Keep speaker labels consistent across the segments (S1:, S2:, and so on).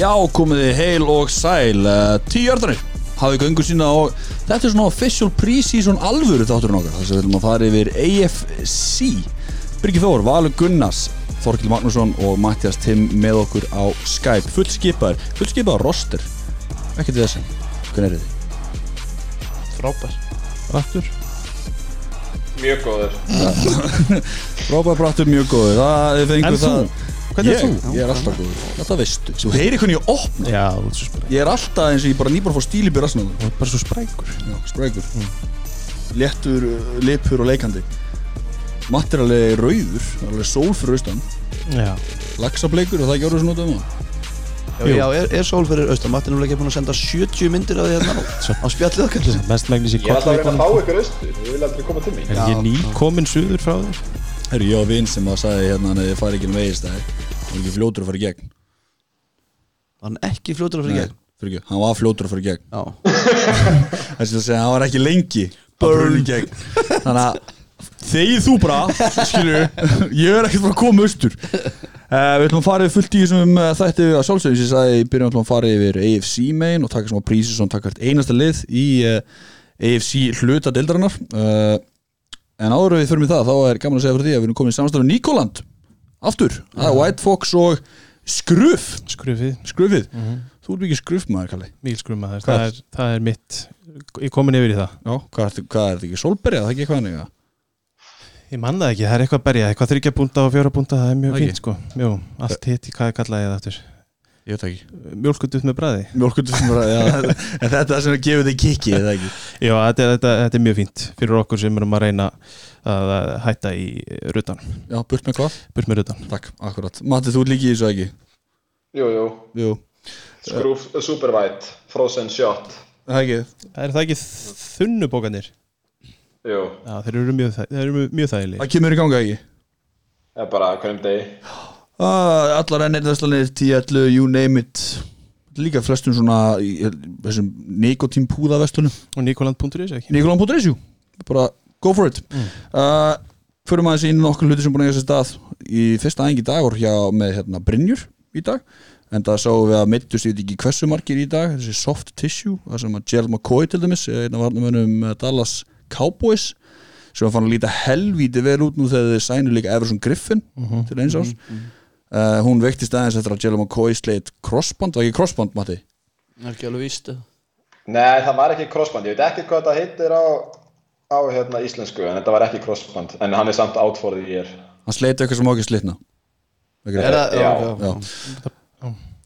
S1: Já, komiði heil og sæl uh, Tíjardanir, hafið göngu sína og þetta er svona official pre-season alvöru þátturinn okkar þess að við viljum að fara yfir AFC Birgir Þór, Valur Gunnars Þorkil Magnússon og Mattias Timm með okkur á Skype fullskipaður, fullskipaður roster ekkert við þessi, hvernig er þið?
S2: Frábær
S3: Aftur
S4: Mjög góður
S1: Rópa brattur mjög góður það, þið fenguð
S3: En þú?
S1: það.
S3: Hvernig
S1: ég,
S3: er þú?
S1: Ég er alltaf góður Þetta veistu Þú heyri hvernig ég opna
S3: Já, þú ert svo spræk
S1: Ég er alltaf eins og ég bara nýbara fór stíli byrja svona
S3: Þú ert bara svo sprækur
S1: Sprækur Léttur, uh, lipur og leikandi Matt er alveg rauður það er Alveg sól fyrir austan
S3: Já
S1: Laxableikur og það gjörður svona út um það
S2: Já, já er, er sól fyrir austan Matti er náttúrulega ekki búin að senda 70 myndir af því hérna á- á spjallið okkar
S3: Mest megnis ég
S4: Ég er alltaf að reyna að fá ykkur austur Ég vil aldrei koma til mig
S3: Er
S2: Já.
S3: ég nýkomin suður frá þér?
S1: Herri, ég á vinn sem að sagði hérna Nei, ég fari ekki um vegist það er ekki fljótur að fara í gegn
S2: Hann ekki fljótur að fyrir gegn
S1: Fyrir ekki, hann var fljótur að fara í gegn
S2: Já,
S1: Það sem að segja, hann var ekki lengi að
S2: Burn.
S1: bruna í gegn. Þannig að þegið þú bara, skilju Ég er ekkert bara að koma austur uh, Við ætlum að fara yfir fullt í þessum uh, þætti að sjálfsögum sem ég sagði, í byrjun ætlum að fara yfir AFC main og taka smá prísi svona taka hvert einasta lið í uh, AFC hluta deildarinnar uh, En áður en við förum í það, þá er gaman að segja fyrir því að við erum komin í samstæðu Nikoland Aftur, það er White Fox og Skruf
S3: Skrufið
S1: Skrufið, þú ert mikið skruf maður, Kalli
S3: Mikið skrumaður
S1: Hvað
S3: það er, það er mitt Ég er komin yfir í það
S1: Já, hvað er þetta ekki? Solberja, það er ekki eitthvað annað
S3: Ég manna það ekki, það er eitthvað að berja Eitthvað þryggja búnda og fjóra búnda Það er mjög
S1: Ekki?
S3: fínt sko Jú, allt hitt í hvað ég kallaði það aftur
S1: Ég veit það ekki
S3: Mjólkutuð með bræði
S1: Mjölkundur sem bara, já, en þetta er það sem er gefið þig kikki, er það ekki?
S3: Já, þetta, er- þetta, þetta er mjög fínt Fyrir okkur sem erum að reyna að að hætta í rutan
S1: Já, burt með hvað?
S3: Burt með rutan
S1: Takk, akkurat. Matti, þú ert líka í þessu ekki?
S4: Jú, jú
S1: Jú.
S4: Skrúf,
S2: Eh.
S4: super white, frozen shot
S1: Það ekki?
S3: Er það ekki þunnubókanir?
S4: Jú,
S3: Já, þeir eru mjög, þæ- þeir eru mjög þægilegir.
S1: Það kemur í ganga ekki?
S4: það er bara á hverjum degi
S1: Ah, allar ennir þesslanir, 10-11, you name it. Líka flestum svona, í þessum nikotínpúða vestunum.
S3: Og Nikoland.is ekki?
S1: Nikolán Putresjú, bara go for it. Mm. Uh, Förum aðeins inn í nokkur hluti sem búin að eiga sér stað. Í fyrsta æfingi í dag voru hjá með hérna, Brynjur í dag. en það sáum við að meittust ég veit ekki hversu margir í dag þessi soft tissue, það sem að Gerald McCoy til dæmis, einn af varnamönnum eh, Dallas Cowboys sem var fann að líta helvíti vel út nú þegar þeir sænu líka Everson Griffin til eins árs uh, hún vektist aðeins eftir að Gerald McCoy sleit crossband, var ekki crossband Matti?
S5: ekki alveg víst
S2: eh.
S4: Nei, það var ekki crossband Ég veit ekki hvað þetta heitir á, á hérna, íslensku En þetta var ekki crossband En hann er samt átfórið í er
S1: hann sleit eitthvað sem má ekki slitna
S2: er það?
S4: Já.
S2: já.
S1: Já.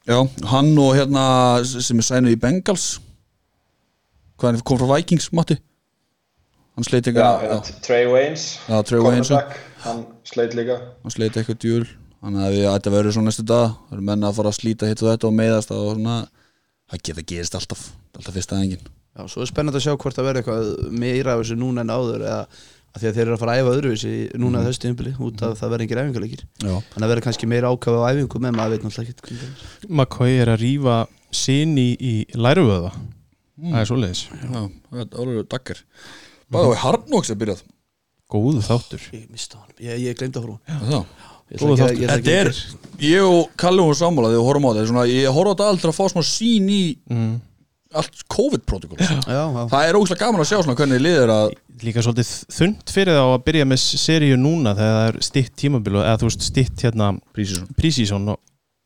S1: Já, hann og hérna sem er sænuð í Bengals hvað hann kom frá Vikings Matti hann sleit
S4: Já,
S1: eitthvað
S4: hérna, Trey Waynes
S1: Já, Trey Waynes.
S4: cornerback, Hann sleit líka
S1: hann sleit eitthvað djúl þannig að við ætti að vera svo næstu dag það eru menna að fara að slíta hitt og þetta og meiðast og svona, það geta gerist alltaf Það er alltaf fyrsta engin
S5: já, svo er spennandi að sjá hvort það verður eitthvað meira af þessu núna en áður eða að því að þeir eru að fara að æfa öðruvísi núna mm. þessu tímpili út af það verður engir æfingarleikir
S1: Já.
S5: en það verður kannski meira ákafa á æfingu með maður veit náttúrulega ekkert hvernig það er.
S3: McCoy er að rýfa sinni í læruvöða það er svoleiðis,
S1: Já, þetta er alveg daggar
S5: Mhm.
S1: Bæði og Harnox er byrjað
S3: góðu þáttur
S5: ég mista hann, ég, ég glemd að horfa á hann.
S1: Já.
S5: Ég ætla ekki að- ég ætla
S1: Þetta
S5: ekki
S1: er,
S5: að-
S1: ég og Kalli og sammála þegar við horfum á þetta, svona, ég horfum á þetta aldrei að fá smá sín í allt COVID-protokoll
S5: Mhm. já, já,
S1: Það er ógslag gaman að sjá svona hvernig liður að
S3: líka svolítið þund fyrir þá að byrja með seríu núna þegar það er stitt tímabil og- eða þú veist stitt hérna
S1: Prísisson
S3: prísísson og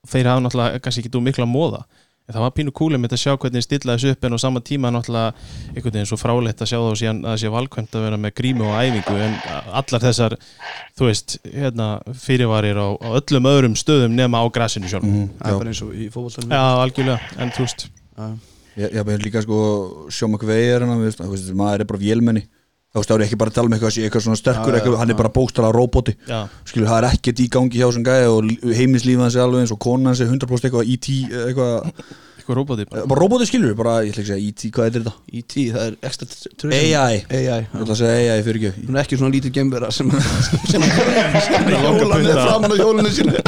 S3: þeir hafa náttúrulega kannski ekki þú mikla móða en það var pínu kúlið með að sjá hvernig stilla þessu upp en á sama tíma náttúrulega einhvern veginn svo frálegt að sjá þá síðan að það sé valkvæmt að vera með grímu og æfingu en allar þessar, þú veist hérna, fyrirvarir á, á öllum öðrum stöðum nema á grasinu sjálf
S1: Mhm.
S5: það er bara eins og í fótboltanum
S3: Já, algjörlega, en þú veist
S5: Já.
S1: Ég ég er líka sko sjómak veiðar hann, veist, hérna, þú veist, maður er bara vélmenni Þá veist, það er ekki bara að tala um eitthvað, sé eitthvað svona sterkur, eitthvað, hann er bara bókstala roboti
S3: Já.
S1: Skilur, það er ekkert í gangi hjá sem gæði og heimislífa hans er alveg eins og konan hans er 100% eitthvað IT, eitthvað, eh,
S3: Eitthvað róbóti bara
S1: bara roboti skilur, bara, ég ætla ekki að segja IT, hvað er þetta?
S5: í tí, það er ekstra tröðsum
S1: AI, ég
S5: AI já.
S1: ætla að segja AI fyrir
S5: hún er ekki svona lítið gemvera sem sem- sem sem
S3: langa
S5: hjólan er
S3: putta.
S5: framan á hjólinu sínu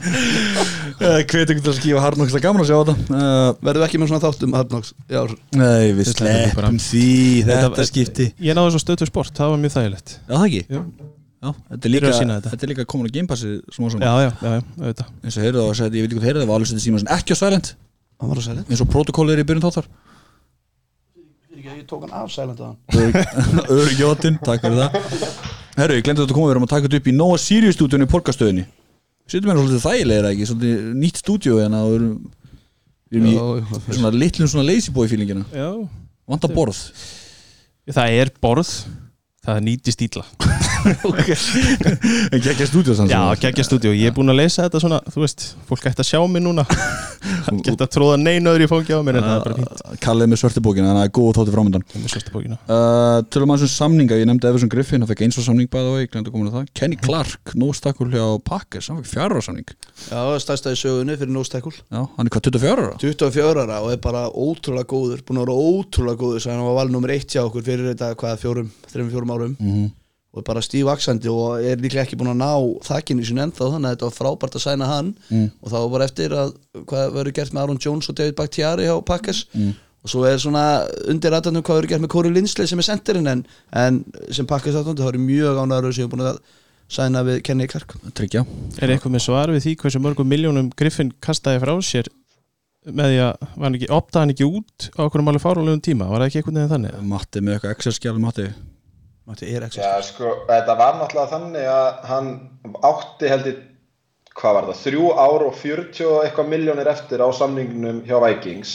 S1: ekki Hvet ekki til Eh, að skífa harnoks, það er gaman að sjá þetta Eh,
S5: verðum við ekki með svona þáttum Arnox já,
S1: Nei, við
S3: sleppum bara.
S1: sleppum því, þetta skipti
S3: Ég náði svo stöðtur sport, það var mjög þægilegt
S1: Já, það ekki?
S3: Jú.
S1: Já, þetta er líka,
S3: Byrja að sýna
S1: þetta.
S3: þetta.
S1: er líka komin á Game Passi smá saman
S3: já, já, já, já, auðvitað
S1: eins og heyrðu það og sagði, ég veit ekki hvað heyrðu það var alveg sem Simonsson ekki á Silent
S5: Hann var á silent
S1: eins og protokóli er í byrjun þáttar
S5: Ég tók hann af silent að hann
S1: Örgjótin, takk fyrir það Herru, ég glemdi þetta að koma, við erum að taka þetta upp í Nóa Sirius stúdíunni í Porkastöðinni Sittum hérna svolítið þægilegir ekki, svolítið nýtt stúdíu hérna og erum, við erum í svona litlum svona lazy boy feelingina
S3: já,
S1: Vanda borð
S3: það er borð það nýtist ítla
S1: En gekkja stúdíu sann
S3: já, geggja stúdíu, ég er búin að leysa þetta svona þú veist, fólk ætti að sjá mig núna hann geta að tróða neina öðru í fóngi á mér en það er bara fínt
S1: Kallið með svörtibókina, þannig að góð þáttu framöndan
S3: Það er með svörstu bókina.
S1: uh, Tölum aðeins um samninga, ég nefndi Everson Griffin, hann fekk eins og samning bæða og ég glemdi að koma inn á það Kenny Clark, nóstakul hjá Packers, hann fekk fjara samning
S5: Já, stærsta í sögunni fyrir nóstekul
S1: Já, hann er hvað 24 ára?
S5: 24 ára og er bara ótrúlega góður búin að vera ótrúlega góður svo hann var valið nummer eitt hjá okkur fyrir þetta hvaða fjórum, þreim fjórum árum
S1: Mhm.
S5: og er bara stívaksandi og er líklega ekki búin að ná þakkinu sinni ennþá þannig að þetta var frábært að sæna hann og þá var bara eftir að hvað verður gert með Aaron Jones og David Bakhtiari hjá Pakkes og svo er svona undir aðdæmum hvað verður gert með Corey Linsley sem er sendirinn en, en sem Pakkes aðdæmum það eru mjög ánæður sem er búin að sæna við Kenny Clark
S1: Tryggja
S3: Er eitthvað með svar við því hversu mörgum miljónum Griffin kastaði frá sér með því að var hann ekki, optaði hann ekki út á okkur máli fárulegum tíma, var það ekki eitthvað neðan þannig?
S1: Matti með eitthvað Excel-skjál, Matti
S5: Matti er ekki
S4: Já, sko, þetta var náttúrulega þannig að hann átti held ég, hvað var það, þrjú ár og 40 og eitthvað miljónir eftir á samningnum hjá Vikings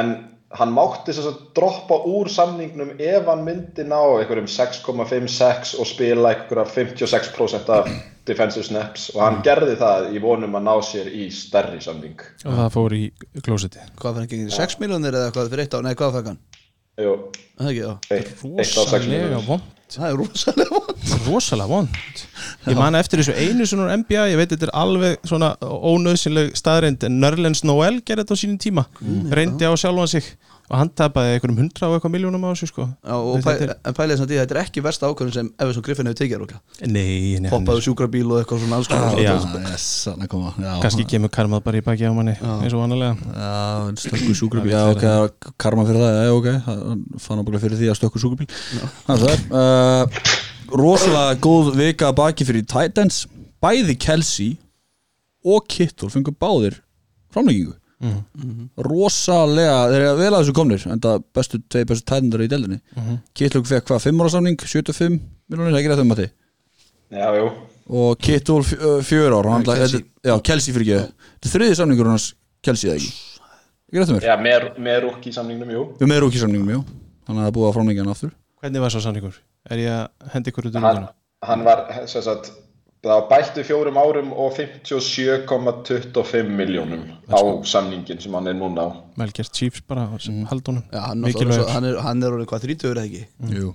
S4: en hann mátti þess að droppa úr samningnum ef hann myndi ná einhverjum 6,56 og spila einhverja 56% af defensive snaps og
S3: Mm.
S4: hann gerði það í vonum að ná sér í stærri samning
S3: Og það fór í klósiti
S5: hvað fyrir gengið 6 miljónir eða hvað fyrir eitt á nei hvað fyrir hann
S4: Jú,
S5: Er það ekki, já.
S4: eitt, eitt á 6
S3: Rosalega
S4: miljónir
S3: vond
S5: það er rosalega vond
S3: Rosalega vond Ég man eftir þessu einu svona úr NBA ég veit þetta er alveg svona ónöðsynleg staðreind en Nerlens Noel gerði þetta á sínum tíma
S5: Mm.
S3: reyndi á sjálfan sig og hann tapaði einhverjum hundra og eitthvað miljónum á þessu sko
S5: Já, og pæ, en pælið þess að því að þetta er ekki versta ákvörðin sem Everson Griffin hefur tekið rúkla
S3: Nei, nei, hann
S5: poppaðu sjúkrabíl og eitthvað svona alls konar
S3: Já.
S1: yes, hann er koma já,
S3: kannski kemur karmað bara í baki á manni eins og vanalega
S1: Já, stökku sjúkrabíl Já, ok, það var karma fyrir það, já, ok Hann fann ábúinlega fyrir því að stökku sjúkrabíl Þannig að það er uh, Rosalega góð vika að baki fyrir Titans Bæði Kelsey og Kittle fengur báðir framlengingu Mhm. Rosalega, þeir eru vel að þessu komnir en það bestu, tvei bestu tætendara í deldinni Kittle fekk hvað, 5 ára samning 75 miljonir, það er ekki rétt um að þið
S4: Já, jú,
S1: og Kittul fjö- ö, fjör ár hann ætlaði- þetta- já, Kelsey fyrir ekki þetta er þriði samningur hans Kelsey eða ekki ekki um réttum mér
S4: já, með, með rúk í samningnum, jú
S1: við meður okki samningum já þannig að það er búið að framlengja hann aftur
S3: Hvernig var svo samningur? Er ég að hendi ykkur út úr
S4: hann,
S3: rúðuna?
S4: hann var sem sagt, það var bættu fjórum árum og 57,25 miljónum á samningin sem hann er núna á
S3: Melgert Chiefs bara var sem hald honum
S5: Mm. Já, hann, var svo,
S3: Mikilvægur
S5: hann, er, hann er orðin hvað 30 eða ekki
S3: Mm.
S1: jú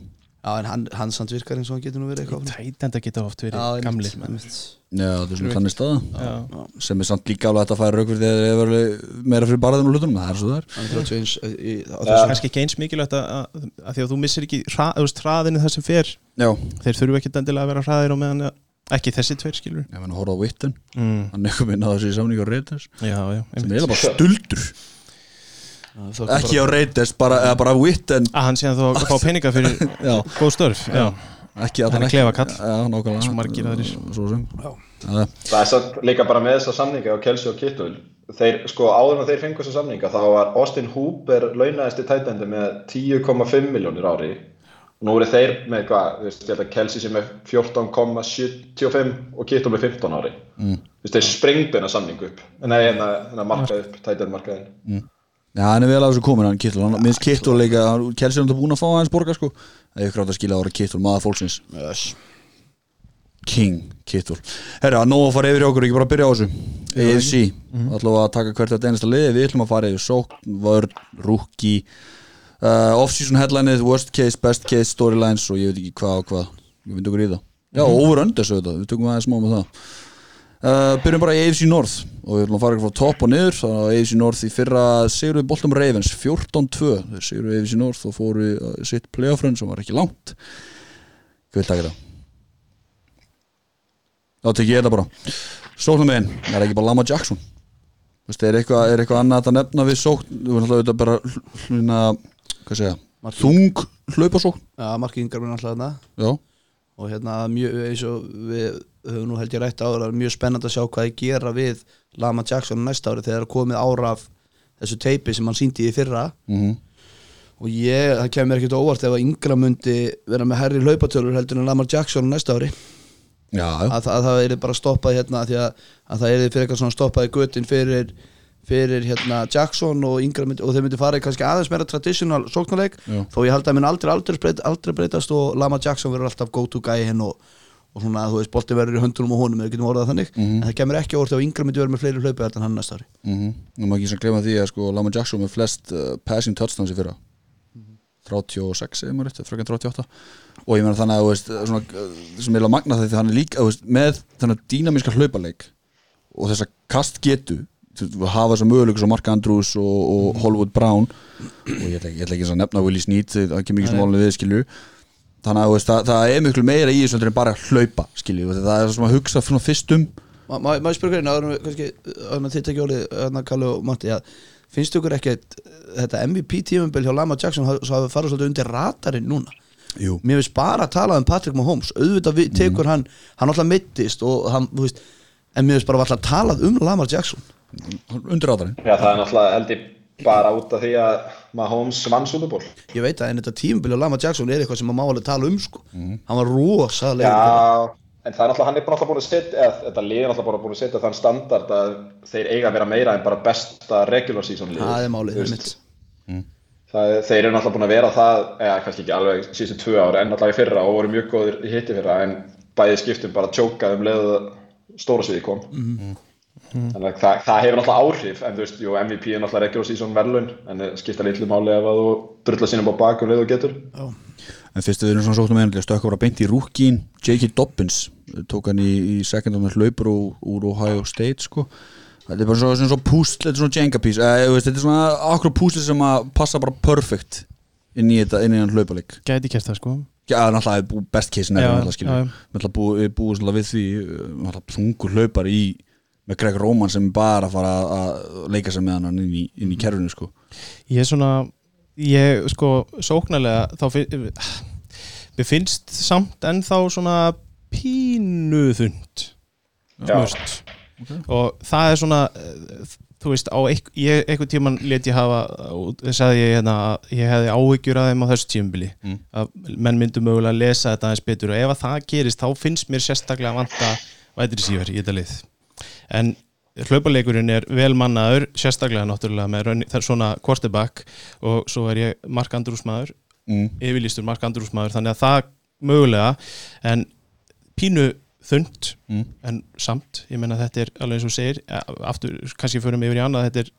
S5: Já, en hann, hann samt virkar eins og hann getur nú verið eitthvað
S3: Tætenda geta oft verið
S5: Já, einmitt,
S3: gamlir menn.
S5: einmitt.
S1: já þetta er svona þannig staða
S3: Já.
S1: sem er samt líka alveg hægt að færa rauk fyrir þegar þeir eru alveg meira fyrir barðinu og hlutunum það er svo það er
S5: Hann er 31 eh, í-
S3: Það
S5: á
S3: er
S5: þessu-
S3: kannski ekki eins mikilvægt að, að, að því að þú missir ekki hra, þú veist, hraðinu það sem fer
S1: já
S3: þeir þurfu ekki dendilega að vera hraðir á meðan að, ekki þessi tveir skilur
S1: ég menn að horfa á vittin
S3: mm.
S1: hann er komin að þessi samningu á Reiters
S3: Já, já,
S1: sem er
S3: einmitt
S1: eiginlega bara stuldur ekki á Reiters bara, eða bara vittin
S3: að hann sé að þú fá peninga fyrir
S1: Já.
S3: góð störf já.
S1: ekki að
S3: Hann er
S1: ekki-
S3: klefakall.
S1: já nákvæmlega
S3: Svo margir aðrir.
S1: svo sem já
S4: það er samt líka bara með þessa samninga á Kelsey og Kittul þeir, sko, áður en þeir fengu þessa samninga þá var Austin Hooper launaðist í tætendu með 10,5 miljónir ári nú eru þeir með hvað, þú veist, ég held að Kelsey sem er 14,75 og Kittul með 15 ári mm. þeir sprengdu hennar samningu upp nei, hennar, hennar markað upp, tætendu markaðin
S1: Já, hann er vel að þessu komin hann Kittul, hann minnst Kittul líka hann- Kelsey er hann búin að fá aðeins borga sko Það er ykkur átt að skila ára Kittul, maður fólksins
S5: Yes.
S1: King Kittul Herra, nóg að fara yfir hjá okkur, ekki bara að byrja á þessu AFC, allavega að taka hvert þetta einasta liði Við ætlum að fara yfir sókn, vörn, rúki uh, Off-season headlineið, worst case, best case, storylines Og ég veit ekki hvað og hvað Við myndum okkur í það Já, over under svo þetta, við tökum aðeins smá með það Uh, byrjum bara í AFC North og við ætlum að fara ykkur frá topp og niður þannig að AFC North í fyrra sigur við Boltum Ravens 14-2, þeir sigur við AFC North og fóru í, uh, sitt playoffrun sem var ekki langt Hvað vil taka það? Þá tek ég þetta bara Sóknum einn, það er ekki bara Lama Jackson Vist, er, eitthvað, er eitthvað annað að nefna við sókn við erum alltaf auðvitað bara hl- hluna, hvað segja, þung hlaupasókn
S5: Já, Marki Ingar minn alltaf þarna
S1: Já,
S5: og hérna mjög eins og við höfum nú held ég rætt ára mjög spennandi að sjá hvað ég gera við Lama Jackson á næsta ári þegar það er komið ára af þessu teipi sem hann síndi í fyrra
S1: Mhm.
S5: og ég, það kemur mér ekkert á óvart ef að yngra mundi vera með herri hlaupatölur heldur en Lamar Jackson á næsta ári
S1: Já, já,
S5: að, að það er bara stoppað hérna af því að, að það er fyrir eitthvað svona stoppað í götin fyrir, fyrir hérna Jackson og yngra myndi, og þeir myndi fara í kannski aðeins meira traditional sóknarleik
S1: Já.
S5: þó ég held að minn aldrei, aldrei, breyt, aldrei breytast og Lama Jackson verður alltaf go to guy hinn og, og svona þú veist, bolti verður í höndunum og honum, við getum orðað þannig en það kemur ekki á orðið að yngra myndi verður með fleiri hlaupi heldur en hann næsta ári
S1: mhm Nú maður ekki sem gleyma því að sko Lama Jackson með flest uh, passing touchdowns í fyrra 36 eða maður rétt, fröken 38 og ég meina þannig að þú veist, svona, uh, sem er að magna þetta hann er líka þú veist, með þannig dýnamíska hlaupaleik og þessa kast getu hafa þessa möguleik svo Mark Andrews og, og Hollywood Brown og ég ætla, ekki- ég ætla ekki að nefna Willie Sneed það kemur ekki sem málunni við skilju þannig að þú veist, það, það er miklu meira í þessu heldur en bara að hlaupa skilju, það er svona að hugsa svona fyrst um
S5: Má- Má má ég spyrja hvernig, áður en við kannski þannig að þetta ekki orðið, þannig að Kalli og Matti að finnst ykkur ekkert eh, þetta MVP tímumbil hjá Lama Jackson haf- svo hafi farið svolítið undir ratarinn núna
S1: Jú.
S5: Mér finnst bara að tala um Patrick Mahomes auðvitað við, tekur hann, hann alltaf mittist og hann, þú veist, en mér finnst bara alltaf talað um Lamar Jackson
S1: undir áðarinn
S4: Já, það er náttúrulega held ég bara út af því að Mahomes vann sútuból.
S5: Ég veit að en þetta tímumbil hjá Lama Jackson er eitthvað sem maður má alveg tala um sko Hann var rosalega
S4: Já, en það er náttúrulega, hann er bara náttúrulega búin að setja, eða þetta lið er náttúrulega bara búin að setja þann standard að þeir eiga að vera meira en bara besta regular season lið.
S5: Það er málið,
S4: Þú
S5: það er
S4: veist,
S5: mitt
S4: Það, þeir eru náttúrulega búin að vera það, eða kannski ekki alveg síðustu tvö ára, en náttúrulega í fyrra og voru mjög góðir í hitti fyrra, en bæði skiptum bara tjókað um leiðu stóra sviði kom.
S5: Mhm.
S4: Mhm. Þannig að það, það hefur náttúrulega áhrif, en þú veist, jú, MVP er náttúrulega regular season verðlaun, en það skipta litlu máli ef að þú drullar sínum á um bakum leiðu getur.
S1: En fyrst við erum svona sóknum einhverja stökka bara beint í rúkín J.K. Dobbins eh, tók hann í, í second on hlaupur úr, úr Ohio State sko Þetta er bara svona, svona, svona púsl, þetta er svona Jenga piece eh, þú veist, Þetta er svona akkur púsl sem að passa bara perfect inn í þetta, inn í hann hlaupalik
S3: Gæti gert það sko
S1: Já, það er náttúrulega bú- best case nefnir
S3: Já,
S1: náttúrulega
S3: já,
S1: skilur
S3: já.
S1: Við ætla búið bú, bú, við því eh, náttúrulega þungur hlaupar í með Greg Róman sem er bara að fara að leika sig með hann inn í, inn í kerfinu sko
S3: Ég er svona Ég sko sóknarlega Þá finn Mér finnst samt ennþá svona Pínuðund Smurst Og það er svona eh, Þú veist, á einhver, ég, einhver tíman let ég hafa og sagði ég hérna að ég hefði áhyggjur að þeim á þessu tímubili að menn myndu mögulega að lesa þetta aðeins betur og ef að það gerist þá finnst mér sérstaklega að vanta vætir síver í þetta lið en hlaupaleikurinn er vel mannaður sérstaklega náttúrulega með raun, það er svona quarterback og svo er ég Mark Andrews maður
S1: Mm.
S3: yfirlýstur Mark Andrews maður þannig að það mögulega en pínu þund en samt, ég menna þetta er alveg eins og þú segir, a- aftur kannski förum yfir í annað þetta er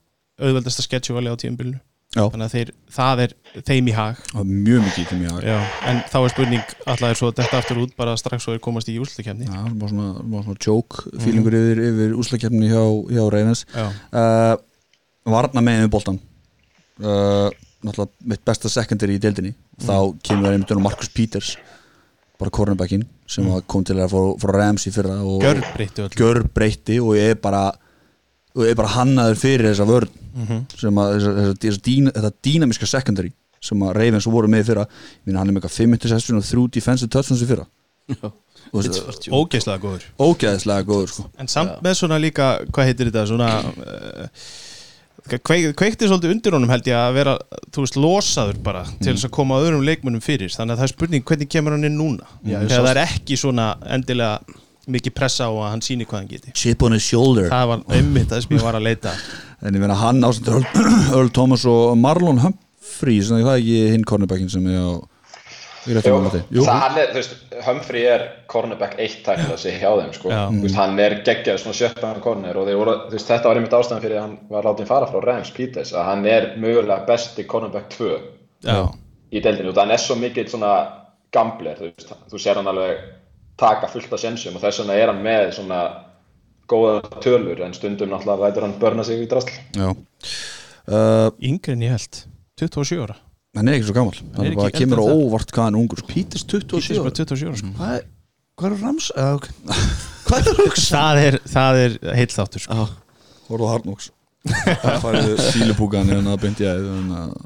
S3: auðveldasta schedule á tíumbilinu
S1: Já.
S3: þannig að þeir, það er þeim í hag
S1: Það er mjög mikið til mjög
S3: Já, en þá er spurning allar er svo þetta aftur út bara strax svo þeir komast í úrslutakefni
S1: Já, það var svona, það var svona joke fílingur yfir, yfir úslakefni hjá, hjá Reynans
S3: Já.
S1: uh, Varna með með boltan uh, Náttúrulega mitt besta secondary í deildinni Þá kemur einmitt um Markus Peters Bara cornerbackin sem kom til að fóra, fóra Rams í fyrra og
S3: Gjör breyttu öll
S1: gjör breytti og er bara og er bara hannaður fyrir þessa vörn sem að þessa, þessa, þessa dín, þetta dýnamiska secondary sem að Ravens voru með í fyrra Ég minna hann er með eitthvað 5 interception og 3 defensive touchdowns í fyrra Og þessi-
S3: Ógeislega góður
S1: ógeðslega góður sko
S3: En samt með svona líka, hvað heitir þetta svona uh, kveik, kveikti svolítið undir honum held ég að vera þú veist, losaður bara til þess að koma öðrum leikmunum fyrir, þannig að það er spurning hvernig kemur hann inn núna, þegar það er ekki svona endilega mikið pressa á að hann síni hvað hann geti.
S1: Chip on his shoulder
S3: Það var einmitt það sem ég var að leita
S1: En ég meina hann ásamt Earl, Earl Thomas og Marlon Humphrey sem það er ekki hinn cornerbackin sem er á Ég rétti
S4: Jú,
S1: með mati Jú,
S4: það hann er, þú veist, Humphrey er cornerback eitt tæknilega þessi hjá þeim, sko
S3: Já.
S4: þú veist, hann er geggjaður svona sjöttan corner og þeir voru, þú veist, þetta var einmitt ástæðan fyrir að hann var látið fara frá Rams Peters að hann er mögulega besti cornerback 2
S3: Já,
S4: í deildinu og hann er svo mikið svona gambler, þú veist, þú sér hann alveg taka fullt af sensum og þess vegna er hann með svona góða tölur en stundum náttúrulega lætur hann börna sig í drasl
S1: já Uh,
S3: yngri en ég held 27 ára,
S1: hann er ekki svo gammal hann er
S3: er
S1: bara
S3: ekki
S1: kemur á
S3: eldri en það.
S1: óvart hvað hann er ungur sko.
S5: Peters 27
S3: Peters bara
S5: ára.
S3: 27 ára sko.
S5: Hvað er- hvað er rams? Uh, okay. Mm. Hvað er hugsa?
S3: það er, það er heill þáttur sko.
S1: hérna, Horfðu á Hard Knocks Það færðu sílupúkan en það beint ég að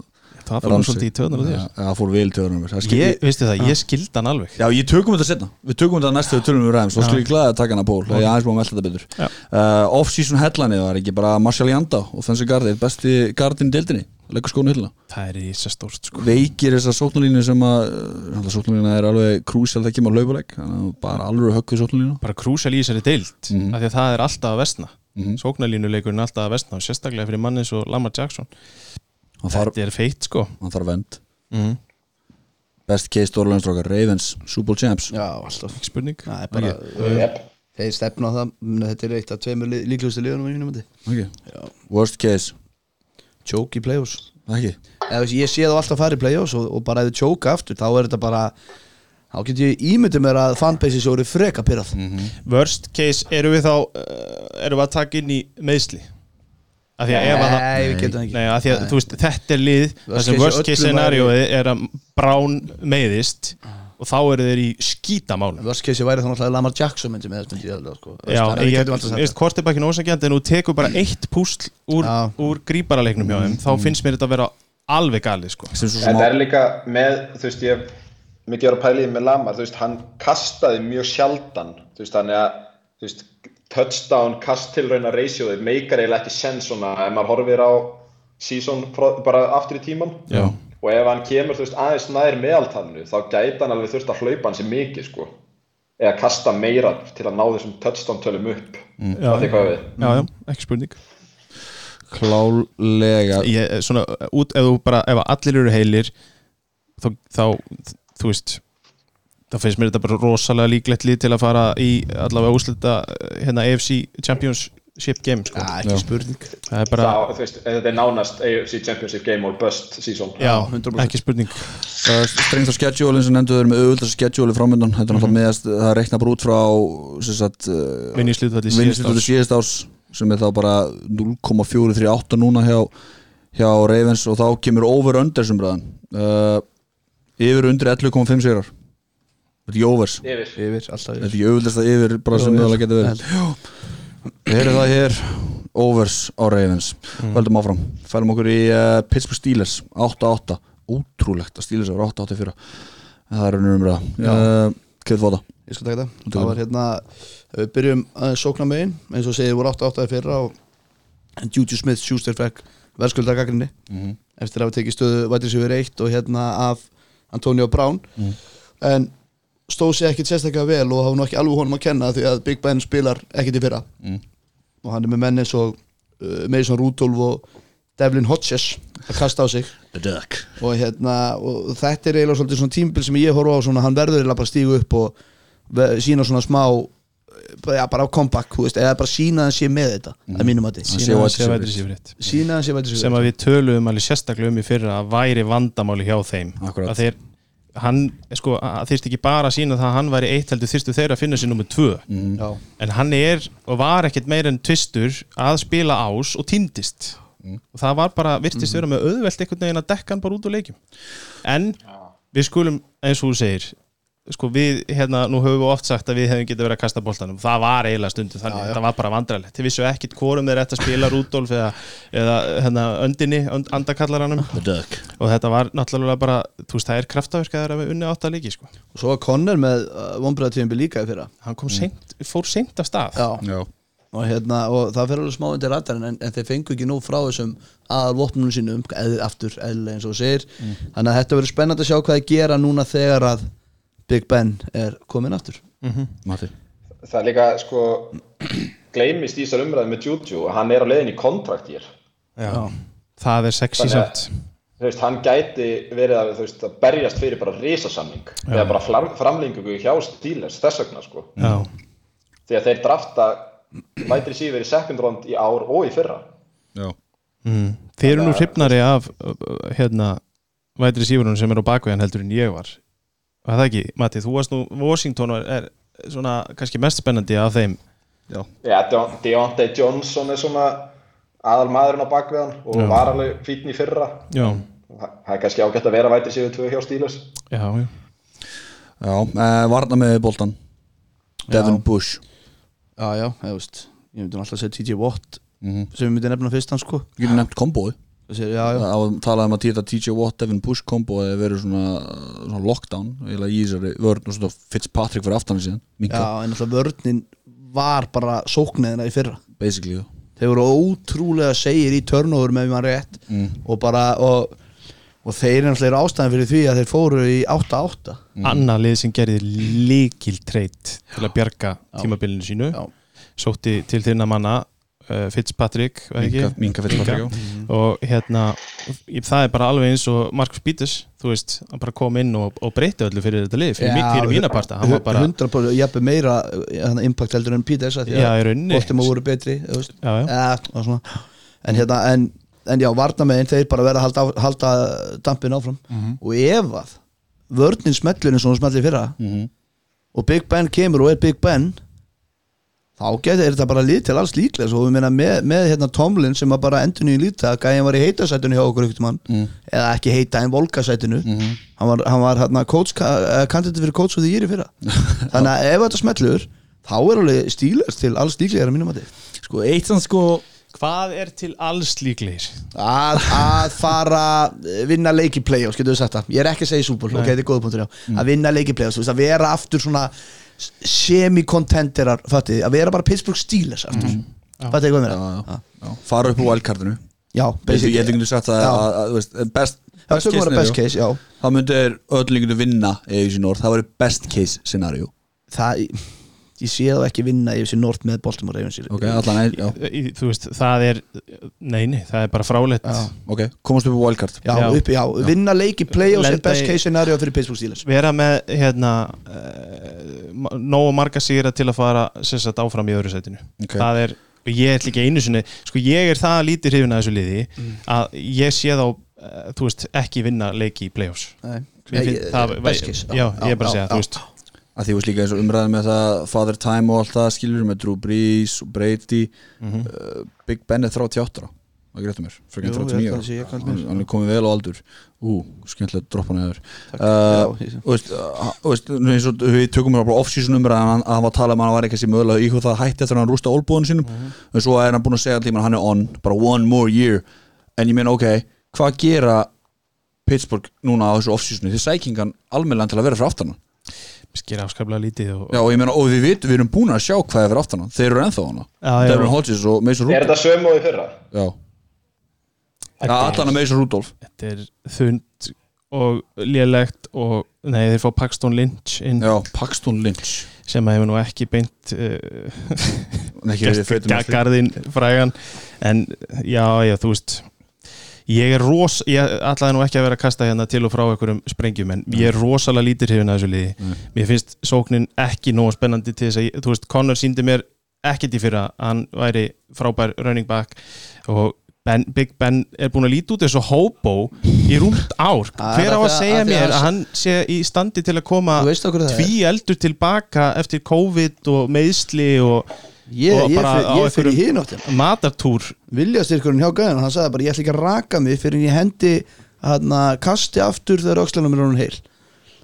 S3: það fór hann svolítið í töðunar og
S1: Já, það fór vel töðunar
S3: þér ég, veistu það, ég skildi hann alveg
S1: Já, ég tökum þetta setna Við tökum þetta næstu við tölum við ræðum Svo skulle ég glæði að taka hana ból Það er aðeins búin að melda þetta betur
S3: Já.
S1: uh, Off-season headline var ekki bara Marshall Janda og Fensi Gardi er besti gardin deildinni Leggur skónu hillina
S3: það er í þessu stórt sko
S1: Veikir þessa sóknulínu sem að uh, Sóknulína er alveg krúsjál það kemur á laupaleg Þannig að bara alveg höggðu sóknulínu
S3: bara krúsal í þessari deilt
S5: Mhm.
S3: mm af því að það er alltaf að vestna mm -hmm. sóknarlínuleikurinn er alltaf að vestna og sérstaklega fyrir manni svo Lamar Jackson
S1: Hann þarf,
S3: þetta er feitt sko
S1: hann þarf vend
S3: Mhm.
S1: Best case stórlænstrókar Ravens, Super Bowl Champs
S5: Já, alltaf
S3: ekki spurning
S5: Það er bara,
S4: Jep.
S5: þeir stefna á það Þetta er eitt af tveimur lí- líklegustu liðunum í mínum myndi
S1: okay. Worst case
S5: Choke í play-offs
S1: Ekki
S5: eða, þú veist, ég sé þá alltaf fara í play-offs og, og bara ef þið tjóka aftur þá er þetta bara þá get ég ímyndið mér að fanbase svo eru freka pyrrað
S3: worst case erum við þá uh, erum við að taka inn í meðsli af því að ef að það
S5: Nei, við getum það ekki
S3: Nei, að því að, þú veist, þetta er lið það sem
S5: case
S3: worst
S5: öllum
S3: case scenarioið er að Brown meiðist
S5: Ah.
S3: og þá eru þeir í skítamálum
S5: Vörst keisi væri þá náttúrulega Lamar Jackson myndi með þess myndi ég alveg sko. Þú veist,
S3: Já,
S5: þannig að við
S3: ég
S5: getum alltaf sagt
S3: veist, hvort er bakkinn ósakjandi en þú tekur bara eitt púsl úr,
S5: Já. Mhm.
S3: úr gríparaleiknum hjá þeim þá finnst mér þetta að vera alveg galið sko.
S1: Sem svo sem á
S4: Þetta er líka með, þú veist, ég hef mikið voru pælið með Lamar, þú veist, hann kastaði mjög sjaldan, þú veist, þannig að, þú veist, touchdown, kast til rauna reysjóðið, meikar eiginlega ekki senn svona, ef maður horfir á season frá- bara aftur í tíman
S3: Já.
S4: og ef hann kemur, þú veist, aðeins nær meðaltalinu, þá gæti hann alveg þurft að hlaupa hans í mikið, sko, eða kasta meira til að ná þessum touchdown tölum upp, mm. það er hvað við.
S3: já, já, ekki spurning
S1: Klálega
S3: ég, eh, svona, út, ef þú bara, ef allir eru heilir þá, þá þú veist þá finnst mér þetta bara rosalega líklegt lið til að fara í allavega úslita hérna AFC Championship game sko.
S5: Já, ekki spurning
S3: það er bara,
S4: Þá, þú veist, þetta er nánast AFC Championship Game or Bust season.
S3: já,
S5: 100%.
S3: ekki spurning
S1: Uh, strengt á schedule sem nefndu þeir með auðvöldast schedule framöndan þetta er náttúrulega meðast, það reikna bara út frá sem sagt, uh,
S3: vinnislutvalli
S1: vinnislutu síðast árs sem er þá bara 0,438 núna hjá, hjá Ravens og þá kemur over under sem bræðan uh, yfir undir 11,5 sigrar þetta er í overs þetta
S4: Yfir.
S5: Yfir, alltaf
S1: er
S5: yfir
S1: ekki auðvöldast að yfir bara sem
S5: Over.
S1: mögulega getur verið við erum það hér overs á Ravens höldum áfram, fælum okkur í uh, Pittsburgh Steelers 8-8, ótrúlegt að Steelers eru 8-8 fyrir en það er unnur umræða uh, Kefið fóta
S5: Ég skal taka þetta
S1: Tökum.
S5: Það var hérna ef Við byrjum að sókna megin eins og segið voru 8-8 í fyrra og en Juju Smith Schuster fekk verðskulda gaggrinni eftir að hafa tekið stöðu vætri sig verið eitt og hérna af Antonio Brown en stóð sér ekkit sérstaklega vel og hafa nú ekki alveg honum að kenna því að Big Ben spilar ekkit í fyrra og hann er með menn eins og uh, Mason Rudolph og Devlin Hodges að kasta á sig
S1: The Duck
S5: og hérna og þetta er eiginlega svolítið svona tímbil sem ég horfa á svona hann verður eiginlega bara að stígu upp og ve- sína svona smá bara, ja, bara á comeback, þú veist, eða bara sína hann sé með þetta að mínum að þetta,
S1: Sé wide receiver.
S3: sem
S5: sína hann sé með þetta
S3: að við töluðum alveg sérstaklega um í fyrra að væri vandamáli hjá þeim
S1: Akkúrat.
S3: að þeir hann, sko, þyrst ekki bara að sína það að hann væri eitt heldur þyrstu þeir að finna sér nummer tvö
S5: já,
S3: en hann er og var ekkert meir en tvistur að spila ás og týndist og það var bara, virtist vera með auðvelt einhvern veginn að dekka hann bara út úr leikjum en við skulum, eins og þú segir sko við, hérna, nú höfum við oft sagt að við hefum getið verið að kasta boltanum, það var eiginlega stundu þannig, það var bara vandrarlegt, þið vissu ekkit hvorum þeir ættu að spila Rúdolf eða, eða hérna, öndinni, önd, andakallaranum
S1: The Duck
S3: og þetta var náttúrulega bara, þú veist, það er kraftaverk að það er að við unni átt að leiki, sko
S5: og svo var Conner með uh, vonbreðatíðinbi líka í fyrra
S3: hann kom seint, fór seint af stað
S5: já,
S1: Já
S5: og hérna, og það fer alveg smá undir ratarinn en, en þeir fengu ekki nóg frá þessum aðalvopnunum sínum, eð, aftur eðlilega eins og þú segir, þannig að þetta verður spennandi að sjá hvað þeir gera núna þegar að Big Ben er komin aftur
S1: Matti
S4: það er líka sko gleymist í þessar umræði með Juju að hann er á leiðin í kontrakt hér
S3: Já. það er sexy
S4: Þannig að-
S3: samt
S4: þú veist, hann gæti verið að, þú veist, að berjast fyrir bara risasamning eða bara fram, framlengingu hjá Steelers þess vegna sko
S3: Já.
S5: Mm.
S4: því að þeir drafta vætri síður í second round í ár og í fyrra
S1: Já
S3: Mm. Þið eru nú hrifnari af uh, uh, hérna vætri sífurinn sem er á bakveðan heldur en ég var Var það ekki, Matti, þú varst nú Washington var- er svona kannski mest spennandi af þeim
S4: Já, Deon- Deontay Johnson er svona aðal maðurinn á bakveðan og var alveg fítn í fyrra
S3: Já,
S4: það það er kannski ágætt að vera vætri síður tvö hjá Steelers
S3: já, já.
S1: Já, uh, varna með boltan Devin Bush
S5: Já, já, eða veist Ég myndi nú alltaf að segja TJ Watt sem ég myndi nefna fyrst hann sko
S1: Þú getur nefnt kombói
S5: Þessi, já, já.
S1: á að tala um að týta TJ Watt Devin Bush kombo eða verið svona, svona lockdown eiginlega í þessari vörn og svona Fitzpatrick fyrir aftan síðan
S5: já,
S1: minka,
S5: en alltaf vörnin var bara sókniðina í fyrra
S1: basically
S5: þeir voru ótrúlega segir í törnóður með maður rétt og bara og, og þeir er náttúrulega ástæðan fyrir því að þeir fóru í 8-8
S3: annað lið sem gerði líkil treyt til að bjarga tímabilinu sínu
S5: Já.
S3: sótti til þinna manna uh, Fitzpatrick var ekki?
S1: minka, minka Fitzpatrick
S3: Minka.
S1: já.
S3: og hérna í- það er bara alveg eins og Marcus Bítis þú veist, hann bara kom inn og, og breyti öllu fyrir þetta lið, fyrir,
S5: Já,
S3: mín, fyrir mína parta hann var bara,
S5: 100% jafnir meira eh, hann, impact heldur en Pete Esa
S3: já, í rauninni
S5: Bóttum að voru betri þú veist.
S3: Já, já.
S5: Eh, og svona. en hérna en, en já, varnamegin þeir bara verða að halda, á- halda dampin áfram
S3: Mhm.
S5: og ef að vörnin smellur eins og hún smellir fyrra
S3: Mhm.
S5: og Big Ben kemur og er Big Ben þá getur er þetta bara lít til alls líklega og við meina með, með hérna Tomlin sem að bara endur nýjum lítið að gæðin var í heitasætinu hjá okkur ykkur mann eða ekki heita en volkasætinu hann var, hann var hérna coach, uh, kandidati fyrir coach og því ég er í fyrra þannig að ef þetta smellur þá er alveg stílast til alls líklega mínum að þið
S1: sko eitt sann sko
S3: hvað er til alls líklegir?
S5: að, að fara eh, vinna leiki playoffs, getur við sagt það ég er ekki að segja súból, ok, þetta er góða punktur já að vinna leiki playoffs, þú veist, að vera aftur svona semi-contenderar fattið, þið, að vera bara Pittsburgh Steelers aftur mm. fattið þið hvað mér
S1: já,
S5: að
S1: já, já. fara upp á wildcardinu
S5: já,
S1: Basically,
S5: basically
S1: ég hefði sagt það
S5: Já.
S1: að, að, þú veist, best,
S5: Já, tökum bara best case, já.
S1: þá myndi þeir öll líkundu vinna eða í sín orð, það væri best case scenario
S5: það, ég sé þá ekki vinna ég sé North með Baltimore Ravens
S1: ok, allan er, já,
S3: Í, þú veist, það er neini, það er bara frálegt
S1: ok, komast upp á wildcard
S5: já,
S3: Já.
S5: Upp, já, vinna leiki playoffs er
S3: Lenda í-
S5: best case scenario fyrir Pittsburgh Steelers
S3: vera með hérna uh, nógu marga sigra til að fara sem sagt, áfram í öðru sætinu
S1: Ok.
S3: það er, og ég ætla ekki einu sinni sko ég er það lítið hrifin að þessu liði að ég sé þá, uh, þú veist ekki vinna leiki í playoffs
S5: Nei.
S3: Ég finn,
S5: Nei,
S3: það,
S5: best case
S3: já, ég er bara að segja,
S5: já,
S3: þú veist
S1: að því þú veist líka eins og umræðin með það Father Time og allt það skilur með Drew Brees og Brady uh, Big Ben er 38 ára, það greiðtum mér
S5: Mhm. Jú,
S1: frekar
S5: ég
S1: 39
S5: held að
S1: ára,
S5: sé, ég held mér.
S1: Hann- hann er komið vel á aldur ú, skemmtilega að droppa hann eður
S5: já,
S1: uh,
S5: ég sé.
S1: og veist, uh, og veist nú eins og við tökum hérna bara off-season umræðin hann- að hann var að tala um að hann var eitthvað sem mögulega íhuga það að hætti eftir að hann rústa olbúðun sínum
S5: Mhm.
S1: en svo er hann búin að segja allir hann er on, bara one more year en ég meina ok, hvað gera Pittsburgh núna á þessu off-seasonu þið sækingan almennilega til að vera frá aftan hann
S3: skýra afskaplega lítið og,
S1: Já og ég meina, og við vitum, við erum búin að sjá hvað er fyrir aftan hann Þeir eru ennþá hana
S3: Já, já.
S1: Devin Hodges og Mason
S4: Er
S1: Rudolph
S4: þetta sömu og í fyrra?
S1: Já, ja, allan að Mason Rudolph
S3: þetta er þund og lélegt og nei, þeir fá Paxton Lynch inn
S1: Já, Paxton Lynch
S3: sem hefur nú ekki beint uh,
S1: Nei, ekki verið feitum eftir.
S3: garðin frægan en já, já, þú veist ég er ros, ég ætlaði nú ekki að vera að kasta hérna til og frá einhverjum sprengjum en ég er
S5: Mm.
S3: rosalega lítir hefina þessu liði mér finnst sóknin ekki nóg spennandi til þess að, ég- þú veist, Connor síndi mér ekkert í fyrra, hann væri frábær running back og ben, Big Ben er búin að líti út þessu hóbó í rúmt ár
S5: Það er
S3: hver á að
S5: af því að-
S3: segja
S5: af því að
S3: mér að
S5: hann-
S3: hann sé í standi til að koma
S5: Þú veist okkur það er.
S3: tví eldur tilbaka eftir COVID og meiðsli og
S5: Ég,
S3: Og
S5: ég,
S3: bara
S5: fer-
S3: á
S5: ég fyrir
S3: einhverjum-
S5: hináttin
S3: matartúr
S5: viljastyrkurinn hjá gæðan hann sagði bara ég ætla ekki að raka mig fyrir en ég hendi hana, kasti aftur þegar öxlanum er honum heil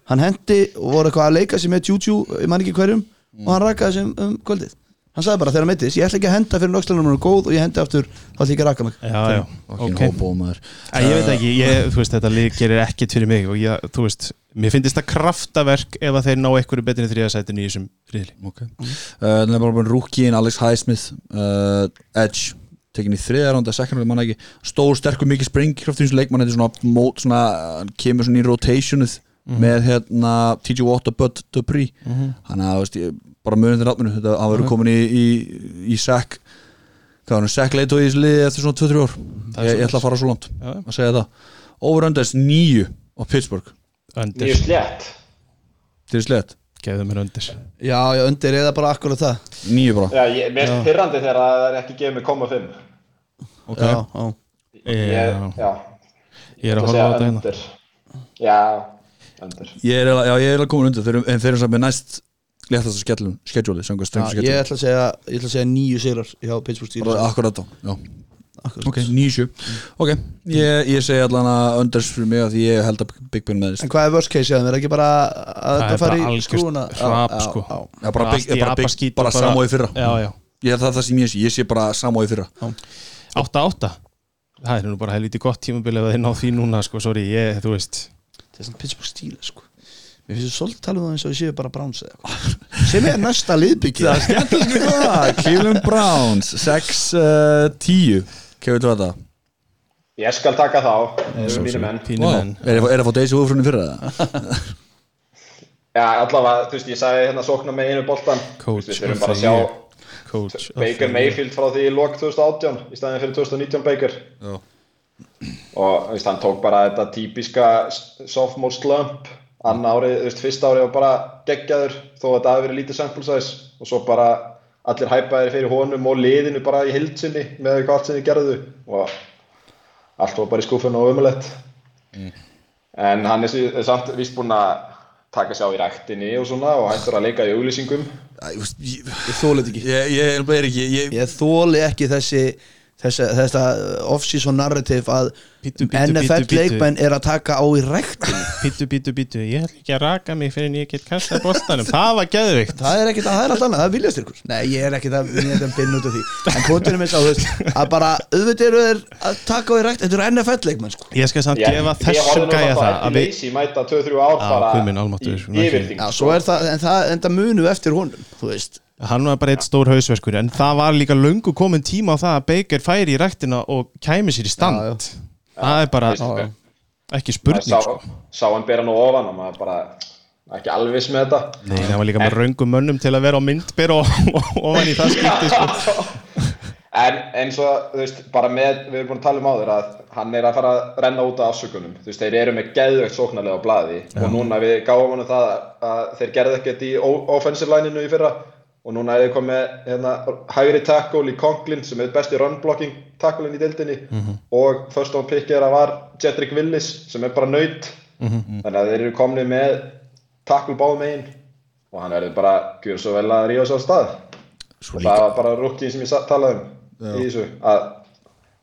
S5: hann hendi og voru eitthvað að leika sér með Juju, ég man ekki hverjum og hann rakaði sér um, um kvöldið hann sagði bara þegar hann meittist, ég ætla ekki að henda fyrir en öxlanum er honum góð og ég hendi aftur, þá ætla ég ekki að raka mig
S3: já, já,
S1: Fucking
S3: ok
S1: hobo, maður.
S3: Æ, ég veit ekki, ég, þú veist, þetta lið gerir ekkert fyrir mig og ég, þú veist, mér finnst það kraftaverk ef að þeir ná einhverju betri þriðasætinu í þessum riðli
S1: Ok Það er bara búin rúkiðin Alex Highsmith uh, Edge tekin í þriðja ránda, second round, manna ekki stór, sterkur, mikið springkraft í þessu leikmann þetta er svona mót, svona hann kemur svona í rotationið
S3: Mhm.
S1: með hérna TJ Watt og Bud Dupree hann að, þú veist, ég, bara munið þér átminu þetta, hann verður komin í, í, í sack hvað hann, sack leit og í þessu liði eftir svona 2-3 ár, ég,
S3: er
S1: ég
S3: svoleiðis.
S1: ætla að fara svo langt
S3: Já, já.
S1: að segja það, overunders 9 á Pittsburgh,
S3: Öndir,
S4: Mjög slétt
S1: til þess leitt
S3: gefðu mér öndir
S5: já, já, undir eða bara akkurat það
S1: 9 bara,
S4: Já, ég, mér er pyrrandi þegar að það er ekki gefið mig koma fimm
S1: ok
S5: já, já.
S4: Ég,
S3: Ég,
S4: já,
S3: ég er
S4: það
S3: að horfa á
S4: segja
S3: þetta hérna
S4: öndur Já, öndur
S1: Ég er eiginlega- já, ég er eiginlega komin undir þeir, en þeir eru samt með næst léttast að skellum skedjúli, samkvæmt
S5: Já,
S1: strengt
S5: ég
S1: skedjúli
S5: ætla að segja, ég ætla að segja nýju sigrar hjá Pittsburgh Steelers
S1: Akkurat þá, já
S5: Akkurat.
S1: Ok, 9-7 Ok, ég, ég segi allan að önders fyrir mig að því ég held að Big Ben með þess
S5: en hvað er worst case, það er ekki bara að
S3: Það
S5: þetta
S3: er bara
S5: fari í
S3: algjört
S5: skrúna
S3: hrap, sko.
S1: Já, bara, big,
S3: Allt í
S1: bara, big,
S3: apaskít og
S1: bara samóið fyrra
S3: Já, já,
S1: Ég er það, það sem ég sé, ég sé bara samóið fyrra
S3: 8-8 það er nú bara helviti gott tímabili ef þeir ná því núna sko, sorry, ég, þú veist
S5: þetta er svona Pittsburgh Steelers sko Mér finnst þú svolítið tala um það eins og ég séu bara Browns eða eitthvað sem er næsta liðbyggja
S1: Það er skemmtilegt með það Cleveland Browns 6-10 uh, Kefir þú þetta?
S4: Ég skal taka þá, eru mínu menn.
S3: pínu
S1: Wow.
S3: menn
S1: Er, er að fá Daisy Wolfrunni fyrir það?
S4: Já, allavega, þú veist, ég sagði hérna sókna með einu boltan.
S3: Coach
S4: Við þurfum
S3: of
S4: bara að
S3: the
S4: sjá
S3: year. coach of the
S4: Baker Mayfield frá því í lok 2018 í staðin fyrir 2019 Baker.
S1: Já.
S4: Og þú veist, hann tók bara þetta típiska s- sophomore slump. Anna árið, þú veist, fyrsta árið var bara geggjaður þó að þetta hafi verið lítið sample size. Og svo bara allir hæpaðir fyrir honum og liðinu bara í hildsinni með hvað allt sem þið gerðu. Og allt var bara í skúfunni og umulett en hann er sí- samt víst búinn að taka sér á í ræktinni og svona og hættur að leika í auglýsingum
S1: Æ, Ég, veist, ég,
S5: Ég þólið ekki
S1: ég, ég er ekki ég,
S5: Ég þóli ekki þessi þessa, þessa off-season narrative að
S3: Bíddu, bíddu, bíddu, bíddu.
S5: NFL-leikmenn er að taka á í ræktin
S3: Bítu, bítu, bítu, ég ætla ekki að raka mig fyrir en ég get kastað boltanum, það var geðvikt
S5: Það er ekkert, það er allt annað, það er viljastyrkur Nei, ég er ekkert að, ég er að binna út af því En kvotunum er sá, þú veist, að bara auðvitað eru þeir að taka á í ræktin Þetta eru NFL-leikmenn, sko
S3: Ég skal samt gefa þessum gæja það að við,
S4: Lacey mæta 2-3 ár
S3: Já,
S4: bara
S3: guð minn almáttugur,
S4: í-
S3: svona
S4: í
S3: ekki-
S4: yfirþyngd sko.
S5: Já, svo er það, en það, en það munu eftir honum, þú veist
S3: hann var bara eitt stór hausverkur en það var líka löngu komin tíma á það að Baker færi í ræktina og kæmi sér í stand það er bara
S4: Veist,
S5: já.
S3: ekki
S4: maður
S3: spurning sko.
S4: sá, sá hann bera nú ofan og maður bara ekki alveg viss með þetta
S3: Nei, það var líka með röngum mönnum til að vera á myndbyr og og- ofan í það skipti sko.
S4: en eins og þú veist bara með, við erum búin að tala um áður að hann er að fara að renna út af afsökunum þú veist, þeir eru með geðveikt sóknarlega á blaði og núna við gáum hann það að, að þeir gerðu ekkert í ó- offensive lineinu í fyrra og núna er þeir komið hérna, hægri tackle í Conklin sem er besti run blocking tacklein í deildinni og first on pick er að var Jedrick Willis sem er bara nöyt þannig að þeir eru komnið með tackle báð megin og hann verður bara gjur svo vel að ríða sér á stað
S1: Svo
S4: og það var bara rúkinn sem ég sa- talaði um í þessu að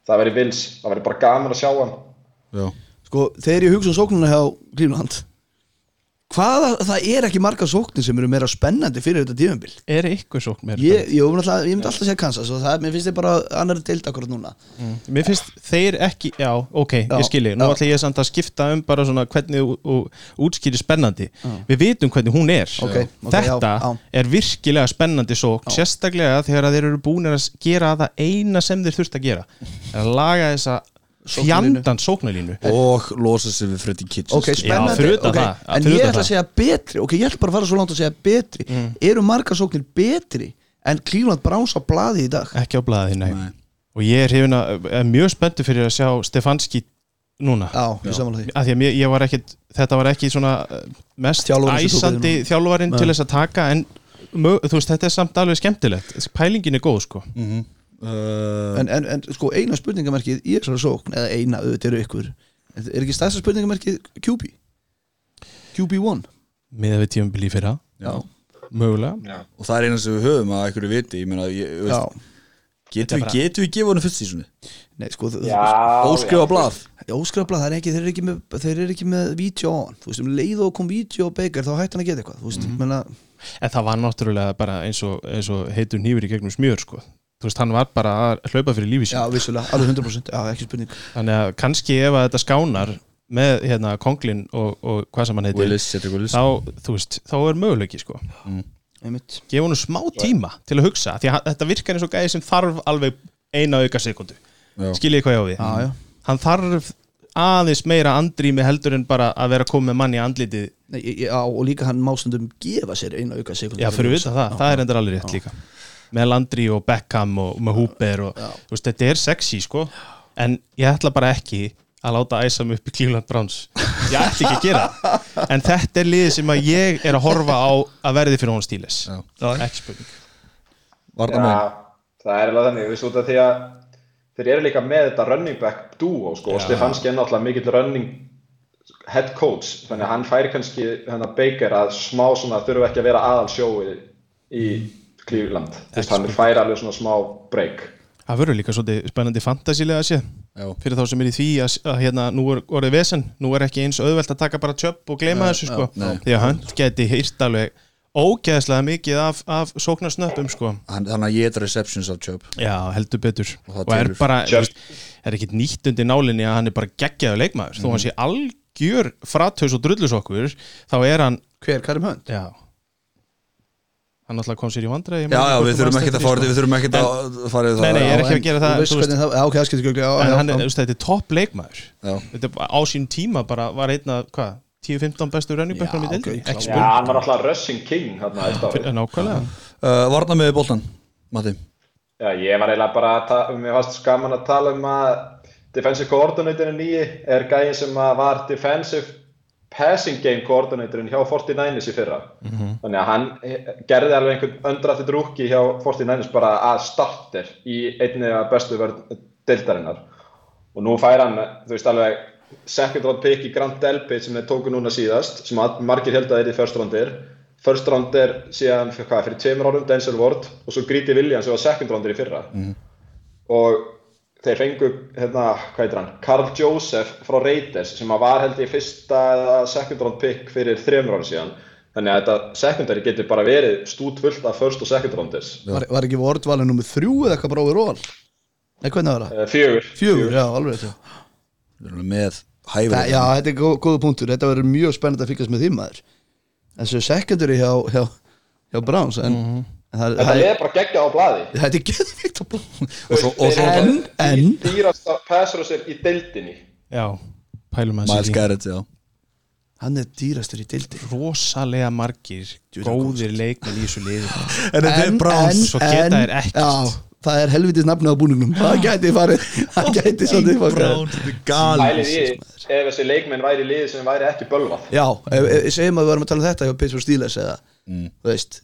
S4: það veri vils, það veri bara gaman að sjá hann
S1: Já.
S5: Sko, þegar ég hugsa um sóknuna hjá Cleveland Hvaða, það er ekki marga sóknir sem eru meira spennandi fyrir þetta tífumbil
S3: er ykkur sókn mér
S5: Ég, ég, myndi alltaf, ég myndi alltaf segja Kansas og það, mér finnst þið bara annar deild akkurat núna
S3: mér finnst þeir ekki, já, ok, ég
S5: Já,
S3: skilji nú
S5: já.
S3: ætla ég samt að skipta um bara svona hvernig þú- þú útskýrir spennandi við vitum hvernig hún er
S5: Ok, ok,
S3: þetta
S5: já, já.
S3: er virkilega spennandi sókn sérstaklega þegar að þeir eru búinir að gera það eina sem þeir þurft að gera er að laga þessa
S5: Sóknarlínu.
S3: fjandan sóknarlínu
S1: Og losa sig við Freddy Kitchens
S5: Ok, spennandi
S3: fyrir utan
S5: ok.
S3: það, já,
S5: En
S3: fyrir
S5: ég
S3: utan
S5: ætla að
S3: það. Mm.
S5: segja betri Ok, ég ætla bara að fara svo langt að segja betri Eru margar sóknir betri en Cleveland Browns á blaði í dag
S3: ekki á blaði, nei. og ég er, hefina, er mjög spenntu fyrir að sjá Stefanski núna
S5: Já, ég samanlega því
S3: að því að mér, ég var ekkit, þetta var ekki svona eh, mest
S5: Þjálfarinn sem tók
S3: æsandi
S5: við
S3: þjálfarinn til þess að taka en mö, þú veist, þetta er samt alveg skemmtilegt pælingin er góð sko
S1: uh,
S5: en, en, en sko, eina spurningamerkið í þessari sókn eða eina auðvitað eru ykkur En Er ekki stærsta spurningamerkið QB? QB1
S3: með við tíum bíl í fyrra,
S1: Já.
S3: mögulega
S1: Og það er eina sem við höfum að einhverju viti Ég meina, ég, þú
S5: Já,
S1: veist, getum við getum við gefið honum fyrst sísunni?
S5: nei, sko það-
S1: Óskrifa blað
S5: Óskrafla, það er ekki, þeir eru ekki með, þeir eru ekki með vídeo á hann, þú veist, um leið og kom vídeo á Baker, þá hætti hann að geta eitthvað, þú veist, mm
S3: en það var náttúrulega bara eins og, eins og heitur nýfur í gegnum smjör sko þú veist, hann var bara að hlaupa fyrir lífi
S5: já,
S3: sín
S5: vissulega, alveg 100%, já, ekki spurning
S3: þannig að kannski ef að þetta skánar með hérna konglin og, og hvað sem hann heitir
S1: Willis, Cedric Willis
S3: þá, þú veist, þá er möguleiki sko
S5: einmitt,
S3: gefa honum smá tíma til að hugsa því að hann- þetta virkar eins og gæði sem þarf alveg eina auka sekundu
S1: Já.
S3: skiljiði hvað ég á við
S5: já, já,
S3: hann þarf aðeins meira andrými heldur en bara að vera komið manni í andlitið
S5: Nei, ég- ég- já, og líka hann má stundum gefa sér eina auka sekund
S3: já, fyrir við það, það er endur alveg rétt líka með Landry og Beckham og með Hooper og þú veist, þetta er sexy sko en ég ætla bara ekki að láta æsa mig upp í Cleveland Browns ég ætla ekki að gera það. en þetta er liðið sem að ég er að horfa á að verði fyrir hún stíles
S1: Já.
S3: ekki spurning
S1: Varna
S4: Já,
S1: með
S4: það er alveg þannig, þú veist út af því að þeir eru líka með þetta running back duo sko, og Stefanski er náttúrulega mikill running head coach, þannig að hann fær kannski hennar Baker að smá svona þurfa ekki að vera aðal sjói í Cleveland, þú veist hann fær alveg svona smá break
S3: Það verður líka svolítið spennandi fantasilega að sé
S1: Já.
S3: fyrir þá sem er í því að, að hérna, nú er orðið vesen, nú er ekki eins auðvelt að taka bara tjöpp og gleyma þessu sko, því að hönd geti hýrt alveg ógeðslega mikið af, af sóknarsnöppum sko
S1: Hann- Þannig að ég er receptions af Chubb
S3: Já, heldur betur
S1: Og það
S3: og, er
S1: telur.
S3: bara, þú
S4: Just-
S3: veist, er ekkit nýtt undir nálinni að hann er bara geggjaður leikmaður
S1: Mhm.
S3: þó hann sé algjör frathaus og drullus okkur þá er hann,
S5: Hver, Karim Hönd?
S3: já hann alltaf kom sér í vandræði
S1: Já, já, við þurfum ekkert að fara við þurfum ekkert að fara yfir
S3: Nei,
S1: það
S3: nei, ég er ekki
S5: En
S3: að gera það,
S5: Þú veist
S3: þú veist-
S5: hvernig það, já, ok, það skilur gögli, já,
S3: en
S5: já,
S3: hann er,
S5: já.
S3: þú veist, þetta er topp leikmaður
S1: Já.
S3: þetta er, á sín tíma bara var einn að, hvað, 10-15 bestu rönnibökkunum í
S5: Já,
S3: deildinni,
S5: ok,
S3: ekki
S4: Já, hann
S3: spurning
S4: var alltaf Rushing King þarna eitt árið.
S3: Fyrir- nákvæmlega,
S1: Uh, Varna með boltan, Matti
S4: Já, ég var eiginlega bara að tala, mér fannst skaman að tala um að defensive coordinator nýji er gæðin sem að var defensive passing game coordinatorin hjá 49ers í fyrra. Þannig að hann eh, gerði alveg einhvern öndratti drúki hjá 49ers bara að starter í einni af bestu vörð deildarinnar. Og nú fær hann, þú veist alveg, second round pick í Grand Delpit sem þeir tóku núna síðast, sem að margir held að þeir í first roundir first round er síðan fyrir, hvað, fyrir tveimur árum Denzel Ward og svo Gríti Williams sem var second roundir í fyrra og þeir fengu hérna, hvað heitir hann, Carl Joseph frá Raiders sem að var held ég fyrsta eða second round pick fyrir þreimur árum síðan þannig að þetta secondary getur bara verið stútvöld af first og second rounders
S5: var, var ekki Ward valið nummið þrjú eða eitthvað bara overall? Nei, hvernig var það?
S4: Eh, fjögur
S5: Fjögur, já, alveg þetta
S1: Við erum með hæfur
S5: Já, þetta er góð, góða punktur, þetta verður mjög spennandi að fylgjast með því maður En svo secondary hjá, hjá, hjá Browns en, en það,
S4: þetta
S5: það,
S4: er bara geggjað á blaði
S5: þetta er geðvikt að blá
S1: Og svo, og svo
S5: En, en
S4: dýrasta passrössir í deildinni
S3: já, pælum að
S1: Miles Garrett, já
S5: Hann er dýrastur í dildi
S3: rosalega margir góðir leikmenn í þessu liði
S1: En þetta er Browns
S3: svo geta þeir ekkert.
S5: Já, það er helvitis nafnið á búningnum Það gæti farið, það gæti svolítið farið
S1: Browns, þetta er gali
S4: Ælið í ef þessi leikmenn væri í liði sem væri ekki bölvað
S5: Já, ef- ef- segjum að við varum að tala um þetta hjá Pittsburgh Steelers eða, þú veist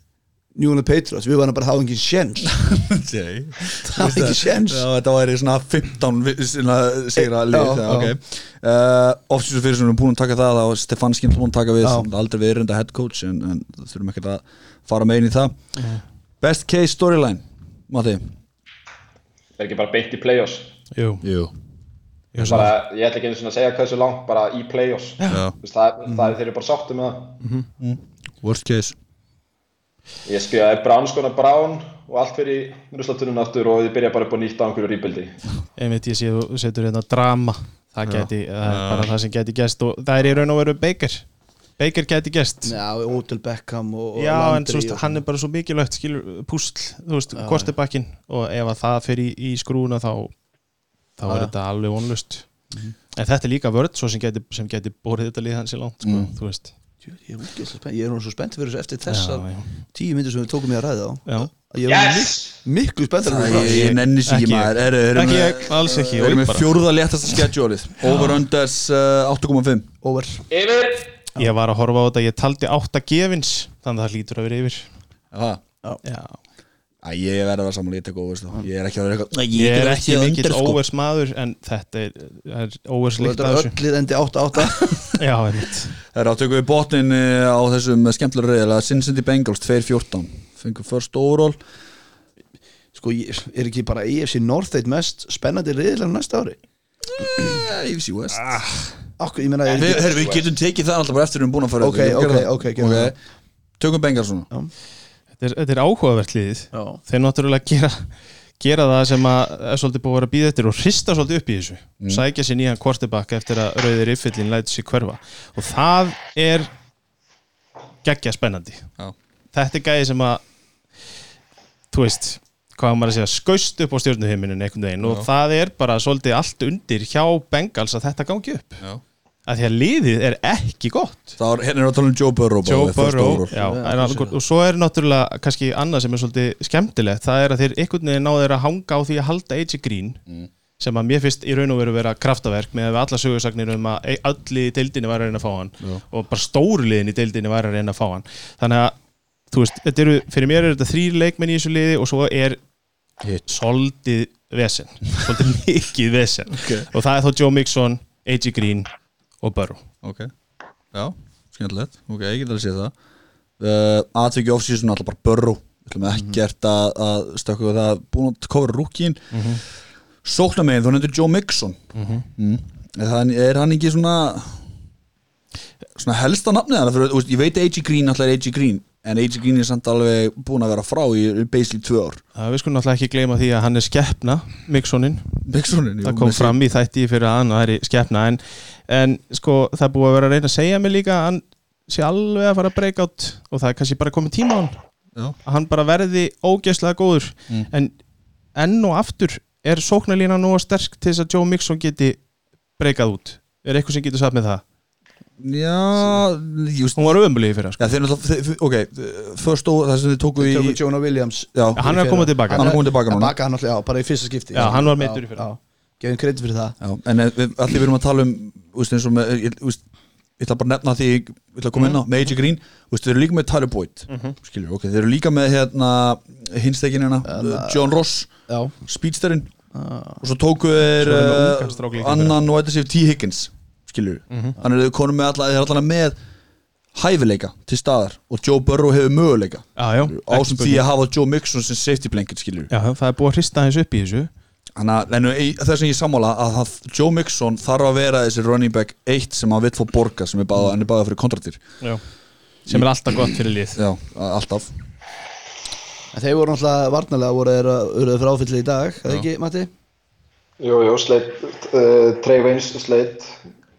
S5: New England Patriots, við varum bara að hafa engin sjens
S1: Það
S5: var ekki séns.
S1: Já, þetta væri svona 15 vi- svona sigra lið
S5: Já,
S1: já,
S5: já.
S1: okay. uh, Offsísu fyrir sem við erum búin að taka það og Stefanski er búin að taka við
S5: Já.
S1: sem aldrei verið reynda head coach en, en þurfum ekkert að fara með inn í það Best case storyline Matti
S4: er ekki bara beint í play-offs
S3: jú,
S1: Jú
S3: jú
S4: bara, ég ætla ekki einu svona að segja hversu langt bara í play-offs
S1: Já.
S4: Þú veist, það, það er þeir eru bara sáttu með það
S1: Worst case
S4: ég skrifaði Brown skona Brown og allt fyrir ruslatunum aftur og þið byrja bara upp á nýtt á einhverju rýbildi
S3: einmitt ég sé þú setur hérna drama það gæti, það er bara það sem gæti gæst og það er í raun og veru Baker Baker gæti gæst
S5: Já, Odell Beckham og og
S3: já, en
S5: Landry
S3: svo veist,
S5: og-
S3: hann er bara svo mikilvægt skilur púsl, þú veist, kostebakkin og ef að það fer í, í skrúna þá þá er þetta alveg vonlust en þetta er líka vörð svo sem gæti, sem gæti borið þetta lið hans í langt sko, þú veist
S5: Djú, Ég er ógeðslega spennt, ég er nú svo spennt fyrir þessu eftir þessar
S3: já.
S5: tíu myndir sem við tókum ég að ræða á
S3: Já.
S5: Að Ég er yes! miklu spenntar en
S1: Ég, ég nenni sér ekki
S3: Ekki ég.
S1: maður Eru- eru
S3: Ekki
S1: með-
S3: ég, alls ekki,
S1: Við erum
S3: og
S1: með
S3: bara.
S1: fjórða léttasta schedule-ið Over-unders uh, 8,5
S5: Over
S4: yfir
S3: ég var að horfa á þetta, ég taldi átta gefins þannig að það hlýtur að vera yfir
S1: Já
S3: já.
S1: Æ, Ég verði að vera saman, ég tek over sko. Ég er ekki að vera eitthvað Ég,
S3: ég er
S1: get
S3: ekki
S1: verið
S3: mikill
S1: sko.
S3: óvers maður en þetta er, er óvers líkt
S5: Þetta
S3: að
S5: er
S3: þessu
S5: öllir endi 8-8
S3: já, einmitt
S1: Það er að tökum við botnin eh, á þessum skemmtilega reyðilega Cincinnati Bengals 2-14 Fengum first overall
S5: Sko, ég, er ekki bara EFC North eitt mest spennandi riðilega næsta ári
S1: AFC West
S3: Ah,
S5: Akkur, ég meina er
S1: Við,
S5: ekki
S1: her, við getum tekið það alltaf bara eftir við erum búin að fara
S5: Ok,
S1: yfir. Við gerum
S5: ok,
S1: það.
S5: ok, gerum það.
S1: Tökum Bengals núna
S3: þetta er, þetta er áhugavert liðið
S5: Já.
S3: þeir náttúrulega gera, gera það sem að er svolítið búið að vera að býða eftir og hrista svolítið upp í þessu
S1: Mm.
S3: sækja sér nýjan kvortibakk eftir að rauðir yffillin lætur sér hverfa og það er geggja spennandi
S1: Já.
S3: þetta er gæði sem að þú veist hvað á maður að segja, skaust upp á stjórnuhiminin einhvern veginn og það er bara svolítið allt undir hjá Bengals að þetta gangi upp
S1: Já.
S3: að því að liðið er ekki gott
S1: Það var hérna er að tala um Joe Burrow bara,
S3: Joe
S1: við first
S3: Burrow
S1: overall.
S3: já, en alveg- og svo er náttúrulega kannski annað sem er svolítið skemmtilegt það er að þeir einhvern veginn náður að hanga á því að halda AJ Green sem að mér finnst í raun og veru vera kraftaverk með að við alla sögursagnir um að e- öll lið í deildinni væri að reyna að fá hann og bara stóru liðin í deildinni væri að reyna að fá hann þannig að þú veist, þetta eru, fyrir mér er þetta þrýr leikmenn í þessu liði og svo er
S1: Hitt.
S3: soldið vesen soldið mikið vesen og það er þá Joe Mixon, AJ Green og Burrow
S1: Ok, já, skemmtilegt Ok, ég get alveg séð það uh, Atvikið off-season alltaf bara börru Við
S3: Mhm.
S1: ætlum ekkert að, að stökku það Búin að kofra rúkin mm
S3: Mhm.
S1: -hmm. Sóknarmegin, þú nefndir Joe Mixon mm -hmm. mm. Er hann ekki svona Svona helsta nafnið hann Ég veit AJ Green alltaf er AJ Green En en AJ Green er samt alveg búin að vera frá í basically tvö ár
S3: Það við skulum náttúrulega ekki gleyma því að hann er skeppna, Miksoninn,
S1: Bixonin,
S3: það kom fram í þætti fyrir að hann væri skeppna en, en sko það er búið að vera að reyna að segja mig líka að hann sé alveg að fara að breyka átt og það er kannski bara komið tíma á hann
S1: Já.
S3: að hann bara verði ógeðslega góður en enn og aftur er sóknarlína nú sterk til þess að Joe Mixon geti breykað út er eitthvað sem getur sagt með það
S1: Já, just,
S3: hún var ömulegi fyrir sko.
S1: já þeir náttúrulega þeir- ok, först og það sem þið tóku í
S5: Tökum Jonah Williams
S1: já,
S3: Já, hann er að koma tilbaka
S1: Hann er að koma tilbaka núna.
S5: Baka hann alltaf, já, bara í fyrsta skipti
S3: Já, hann var meiddur í fyrra.
S5: Gefum kredit fyrir það
S1: já, en eh, við, allir við erum að tala um úst, eins og með ég, úst, ég ætla bara að nefna því ég ætla að koma
S3: Mhm.
S1: inn á með AJ Green, úst, þeir eru líka með Tyler Boyd skilur, ok, þeir eru líka með hérna hinstekin hérna, eh, John Ross
S5: Já,
S1: speedsterinn
S3: Ah.
S1: og svo tóku þeir
S3: Svo er það
S1: eh,
S3: ungan strák líka
S1: annan og þetta séu T. Higgins skilur,
S3: Mhm.
S1: hann er konum með alla þeir eru allan með hæfileika til staðar og Joe Burrow hefur möguleika
S3: já, já, ekki
S1: ásum því
S3: spurning.
S1: að hafa Joe Mixon sem safety blanket skilur
S3: já, það er búið að hrista hans upp í þessu
S1: Þannig að en í- þess að ég sammála að það, Joe Mixon þarf að vera þessi running back eitt sem hann vill fá borga sem er báða, hann er báða fyrir kontraktir
S3: já. sem er alltaf gott fyrir lið
S1: Já, a- alltaf
S5: en þeir voru náttúrulega varnalega voru þeir að urðu fyrir áfyllu í dag, eða ekki, Matti?
S4: Jú, jú, Sleit, uh, Trey Waynes Sleit,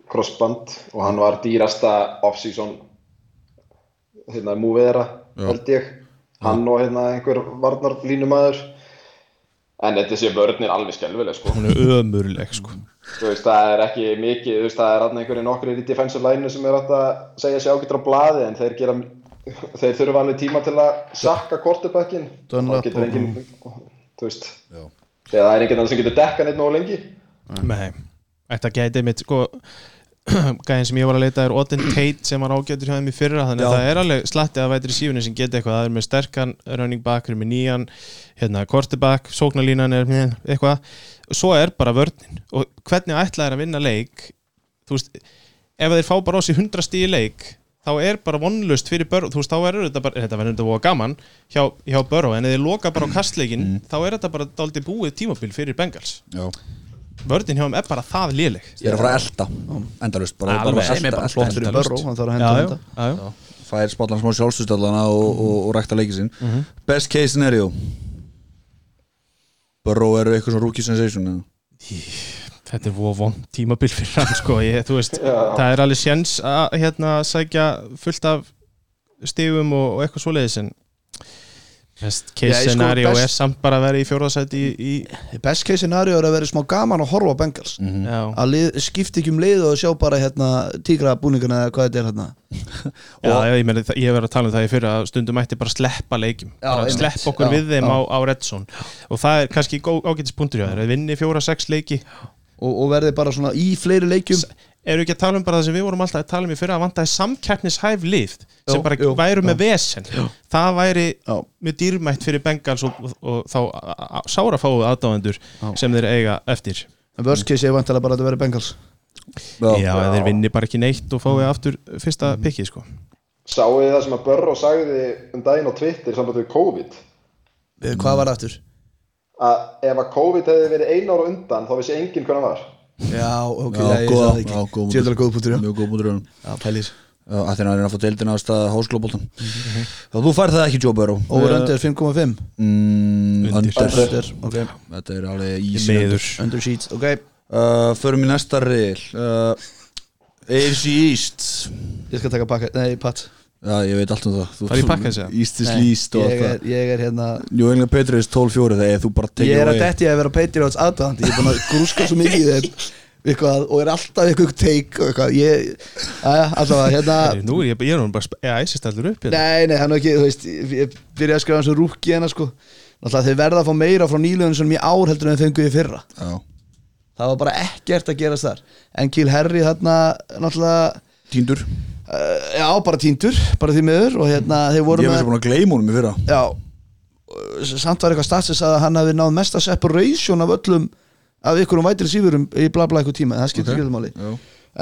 S4: crossband og hann var dýrasta off-season hérna, múfið þeirra, held ég hann og hérna einhver varnarlínumæður en þetta sé börnir alveg skelvileg sko.
S3: hún er ömurleg sko.
S4: Þú veist, það er ekki mikið, þú veist, það er alltaf einhverju nokkri í defensive line sem er alltaf að segja sér ágættur á blaði en þeir, gera, þeir þurfa alveg tíma til að sakka kortebækin
S5: Dunlap
S4: og getur
S5: og-
S4: enginn, þú veist, þegar það er enginn annar sem getur dekkan eitt nógu lengi
S3: Nei, þetta gæti mitt sko gæðin sem ég var að leita er Odin Tate sem var ágætur hjá þeim í fyrra þannig að
S1: Já.
S3: það er alveg slatti að vætri sífunni sem geti eitthvað það er með sterkan running back, er með nýjan hérna, quarterback, sóknarlínan er með eitthvað, svo er bara vörnin og hvernig ætla er að vinna leik þú veist, ef þeir fá bara á sig 100 stíð í leik, þá er bara vonlust fyrir börn, þú veist, þá er þetta bara þetta verður þetta búið gaman hjá, hjá börn en ef þeir loka bara á kastleikin, þá er þetta bara daldi búið tímabil fyrir Bengals
S1: Já.
S3: vördin hjá hann er bara það léleg
S1: Þeir eru að fara að elda endalust bara,
S3: Alveg.
S1: bara að
S5: Sem er
S1: elta,
S5: bara
S1: elta,
S5: flott
S1: elta.
S5: fyrir Burrow, hann þarf að henda þetta
S3: já, já.
S1: Það er spallan smá sjálfsustallana og, og, og rækta leiki sinn
S3: Mhm.
S1: Best case scenario Burrow eru eitthvað svona rookie sensation eða?
S3: þetta er vofon tímabil fyrir hann sko, ég, þú veist, það er alveg sjens að hérna sækja fullt af stigum og, og eitthvað svoleiðis en best
S5: Já,
S3: case
S5: ég sko,
S3: scenario
S5: best-
S3: er samt bara að vera í fjórðasæti í, í
S5: Best case scenario er að vera smá gaman að horfa á Bengals
S3: já,
S5: Að lið, skipti ekki um lið og sjá bara hérna tígra búningana eða hvað þetta er hérna
S3: já, já, ég, meni, ég verið að tala um það í fyrra að stundum mætti bara sleppa leikjum
S5: Já,
S3: bara
S5: einmitt.
S3: sleppa okkur
S5: Já,
S3: við þeim
S5: já.
S3: á, á Redzone og það er kannski gó- ágætis punktur hjá þér að vinni fjóra, sex leiki
S5: og, og verði bara svona í fleiri leikjum
S3: eru ekki að tala um bara það sem við vorum alltaf að tala um í fyrra að vantaði samkeppnishæf lið sem
S5: Jú,
S3: bara
S5: jú,
S3: væru með vesen það væri
S5: Já.
S3: mjög dýrmætt fyrir Bengals og, og, og þá a- a- sára fáu aðdáðendur sem þeir eiga eftir
S5: En worst case er vantilega bara að þetta verði Bengals
S1: Já.
S3: já, já. þeir vinni bara ekki neitt og fáu aftur fyrsta mm. pikki sko.
S4: Sáu þið það sem að Börró sagði um daginn á Twitter samband við COVID
S5: Eh, Hvað var aftur?
S4: að ef að COVID hefði verið einn ára undan þá vissi enginn hvernig var
S5: Já, ok,
S1: Já,
S5: já, ég
S1: góða-
S5: sagði það ekki
S1: já, góða
S5: Tjöldar góð punktur, já
S1: Mjög góð mútur öðrum
S5: Já, pælir
S1: Það er að reyna að fá deildina á stað háskólabóltan Þú færð það ekki Joe Burrow
S5: Over under 5,5
S1: mm,
S3: Undir.
S1: Under
S5: Under, ok
S1: Þetta er alveg easy under.
S3: meður
S5: Under sheets, ok
S1: uh, Förum í næsta reyl uh, AFC East
S5: Ég skal taka pakka, nei, patt
S1: Já, ég veit allt um það
S3: Var ég pakkað sér?
S1: East is least og
S5: ég
S1: allt
S5: er,
S1: það
S5: ég er hérna
S1: Jú, englega Petri is 12-4 þegar þú bara
S5: Ég
S1: tekið
S5: er að detti að vera Patriots aðdöðandi Ég er búin að grúska svo mikið í þeim eitthvað, og er alltaf eitthvað take og eitthvað. Ég, aðja, allavega, hérna
S3: nú er ég, ég er nú bara sp- ég æsist allur upp hérna.
S5: Nei, nei, hann er ekki, þú veist Ég ég byrjaði að skrifa eins og rúki hérna, sko Náttúrulega þeir verða að fá meira frá nýlöðun sem ég ár heldur en þeir fengu í fyrra
S1: Já
S5: Það var bara ekkert að gerast þar En Kiel Harry, hérna, náttúrulega
S1: Tíndur
S5: uh, Já, bara tíndur, bara því miður Og hérna, þeir
S1: Ég
S5: voru
S1: var svo búin að gleyma honum í fyrra
S5: já samt var eitthvað statsins að hann hafi náð mesta separation af öllum af ykkur um vætir sífurum í bla bla eitthvað tíma en það skiptir okay. gildmáli
S1: Já.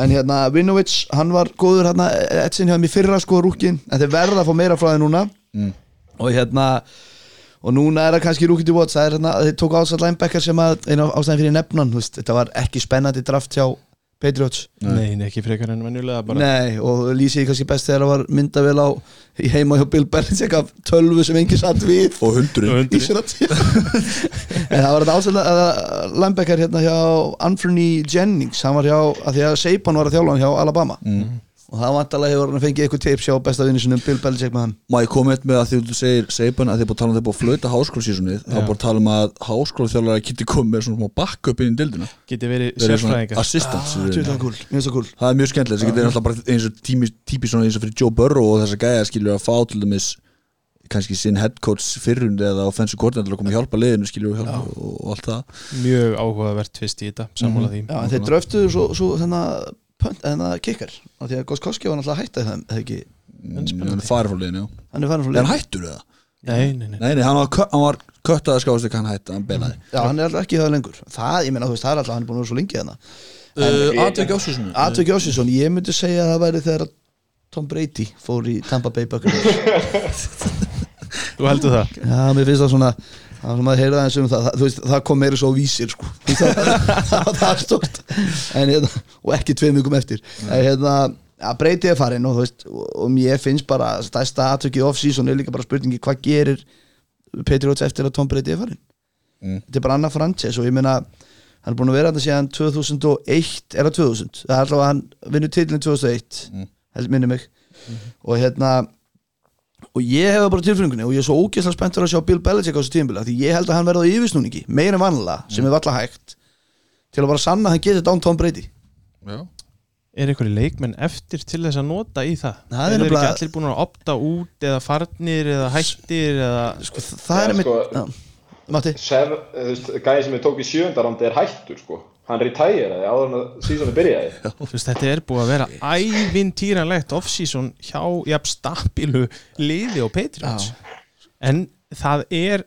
S5: en hérna Vinovits, hann var góður hérna etsin hjá mér fyrra sko rúkin en þeir verða að fá meira frá þeir núna
S1: Mm.
S5: og hérna og núna er það kannski rúkin til vots það er hérna, þeir tóku ásall linebacker sem að einu ástæðin fyrir nefnan, þú veist, þetta var ekki spennandi draft hjá Patriots
S3: Nei, nei, ekki frekar en venjulega bara
S5: Nei, og lýsi ég kannski best þegar það var myndavél á í heima hjá Bill Belichick af tölvu sem enginn satt við
S1: og hundurinn
S5: í sér að tíma en það var þetta ásæðlega Lambecker hérna hjá Anthony Jennings hann var hjá, að því að Seipan var að þjálfa hann hjá Alabama
S1: Mm.
S5: og það vantarlega hefur hann fengið eitthvað tips hjá besta vinni sinum Bill Belichick með hann
S1: Má ég koma eitt með að því þú segir Seipan að þið er búið að tala um þið er búið að flöta háskólasísunni þá er búið að tala um að háskólaþjálfari geti komið með svona smá backup inn í dildina
S3: Geti verið
S1: Verið svona
S3: sérfræðingar Ah,
S1: assistants í rauninni.
S5: Tjóðlega kúl, mjög svo kúl
S1: Það er mjög skemmtilegt, það getur alltaf bara eins og tími, típi svona eins og fyrir Joe Burrow og þess að gæja skilur að fá til dæmis kannski sinn head coach fyrrund eða offensive coordinator að koma að hjálpa liðinu skilur og, hjálpa og, og allt það
S3: Mjög áhugavert tvist í þetta, sammála því
S5: Já, en þeir dröftuðu svo, svo þennan pönt, þennan kikkar af því að Goskoski var náttúrulega hættið þeim eða ekki,
S1: Mm, en hann er farið frá liðinu, já
S5: hann er farin frá
S1: Er
S5: liðinu.
S1: hann hættur eða?
S3: Nei, nei, nei
S1: Nei, nei, hann var, kö- hann var kött að skáðast ekki hann hætti, hann belaði
S5: Já, hann er alltaf ekki í það lengur Það, ég meina, þú veist, það er alltaf, hann er búin að vera svo lengi hérna
S1: uh, Atvek Ásvísson
S5: Atvik Jósinsson, ég myndi segja að það væri þegar að Tom Brady fór í Tampa Bay Buccaneers
S3: Þú heldur það?
S5: Já, mér finnst það svona Það var svona að heyra aðeins um það, það, þú veist, það kom meira svo á vísir sko. Þú veist, það, það var það stort en, hérna, og ekki tveim vikum eftir en, hérna, að breyti er farin og, þú veist, og, og mér finnst bara stærsta atvöki off-season er líka bara spurningi hvað gerir Patriots eftir að Tom Brady er farin þetta er bara annað franchise og ég meina hann er búin að vera þetta síðan 2001 er það 2000, það er alltaf að hann vinnur titlinn 2001, held minni mig og hérna og ég hef það bara á tilfinningunni og ég er svo ógeðslega spenntur að sjá Bill Belichick á þessu tíðinbili því ég held að hann verði á yfirsnúningi, meira en vanlega sem er valla hægt til að bara sanna að hann getur dán Tom Brady
S3: Er einhverju leikmenn eftir til þess að nota í það?
S5: Það er
S3: er ekki
S5: nefnilega-
S3: allir búin að opta út eða farnir eða hættir eða
S5: sko, þ- það
S4: Já,
S5: er einmitt
S4: sko-
S5: sko, Matti,
S4: Sef, þú veist, gæði sem ég tók í sjöndarándi er hættur sko hann retæraði áður en að sísoni byrjaði
S3: Þú veist, þetta er búið að vera ævintýranlegt off-season hjá jafn stabilu liði og Patriots en það er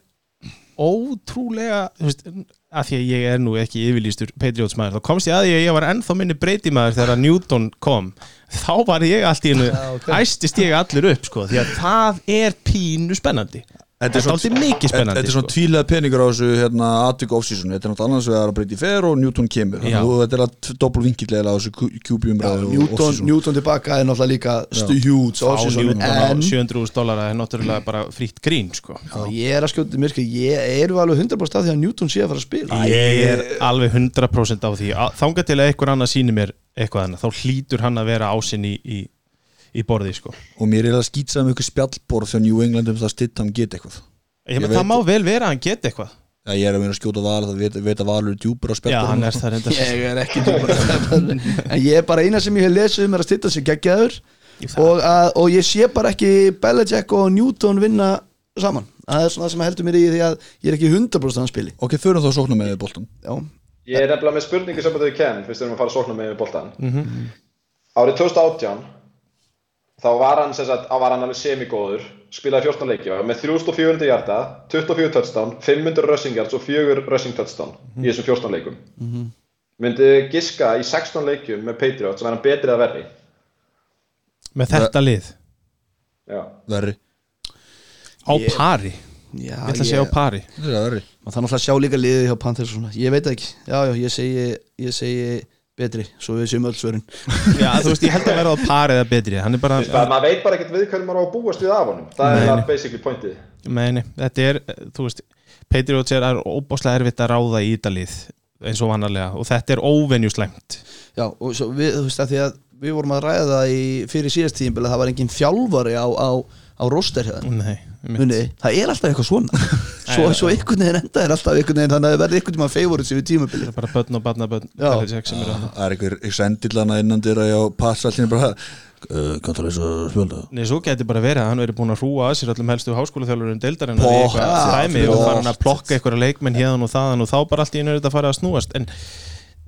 S3: ótrúlega þú veist, að því að ég er nú ekki yfirlýstur Patriots maður, þá komst ég að því að ég var ennþá minni breyti maður þegar að Newton kom þá var ég allt í hennu æstist ég allir upp sko, því að það er pínu spennandi
S1: Þetta er
S3: þetta er
S1: svona-
S3: aldrei mikið
S1: Þetta
S3: spennandi
S1: þetta er svona
S3: sko.
S1: tvílega peningur á þessu hérna, atvik off-season, þetta er náttúrulega annars vegar að breyti fer og Newton kemur
S3: Já.
S1: Þannig að þetta er að doppel vinkilega á þessu kjúbjumræðu
S5: Newton, Newton tilbaka er náttúrulega líka stu huge
S3: á
S5: off-season,
S3: Newton á
S5: en
S3: 700.000 dólara er náttúrulega bara frítt grín sko.
S5: ég er að skjóta mér sko, ég er alveg 100% af því að Newton sé að fara að spila
S3: ég er alveg 100% á því Að- þangað til að einhver annað sýnir mér eitthvað annað, þá hlýtur hann að vera ásinn í, í, í borði sko.
S1: og mér er að skýtsa um ykkur spjallborð þegar New England um það stitt hann get eitthvað
S3: ég,
S1: Ég
S3: ég
S1: veit-
S3: það má vel vera að hann geti eitthvað
S1: Já, ég er að vinna að skjóta val það veit, veit að valur er djúpur á
S3: já, hann
S1: spjallborðinu
S3: er það reyndar
S5: ég er ekki djúpar en ég er bara eina sem ég hef lesið um er að stilla sig geggjaður og, að, og ég sé bara ekki Belichick og Newton vinna saman það er svona það sem heldur mér í því að ég er ekki 100% að hann spili
S1: ok, förum þá að sókna með boltum
S5: já,
S4: ég er nefnilega með spurningu sem þau ken fyrst erum að fara að sókna með boltan
S3: Mhm.
S4: árið 2018 þá var hann sem sagt, á var hann alveg semigóður spilaði 14 leiki var með 3400 hjarta 24 touchdown, 500 rushing yards og 4 rushing touchdown
S3: Mhm.
S4: í þessum 14 leikum myndi giska í 16 leikjum með Patriots sem er hann betri að verri
S3: með þetta lið,
S4: já
S1: verri,
S3: á pari
S5: já
S3: ég ætla að segja á pari
S1: þetta er verri
S5: maður þarf náttúrulega að sjá líka liðið hjá Panthers og svona. ég veit það ekki, já já, ég segi ég segi betri, svo við séum öll svörin
S3: já, þú veist, ég held að vera á pari eða betri hann er bara,
S4: Það, maður veit bara ekkert við hvernig maður á að búast við af honum það
S3: Nei,
S4: er
S3: nei.
S4: það basically pointið
S3: meini, þetta er þú veist, Patriots er, er óbáslega erfitt að ráða í þetta lið eins og vannarlega, og þetta er óvenjuslæmt
S5: já, og svo við, þú veist að því að við vorum að ræða það í fyrir síðast tíðinbili það var engin þjálfari á, á, á roster hérna
S3: nei, einmitt.
S5: Muni, það er alltaf eitthvað svona svo,
S3: já,
S5: svo einhvern veginn enda er alltaf einhvern veginn þannig að það verði einhvern veginn favorites yfir tímabili
S3: bara börn og barnabörn
S5: Já.
S3: Belichick sem eru að-
S1: það er einhver sendillana innan dyra á passallinu bara uh, kanntar þess að spjölda
S3: Nei, svo geti bara verið að hann verið búin að hrúa að sér allum helstu háskólaþjálfurinn deildarinn í
S1: Pott,
S3: eitthvað
S1: ja,
S3: dæmi og
S1: flott.
S3: farin að plokka einhverja leikmenn hérðan og þaðan og þá bara allt í einu er þetta að fara að snúast en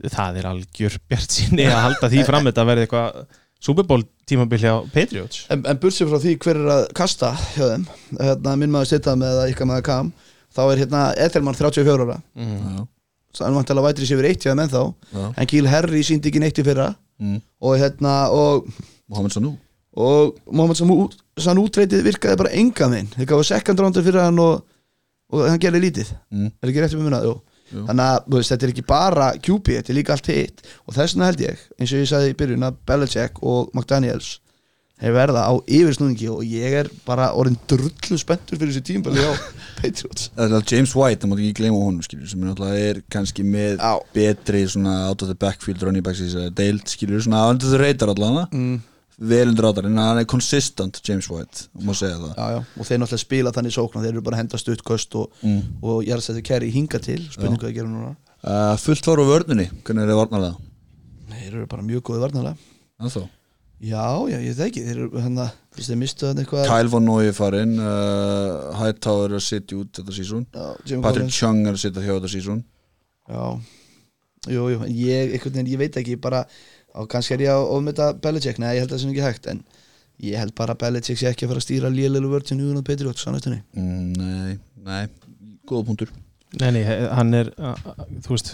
S3: það er algjör bjart sinni að halda því fram þetta verði eitthvað Super Bowl tímabil hjá Patriots
S5: en, en bursið frá því hver er að kasta hjá þeim hérna, minn maður setja með að ykkar maður kam þá er hérna Ethelman 34 ára
S1: Mm. Já.
S5: þannig að vantilega vætri sér yfir eitt hjá þeim ennþá
S1: Já.
S5: en Gil Herri síndi ekki neitt í fyrra
S1: Mm.
S5: og hérna og,
S1: Mohamed Sanu
S5: og Mohamed Samu sann útreitið virkaði bara enga minn þeir gáðu second roundur fyrir hann og, og hann gerði lítið
S1: Mm.
S5: er ekki rétt um minna, jú þannig að þú veist, þetta er ekki bara QB, þetta er líka allt hitt og þess vegna held ég, eins og ég sagði í byrjun að Belichick og McDaniels hefur verða á yfirsnúðingi og ég er bara orðin drullu spenntur fyrir þessu tímbali á Patriots
S1: Eða, James White, það mátt ekki gleyma honum skilur, sem er náttúrulega er kannski með
S5: Já.
S1: betri svona out of the backfield running backs í þessari deild skilur, svona under the radar allavega mm. vel undir radar, en hann er consistent James White, og má segja það
S5: já, já. og þeir náttúrulega spila þannig sókna þeir eru bara að henda stuttköst og, mm. og jarðsættu kæri hinga til, spurning hvað þeir gera núna
S1: uh, fullt var á vörnunni, hvernig er það varnarlega?
S5: þeir eru bara mjög góði varnalega
S1: Það þó
S5: já, já, ég veit ekki, þeir eru hann að þú veist, þeir mistu hann eitthvað
S1: Kyle Von Noy er farinn uh, Hightower er að sitja út þetta sísón
S5: Já, Jimmy
S1: Patrick
S5: Collins.
S1: Chung er að sitja hjá þetta sísón
S5: Já, jú, jú, en ég, einhvern veginn, ég veit ekki, bara, á, kannski er ég að ofmynda Belichick, nei, ég held að það sem ekki hægt, en ég held bara að Belichick sé ekki að fara að stýra lélilu vörð til núna Patriots, hann eftir
S1: mm, Nei, nei, góða punktur
S3: Nei, nei, hann er, a- a- þú veist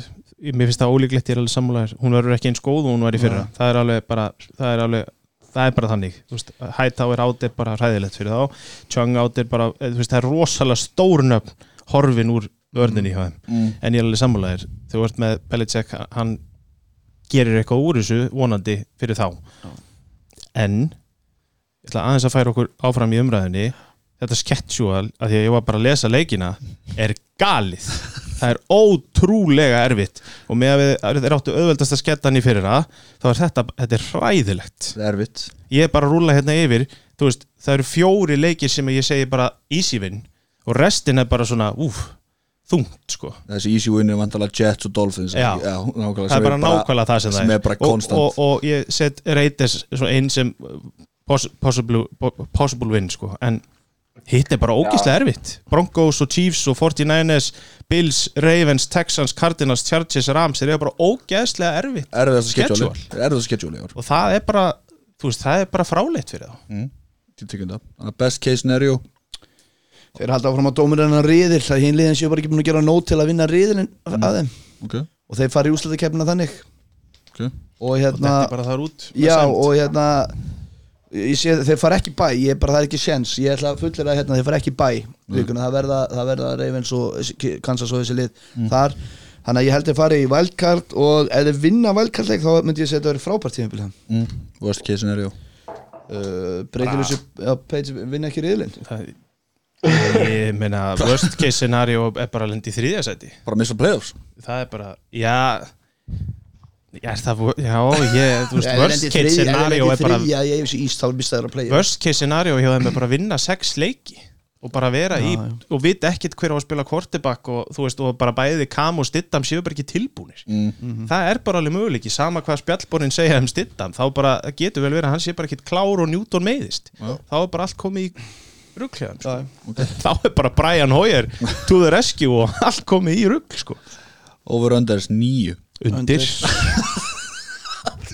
S3: mér finnst það ólíklegt, ég er alveg sammálaður hún verður ekki eins góð og hún var í fyrra það er alveg bara, það er alveg það er bara þannig, þú veist, Hightower átt er bara hræðilegt fyrir þá, Chung átt er bara eh, þú veist, það er rosalega stórnöfn horfin úr vörðinni hjá þeim
S1: mm.
S3: en ég er alveg sammálaður, þú veist með Belichick, hann gerir eitthvað úr þessu vonandi fyrir þá en ég ætla aðeins að færa okkur áfram í umræðinni þetta sketsjúal, að því að ég var bara að lesa leikina, er galið það er ótrúlega erfitt og með að við að þeir áttu auðveldast að sketta hann í fyrir það, þá er þetta þetta er hræðilegt,
S1: Það er erfitt
S3: ég er bara að rúla hérna yfir þú veist, það eru fjóri leikir sem ég segi bara easy win og restin er bara svona, úf þungt sko,
S1: Þessi easy win er vantalega Jets og Dolphins
S3: Já.
S1: já nákvæmlega,
S3: það
S1: sem
S3: er bara nákvæmlega það sem það
S1: sem er bara konstant.
S3: og, og, og ég set reytis svo einn sem uh, poss- possible, po- possible win sko. en hitt er bara ógíslega erfitt Broncos og Chiefs og 49ers Bills, Ravens, Texans, Cardinals Chargers, Rams, þeir eru bara ógæðslega erfitt
S1: Erfiðast schedule
S3: Schedule.
S1: Erfiðast schedule í ár
S3: og það er bara þú veist, það er bara fráleitt fyrir þá
S1: Ég tekin það. Þannig að Best case scenario
S5: Þeir halda áfram að dómur hennar riðil, það hinn liðin séu bara ekki búin að gera nót til að vinna riðilinn
S3: Mm.
S5: að þeim
S1: Ok,
S5: og þeir fara í úslæðikeppina þannig
S1: ok
S5: og
S3: og þetta
S5: hérna,
S3: er bara þar út með
S5: já,
S3: sæmd.
S5: og hérna, ég sé, þeir fara ekki í bæ, ég er bara, það er ekki séns, ég ætla að fullera hérna, þeir fara ekki í bæ,
S3: Mm.
S5: vikuna, það verða, það verða Ravens og Kansas og þessi lið
S3: Mm.
S5: þar, þannig að ég held þeir fara í vældkart og ef þeir vinna vældkartleik þá myndi ég segja að þetta verið frábært tíðanbíl hann
S1: mm. Worst case scenario
S5: uh,
S3: Ah.
S5: breytir þessu, já, Page vinna ekki riðilinn
S3: það, ég meina worst case scenario er bara að lenda í þriðja sæti
S1: Bara að missa playoffs
S3: það er bara, já Já, er það, já, ég, þú veist,
S5: Ef þeir
S3: worst
S5: lenda í
S3: case
S5: þriðja- ef þeir
S3: scenario
S5: lenda í
S3: er bara,
S5: þriðja í AFC East, þá er mistað þeir að playa
S3: worst case scenario hjá þeim er bara að vinna sex leiki og bara vera í, og vita ekkit hver á að spila quarterback og þú veist, og bara bæði Kam og Stittam séu bara ekki tilbúnir það er bara alveg möguleiki, sama hvað spjallborinn segja um Stittam, þá bara, það getur vel verið að hann sé bara ekkit klár og Newton meiðist þá er bara allt komið í rugglegan sko. þá er bara Brian Hoyer to the rescue og allt komið í rugg sko.
S1: Over under is nýju
S3: undir,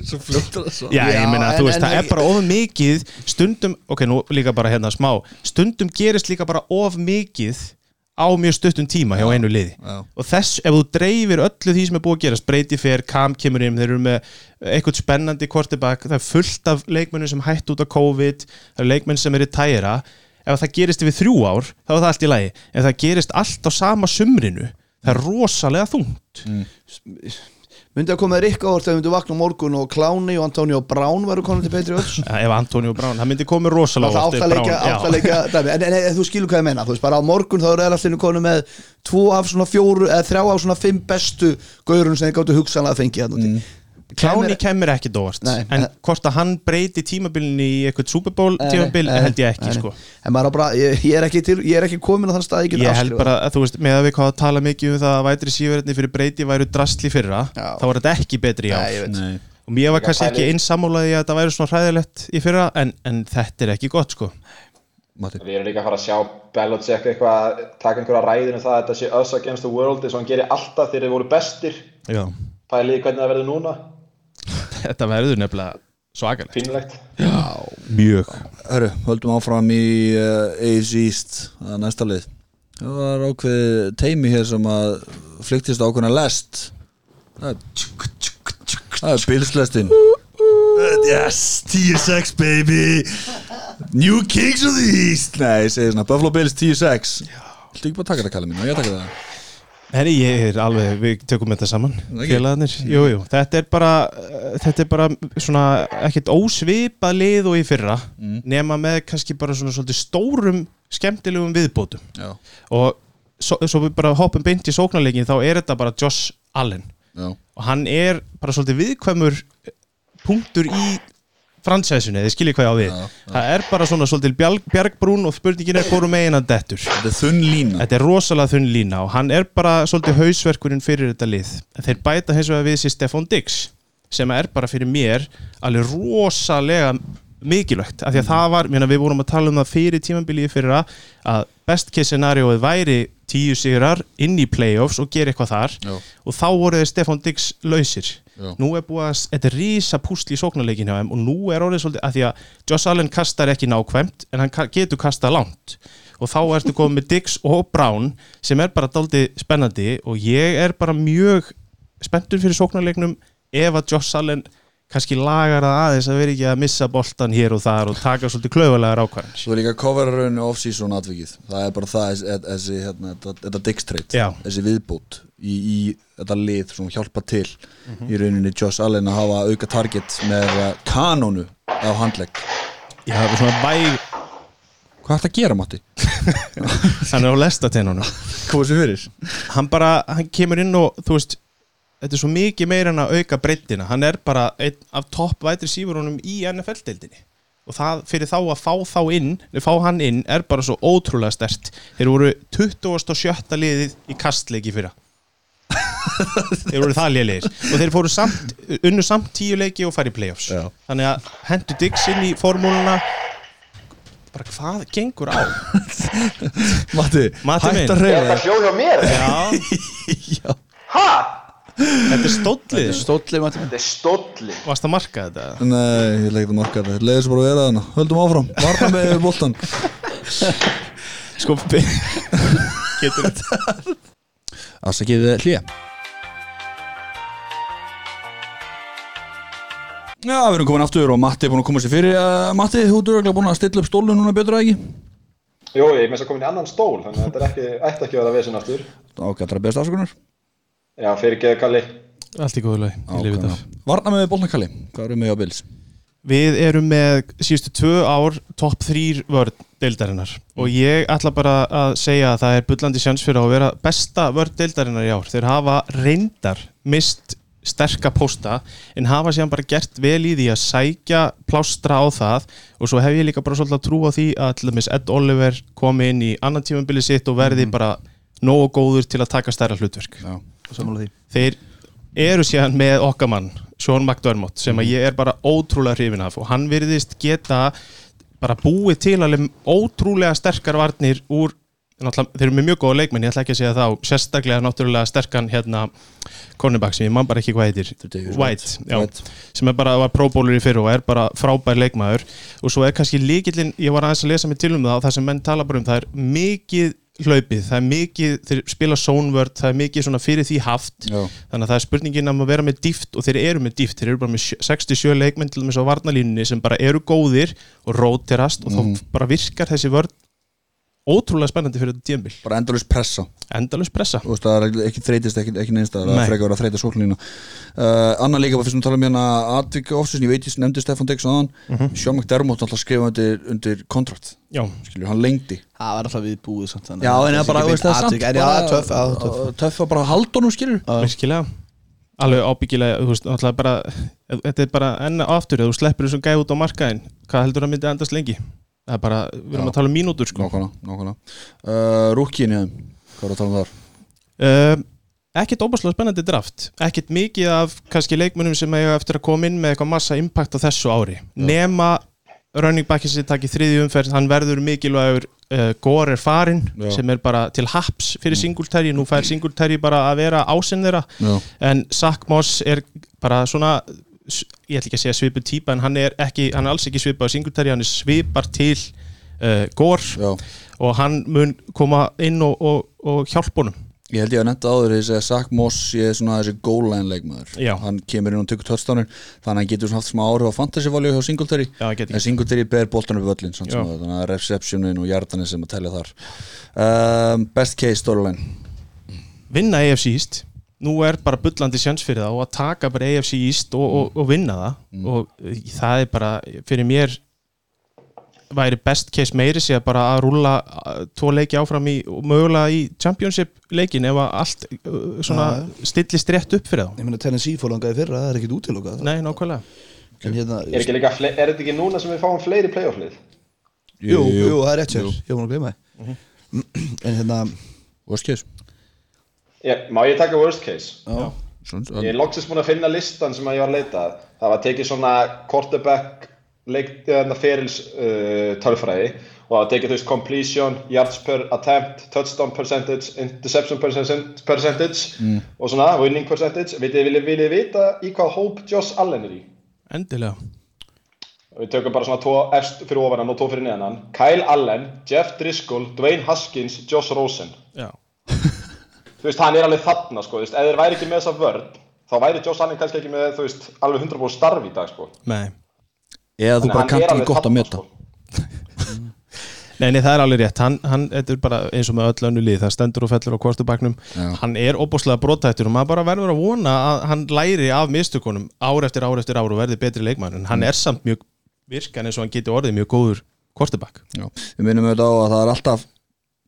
S1: Svo fljóttur það svo
S3: Já,
S5: Já,
S3: ég meina,
S5: en-
S3: þú veist,
S5: en-
S3: það er bara of mikið stundum, ok, nú líka bara hérna smá stundum gerist líka bara of mikið á mjög stuttum tíma hjá einu liði
S1: já.
S3: og þess, ef þú dreifir öllu því sem er búið að gerast, breyti fer, kam kemur inn þeir eru með eitthvað spennandi kortibak, það er fullt af leikmennum sem hætt út af COVID, það eru leikmenn sem eru tæra ef það gerist yfir þrjú ár þá er það allt í lagi, ef það gerist allt á sama sumrinu, það er rosalega þungt
S5: myndi að koma þér ykkur ávart ef myndu vakna á morgun og Kláni og Antonio Brown varu komin til Patriots
S3: ef Antoni og Brown, það myndi komið rosalega
S5: Alltaf
S3: oft ef
S5: áttaleika,
S3: Brown- já.
S5: áttaleika dæmi en, en, en þú skilur hvað ég meina, þú veist, bara á morgun þá eru allinu konu með tvo af svona fjóru eða þrjá af svona fimm bestu gaurun sem þið gáttu hugsanlega að fengi hérna úti
S3: Mm, Kláni kemur ekki dóvart
S5: Nei. eh,
S3: en hvort að hann breyti tímabilinu í eitthvað Super Bowl
S5: Nei,
S3: tímabil
S5: nei,
S3: held ég ekki
S5: nei, nei.
S3: sko
S5: En maður á bara, ég, ég er ekki til, ég er ekki komin á þann stað að ég get sko.
S3: ég held
S5: afskrifað.
S3: bara að þú veist með að við hvað að tala mikið um það að vætri síverðinni fyrir breyti væru drastli fyrra
S5: Já.
S3: þá var þetta ekki betri já
S5: Nei, ég veit.
S1: Nei
S3: og mér var kannski
S4: pæli-
S3: ekki einsammálaði að þetta væri svona hræðilegt í fyrra en, en þetta er ekki gott sko
S1: Matti
S4: Við erum líka að fara að sjá Belichick eitthvað, taka einhverja ræðinu það að þetta sé us against the world eins og hann gerir alltaf þegar þeir voru bestir
S3: já.
S4: pæliði hvernig það verður núna,
S3: þetta verður nefnilega svakalegt
S4: pínulegt
S3: mjög
S1: Hörru, höldum áfram í uh, AFC East að næsta lið Það var ákveðið teimi hér sem að flyktist ákveðna lest Það er Það er bilslestin Yes, 10-6 baby New Kings of the East Nei, ég segi svona Buffalo Bills 10-6 Þú ekki bara að taka þetta kallið mín og ég taka það
S3: Herri, ég er alveg, við tökum þetta saman
S1: ekki?
S3: Félagarnir, jú, jú, þetta er bara eh, Þetta er bara svona ekkert ósvipað lið og í fyrra nema með kannski bara svona svolítið stórum skemmtilegum viðbótum
S1: já,
S3: og svo, svo við bara hoppum beint í sóknarleikin þá er þetta bara Josh Allen
S1: já,
S3: og hann er bara svolítið viðkvæmur eh, punktur í fransæsinu, þið skiljið hvað ég á við það er bara svona svolítið bjálg, bjargbrún og spurningin er hvorum megin hann dettur
S1: þetta er þunn lína
S3: Þetta er rosalega þunn lína og hann er bara svolítið hausverkurinn fyrir þetta lið. En Þeir bæta hins vegar við sér Stefan Dix sem er bara fyrir mér alveg rosalega mikilvægt af því að það var, mérna, við vorum að tala um það fyrir tímambilið fyrra að best case scenarioið væri tíu sigrar inn í playoffs og gera eitthvað þar
S1: Já.
S3: og þá voru þeir Stefan Dix lausir
S1: Já.
S3: nú er búið að, þetta er rísa púsli í sóknarleikin hjá þeim og nú er orðið svolítið að því að Josh Allen kastar ekki nákvæmt en hann ka- getur kastað langt og þá ertu komið með Dix og Brown sem er bara daldið spennandi og ég er bara mjög spenntur fyrir sóknarleiknum ef að Josh Allen kannski lagar það aðeins að vera ekki að missa boltan hér og þar og taka svolítið klaufalega rákvæðan
S1: Svo er líka coverarunni off-season atvikið Það er bara það, þessi- þessi, hérna, þetta- þetta dikstreit
S3: Já.
S1: Þessi viðbót í, í þetta lið sem hjálpa til
S3: Mhm.
S1: Í rauninni Josh Allen að hafa auka target með eh, kanónu á handlegg
S3: Ég hafa svona væg,
S1: Hvað ætti að gera, Matti?
S3: hann er á lestatennunum
S1: Hvað sem fyrir?
S3: hann bara, hann kemur inn og þú veist þetta er svo mikið meira en að auka breyttina hann er bara einn af topp vætri sífurunum í NFL-deildinni og það fyrir þá að fá þá inn fá hann inn er bara svo ótrúlega stert þeir voru 27. liðið í kastleiki fyrra þeir voru það liðlegir og þeir fóru samt, unnu samt tíu leiki og fari í playoffs
S1: Já.
S3: þannig að hendur Dix inn í formúluna bara hvað gengur á
S1: Matti,
S3: Matti minn.
S1: hætt að
S4: Er
S1: reyfa
S4: það
S1: þig
S4: hljóð hjá mér?
S3: Já,
S4: Ha?
S3: þetta er stóllið
S5: Stóllið mætti
S4: Þetta er stólli
S3: varst að marka þetta
S1: Nei, ég legði marka þetta, leiði þessu bara að vera þarna Höldum áfram, varna með yfir boltan
S3: Sko Getur þetta
S1: Afsakið hlýja Já, við erum komin aftur og Matti er búin að koma sér fyrir uh, Matti, þú ert örgulega búin að stilla upp stólu núna betur að ekki
S4: Jó, ég er með þess að komin í annan stól Þannig að þetta er ekki, ætti ekki að vera vesinn aftur
S1: Ágættar að beðast afsökunar
S4: Já, fyrir geðu kalli
S3: Allt í góðu lag, ég lifi þetta
S1: Varna með boltan Kalli, hvað erum við á bils?
S3: Við erum með síðustu tvö ár topp þrýr vörð deildarinnar og ég ætla bara að segja að það er bullandi sjans fyrir að vera besta vörð deildarinnar í ár. Þeir hafa reyndar mist sterka pósta en hafa síðan bara gert vel í því að sækja plástra á það og svo hef ég líka bara svolítið að trúa því að til dæmis Ed Oliver komi inn í annan tímambili sitt og verði bara nógu góður til að taka stærra hlutverk
S5: Samanlega því
S3: þeir eru síðan með okkamann Sean McDermott sem að ég er bara ótrúlega hrifin af og hann virðist geta bara búið til alveg ótrúlega sterkar varnir úr náttúrulega- þeir eru með mjög góða leikmenn, ég ætla ekki að segja þá sérstaklega náttúrulega sterkan hérna cornerback sem ég man bara ekki hvað heitir
S1: Tredavious
S3: White, já,
S1: White.
S3: sem er bara var próbólur í fyrr og er bara frábær leikmaður og svo er kannski líkillin, ég var aðeins að lesa mig til um það og það sem menn tala bara um, það er mikið hlaupið, það er mikið, þeir spila sónvörð, það er mikið svona fyrir því haft
S1: Já.
S3: þannig að það er spurningin um að vera með dýft og þeir eru með dýft, þeir eru bara með sjö- 67 leikmenn til þess að varnalínunni sem bara eru góðir og róterast og þá bara virkar þessi vörð ótrúlega spennandi fyrir þetta tíðanbíl,
S1: Bara endalus pressa
S3: endalus pressa
S1: Þú veist, það er ekki þreytist, ekki, ekki neins það er
S3: Nei.
S1: að frekar að þreyta sóknlína uh, Anna líka, bara fyrst um að tala um hérna Atvík Offsins, ég veit ég nefndi Stefan Dix aðan mm -hmm. Sean McDermott alltaf skrifa undir, undir kontrakt
S3: Já,
S1: Skilju, hann lengdi
S5: Það var alltaf viðbúið samt þannig
S1: Já,
S5: að
S1: en það
S5: sé
S1: bara,
S5: ekki
S1: veist
S5: beint
S1: það samt
S5: atvik, En já, það er töff, já, það er töff
S1: Töff að bara halda honum, skilju
S3: virkilega alveg ábyggilega, þú veist, náttúrulega bara þetta er bara enn og aftur, ef þú sleppur þessum gæði út á markaðin, hvað heldur það myndi endast lengi það er bara, við erum
S1: Já.
S3: að tala um mínútur sko.
S1: Nákvæmlega, nákvæmlega uh, Rúkin, já, hvað er að tala um þar?
S3: uh, ekkert óbúslega spennandi draft ekkert mikið af kannski leikmönnum sem eiga eftir að koma inn með eitthvað massa impact á þessu ári nema running backin sem takk í þriðju umferð, hann verður mikilvægur uh, Gore er farinn
S1: Já.
S3: sem er bara til haps fyrir Singletary nú fær Singletary bara að vera ásinn þeirra
S1: Já.
S3: en Zach Moss er bara svona ég ætla ekki að segja svipu típa en hann er, ekki, hann er alls ekki svipa á Singletary, hann er svipar til uh, Gore
S1: Já,
S3: og hann mun koma inn og, og, og hjálpa honum
S1: ég held ég að netta áður þess að Zach Moss sé svona þessi goal line leikmaður
S3: Já.
S1: Hann kemur inn og tökur tötstánir þannig að hann getur svona haft smá áhrif á fantasy value hjá Singletary
S3: Já, hann getur
S1: En
S3: gert.
S1: Singletary ber boltan upp völlin samt
S3: Já.
S1: sem áður, þannig að receptionin og hjartanin sem að telja þar um, Best case storyline
S3: vinna EFC Íst nú er bara bullandi sjans fyrir það og að taka bara EFC Íst og, og, og vinna það og eh, það er bara fyrir mér væri best case meiri sér bara að rúlla uh, tvo leiki áfram í og mögulega í championship leikin ef að allt uh, svona stillist rétt upp fyrir þá
S5: Ég meina Tennessee fór langaði fyrra, það er ekkit útilokað
S3: Nei, nákvæmlega
S5: En hérna,
S4: Er, ekki líka, fle- er þetta ekki núna sem við fáum fleiri playoff-lið?
S5: jú, jú, það er rétt sér Ég var að gleyma það En hérna,
S1: Worst case
S4: Ég- Má ég taka worst case?
S5: já,
S1: Svona-
S4: Ég er loksist búin að finna listan sem að ég var að leita að. Það var tekið svona quarterback leikt, eða, ferils uh, tölfræði og það var tekið þú veist completion, yards per attempt, touchdown percentage, interception percent- percentage og svona winning percentage. Vitið, viljið, viljið vita í hvað hóp Josh Allen er í?
S3: Endilega
S4: Við tökum bara svona tvo efst fyrir ofan hann og tvo fyrir neðan hann. Kyle Allen, Jeff Driscoll, Dwayne Haskins, Josh Rosen.
S3: Já,
S4: Þú veist, hann er alveg þarna sko, þú veist, ef þeir væri ekki með þessa vörð þá væri Josh Allen kannski ekki með, þú veist, alveg 100% starf í dag sko.
S3: nei
S1: Eða þú bara
S4: Þannig að hann er
S1: kannt ekki
S4: alveg
S1: gott að
S4: þarna,
S1: meta
S4: sko.
S3: Nei, nei, það er alveg rétt, hann, hann þetta er bara eins og með öll önnu lið, það stendur og fellur á kvartubaknum, hann er opbúslega brotættur og maður bara verður að vona að hann læri af mistökunum ár eftir ár eftir ár og verði betri leikmann, en hann
S5: Mm.
S3: er samt mjög virkan eins og hann geti orðið mjög góður kvartubak,
S1: Já. Við minnum auðvitað á að það er alltaf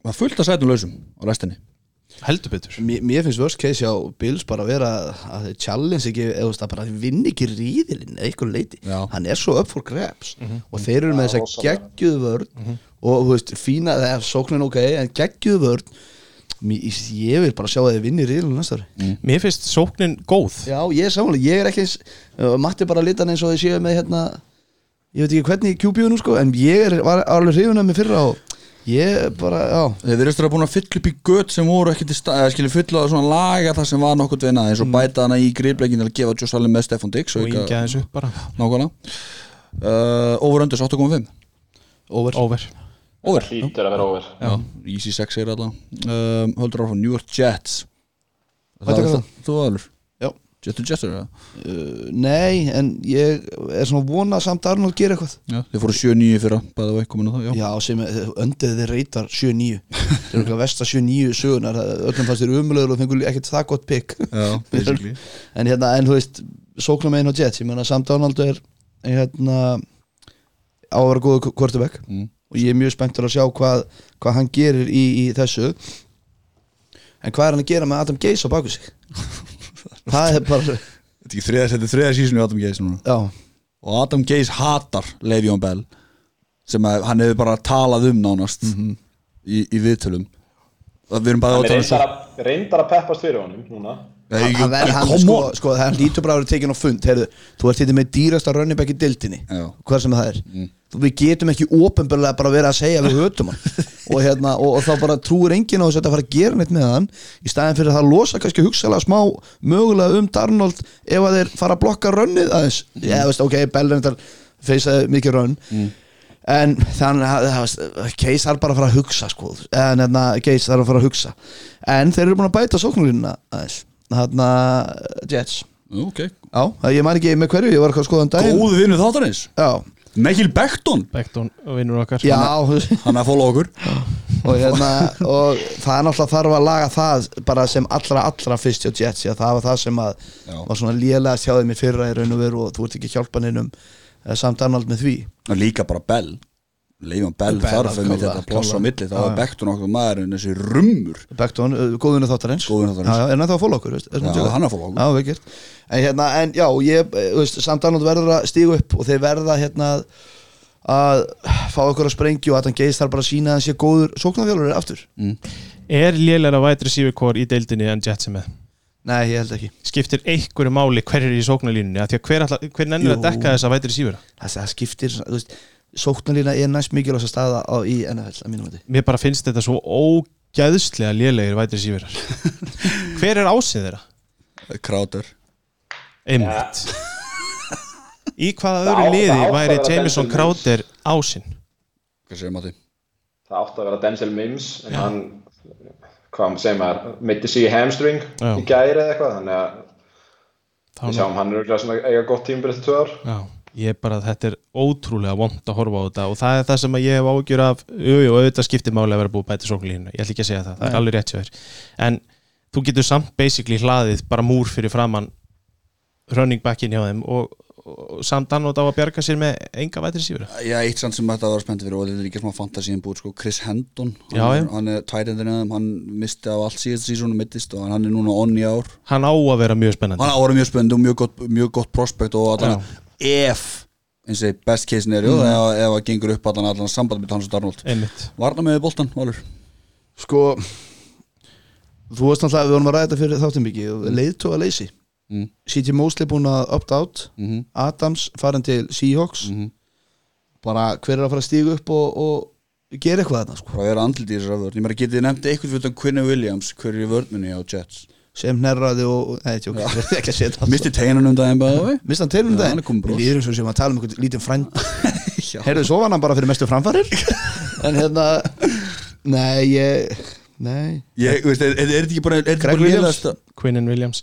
S1: það er fullt að sætum lausum á restinni
S3: heldur betur
S5: mér, mér finnst worst case hjá Bills bara að vera að þeir challenge ekki, eða þú veist að bara þeir vinni ekki ríðilinn eða eitthvað leiti
S1: Já.
S5: hann er svo up for grabs og þeir eru með þess að geggjuð vörn og þú veist, fína, það er sóknin ok en geggjuð vörn mér, ég vil bara sjá að þeir vinni ríðilinn næsta ári
S3: Mér finnst sóknin góð
S5: Mm. Já, ég er samanlega, ég er ekki eins uh, Matti bara litan eins og þið séu með hérna Ég veit ekki hvernig í QB-u nú sko En ég er, var alveg hrifun af mig fyrra og Ég bara, já
S1: Þeir verðist að búin að fylla upp í gött sem voru ekki til stað eða skilja fylla á svona laga það sem var nokkuð vinna eins og bæta hana í gripleikin til að gefa Josh Allen með Stefan Dix
S3: og yngja þessu upp bara
S1: Nákvæmlega uh, Over Unders 8.5
S5: Over
S3: over
S1: Over
S4: Hlýtur að vera over
S1: Já. Easy 6 er allan um, Höldur áfram New York Jets
S5: Hvað
S1: Það er
S5: tekur
S1: það Þú aðlur
S5: Já.
S1: Jets to Jets er það
S5: Nei, en ég er svona vona samt að Arnold gera eitthvað
S1: Já Þeir fóru 7-9 fyrra Bæða var komin á það Já
S5: Já, sem er- öndið þið reytar 7-9 Þeir eru eitthvað vestar 7-9 sögunar eh, Öllum fannst þeir umlöður og fengur ekkert það gott pick
S1: Já Basically
S5: En hérna, en þú veist Sóknum einn og Jets, ég meina samt Arnold er Hérna Á að vera góðu quarterback
S1: Mm.
S5: og ég er mjög spenntur að sjá hvað, hvað hann gerir í, í þessu en hvað er hann að gera með Adam Gaze á baku sig það er bara
S1: Þetta er ekki þriða- þetta er þriða sísinu Adam Gaze núna
S5: já,
S1: og Adam Gaze hatar Le'Veon Bell sem að, hann hefur bara talað um nánast í, í viðtölum og við erum bara
S4: Hann
S1: að
S4: er
S1: tala um svo
S4: reyndar að, reyndar að peppast fyrir honum núna
S1: Nei, ég-
S5: hann,
S1: ég-
S5: hann, hann,
S1: come
S5: sko,
S1: on.
S5: sko, hann lítur bara að vera tekin á fund Heyrðu, þú ert þetta með dýrasta running back í dildinni
S1: Já. Mm.
S5: hvað sem það er Þú- við getum ekki ópenbarlega bara verið að segja að við hötum hann og, hérna, og, og þá bara trúir enginn á þess að þetta fara að gera neitt með hann í staðin fyrir að það losa kannski hugsalega smá mögulega um Darnold ef að þeir fara að blokka runnið aðeins mm. ég veist ok, Bellin þetta feysaði mikið rönn
S1: Mm.
S5: en þannig Keis þarf bara að fara að hugsa sko. en hérna, Keis þarf að fara að hugsa en þeir eru búin að bæta sóknulínuna aðeins þarna eh, Jets
S1: ok,
S5: já, ég man ekki með hverju, ég var eitthvað að skoða um daginn
S1: góðu vinnu þáttanins
S5: já,
S1: Michael Beckton,
S3: Bekton og vinnur okkar
S5: já
S3: Hann-
S5: þú-
S1: hann er að fóla okkur
S5: og, hérna, og það er náttúrulega þarf að laga það bara sem allra allra fyrst hjá Jets já, það var það sem að
S1: Já.
S5: var svona lélega sjáðið mér fyrra í raun og veru og þú ert ekki hjálpa neinum eh, samt annald með því
S1: og líka bara Bell Le'Veon Bell
S5: Bell,
S1: þarf að
S5: klálega,
S1: þetta pláss á
S5: klálega.
S1: milli þá er Beckton okkur maður en þessi rummur
S5: Bekton, góðinu eh, þáttarins
S1: Góðvinur þáttarins.
S5: já, já, er hann þá að fóla okkur veist, er
S1: Já,
S5: að djóka?
S1: hann er að followa okkur.
S5: já, vel gert. en, hérna, en já, ég, eh, þú veist, samt annað verður að stíga upp og þeir verða hérna að- að fá okkur að sprengju og að hann geist þar bara að sína að hann sé góður sóknarfjálfur aftur
S3: Er lélæra vætri sífekor í deildinni en Jets er með
S5: nei, ég held ekki
S3: Skiptir einhverju máli hver er í sóknarlínunni Af því að hver, ætla, hver nennir að
S5: Jú.
S3: dekka þessa vætri sífera
S5: það, það skiptir, svona, þú veist sóknarlína er næst mikilvægast að staða á, í NFL að mínum veit
S3: Mér bara finnst þetta svo ógæðslega lélegir vætri síferar Hver er ásinn þeirra?
S1: Crowder
S3: Einmitt Í hvaða
S4: Það á-
S3: öðru liði
S4: það á
S3: væri
S4: að vera
S3: Jameson
S4: Benson
S3: Crowder ásinn?
S1: hvað segir Matti?
S4: það átti að vera Denzel Mims en hann, hvað hann segir maður mitti sig í hamstring
S3: Já.
S4: í gæri eða eitthvað þannig að
S3: Þá
S4: við sjáum hann er örugglega svona að eiga gott tímabil eftir tvö ár
S3: Já, ég er bara þetta er ótrúlega vond að horfa á þetta og það er það sem að ég hef ágjur af jú, jú, auðvitað skiptir máli að vera búið að bæta sóknlínu, ég ætla ekki að segja það, það er alveg rétt hjá þér en þú getur samt basically hlaðið bara múr fyrir framann running backin hjá þeim og, og samt annót á að bjarga sér með enga vætri sífur
S1: Já, eitt sann sem þetta var spennt fyrir og þetta er líka smá fantasíum búið, sko, Chris Hendon
S3: Já,
S1: hann,
S3: já.
S1: hann er tætendurinn aðeim, hann misti af allt síðast sísónu mittist og hann er núna onni ár
S3: hann á að vera mjög spennandi
S1: hann ára mjög spennandi og mjög gott, mjög gott prospekt og allan ef eins og best case er mm. ef, ef að gengur upp allan allan samband með Hans og Darnold
S3: einmitt
S1: Varna með boltan, Valur
S5: Sko Þú veist náttúrulega að við vorum að ræða þetta fyrir þáttum mikið Leiðtóa leysi
S1: Mm.
S5: CJ Mosley búin að opt-out
S1: mm -hmm.
S5: Adams farin til Seahawks
S1: Mhm.
S5: Bara hver er að fara að stíga upp og, og gera eitthvað þarna sko
S1: Hvað vera andlit í þessar afvörð? Ég meira getið þið nefndi eitthvað fyrir Quinn Williams hverju í vörnminni á Jets
S5: sem hnerraði og, nei, tjók, ekki að segja þetta
S1: Misti teinanum um daginn bæði
S5: Mist hann telum
S1: Já,
S5: þetta
S1: hann er kominn bros.
S5: Við erum svo sem að tala um einhvern lítinn frænd Herðu, svo var hann bara fyrir mestu framfarir En hérna Nei, ég Nei
S1: Ég, veist, er, er, er þetta ekki bara er þetta
S5: Greg
S1: bara
S5: Williams?
S1: lélegasta-
S3: Quinnen Williams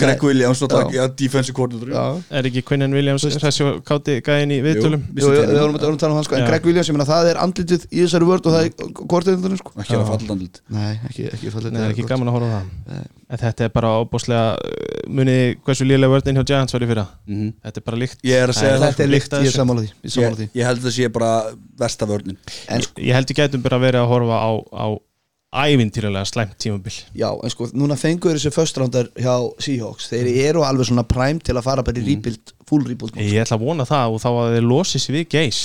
S1: Greg Williams, náttúrulega,
S5: Já.
S1: já, defensive coordinator
S5: Já
S3: er ekki Quinnen Williams þessi káti gæðin í viðtölum
S1: Jú,
S5: Jú,
S1: missti
S5: jú, við
S1: teinanum
S5: vorum að tala um hann sko En
S3: Já.
S5: Greg Williams, ég meina það er andlitið í þessari vörd og það er kortið sko.
S1: Ekki að falla andlit
S5: Nei, ekki, ekki fallið
S3: Nei, það er ekki gaman að horfa á það en þetta er bara óbúslega muniði hversu lélega vörðin hjá Giants var í fyrra
S1: Mhm.
S3: þetta er bara líkt
S1: Ég er að segja það
S3: Nei,
S5: Þetta er
S3: Lykt
S5: líkt,
S3: að
S5: ég er
S3: þessu.
S5: sammála því Ég er sammála
S1: ég,
S5: því
S1: ég held að sé bara versta vörnin
S3: ég held við gætum bara verið að horfa á, á ævintýralega slæmt tímabil
S5: Já, en sko, núna fengur þessi föstrándar hjá Seahawks Þeir eru alveg svona prime til að fara bara í rebuild, full rebuild sko.
S3: ég ætla að vona það og þá að þeir losi sér við Geis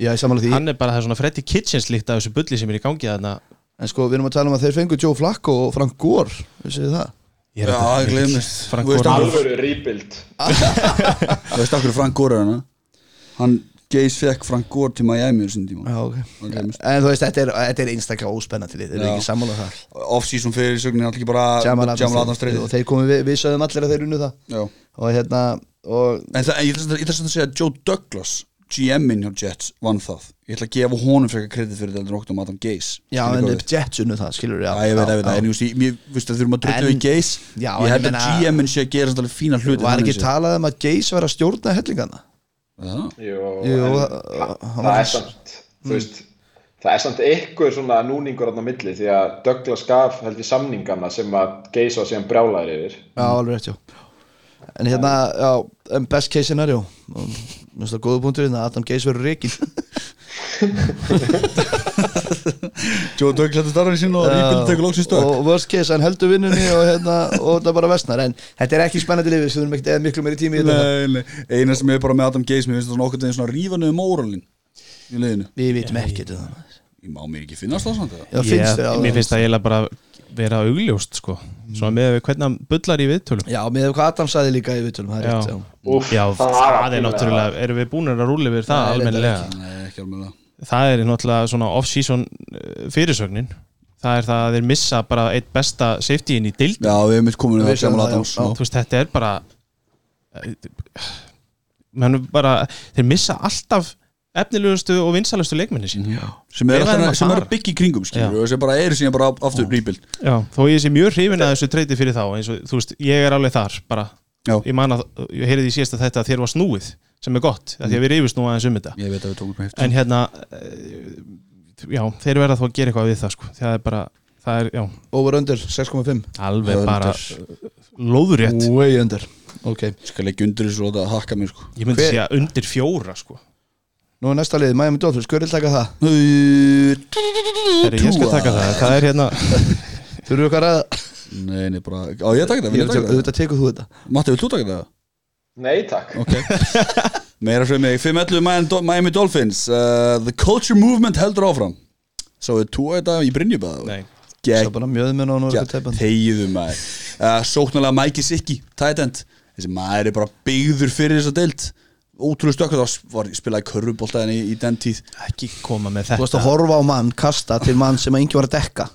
S5: Já, ég sammála því
S3: hann er bara það er svona Freddy Kitchens líkt af þessu bulli sem er í gangi þarna
S5: En sko, við erum að tala um að þeir fengu Joe Flacco og Frank Gore Vissið þið það?
S3: Ég er
S1: Já,
S3: þetta-
S1: það gleymist.
S3: Frank
S1: Þú veist
S3: Gordon-
S4: Alvöru rebuild
S1: Það veist okkur Frank Gore er hana Hann geis fekk Frank Gore til Miami þessum tíma
S5: Já, ok
S1: Hann
S5: En
S1: gleymist.
S5: þú veist, þetta er, þetta er einstaklega óspennandi lið, þeir eru
S1: Já.
S5: ekki sammála um það
S1: Off-season fyrir sögnin allir ekki bara
S5: Jamal Adams,
S1: Jamal Adams
S5: og
S1: treyti
S5: þeir komum við, við sögum allir að þeir unnu það
S1: Já.
S5: og hérna, og
S1: En það, en ég ætla samt- ég ætla samt að segja að Joe Douglas GM-in hjá Jets vann það Ég ætla að gefa honum frekar kredit fyrir þetta nokkuð um Adam Gaze
S5: já,
S1: Skilur
S5: en
S1: hvað
S5: þeir
S1: við?
S5: Jets unnu það, skilur við
S1: Já, ég veit, ég veit, það, en ég veist, ég- mér- þú veist að þurfum að druttu
S5: En-
S1: í Gaze
S5: Já,
S1: Ég
S5: en
S1: held
S5: ég
S1: að
S5: meina-
S1: GM-in sé að gera svolítið fína hluti
S5: Var
S1: þannig
S5: ekki
S1: séð.
S5: talað um að Geis var að stjórna hellingana?
S1: Já.
S4: Jú,
S5: Jú,
S4: en
S5: það-
S4: það, það
S5: hann var- Mm.
S4: er samt þú veist, það er samt eitthvað svona núningur á milli því að Douglas gaf held í samningana sem að Geis var síðan brjálæður yfir
S5: Já, alveg rétt, já En hérna, já, en best case scenario Og Mér finnst það góða punktur hérna, Adam Geis verður reikin
S1: Joe Douglas starfið sín og Ríkil tekur loksins stök
S5: Og worst case, hann heldur vinnunni og hérna, og það bara vestnar En þetta er ekki spennandi lifið, við þurfum ekkert eða miklu meiri tími í þetta
S1: Nei, nei, eina sem er bara með Adam Gaze mér finnst það svona okkur teginn svona rífa niður móralin í liðinu
S5: Við vitum ekkert um það
S1: ég má mér ekki finnast það samt eða?
S5: Já, finnst þér
S3: Ég-
S5: alveg- Mm.
S3: mér finnst það eiginlega bara vera augljóst sko. svona með hvernig hann bullar í viðtölum
S5: Já, með hvað Adam saði líka í viðtölum, það er rétt já.
S4: Úff,
S3: Mm. Já,
S4: það
S3: það,
S4: var
S3: er
S4: pínlega.
S3: náttúrulega erum við búin að rúli við það
S5: Nei,
S3: almennilega
S1: nei, ekki alveg
S3: það er náttúrulega svona off-season eh, fyrirsögnin það er það að þeir missa bara eitt besta safety-in í dild
S1: já, við erum mitt komin
S5: Við
S1: við
S5: sjáum
S1: Jamal
S5: það, já.
S1: Adams
S5: Já.
S1: og-
S3: þú veist þetta er bara eh, menn bara þeir missa alltaf efnilegustu og vinsalustu leikmenni sín
S5: Mm,
S3: já.
S1: sem
S3: Við
S1: er
S3: verðum
S1: alltaf
S3: að
S1: sem er
S3: fara.
S1: að byggja í kringum skilur,
S3: Já.
S1: og sem bara eru síðan bara aftur rebuild
S3: þó ég sé mjög hrifin að þessu treyti fyrir þá eins og þú veist ég er alveg þar bara
S1: Já.
S3: ég man að ég heyrði í síðasta þetta að þér var snúið sem er gott af því
S5: Mm.
S3: að við reyfust nú aðeins um þetta
S1: ég veit að við tókum upp
S3: en hérna eh, já þeir verða þá að gera eitthvað við það sko það er bara það er já
S5: Over under, 6,5
S3: alveg
S1: Under.
S3: bara lóðurétt
S5: Way under Ok,
S1: skal ekki undir þessu og láta það hakka mér sko
S3: ég myndi
S5: Hver-
S3: segja undir fjóra sko
S5: nú er næsta liðið, Miami Dolphins, hver vil taka það?
S1: nei,
S3: Heri, ég skal taka það það er hérna
S5: Þurfum við okkar að ræða?
S1: nei, bara á ég að taka það, vil ég taka það?
S5: Þetta tekur þú þetta
S1: Matti, vil þú taka það?
S4: Nei, takk
S1: Meira fyrir mig, 511 Miami Dol- Miami Dolphins uh, The Culture Movement heldur áfram Svo við túa þetta í Brynjubæð
S3: nei
S5: Það er bara mjöðum en á nú er þetta teipan
S1: Þegjuðu maður uh, Sóknarlega Mike Sikki, tight end Þessi maður er bara byggður fyrir þessa deild Ótrúlega stökkur, það var spilaði körfuboltaðin í, í den tíð
S3: ekki koma með
S5: Þú varst
S3: þetta
S5: að horfa á mann, kasta til mann sem að yngi var að dekka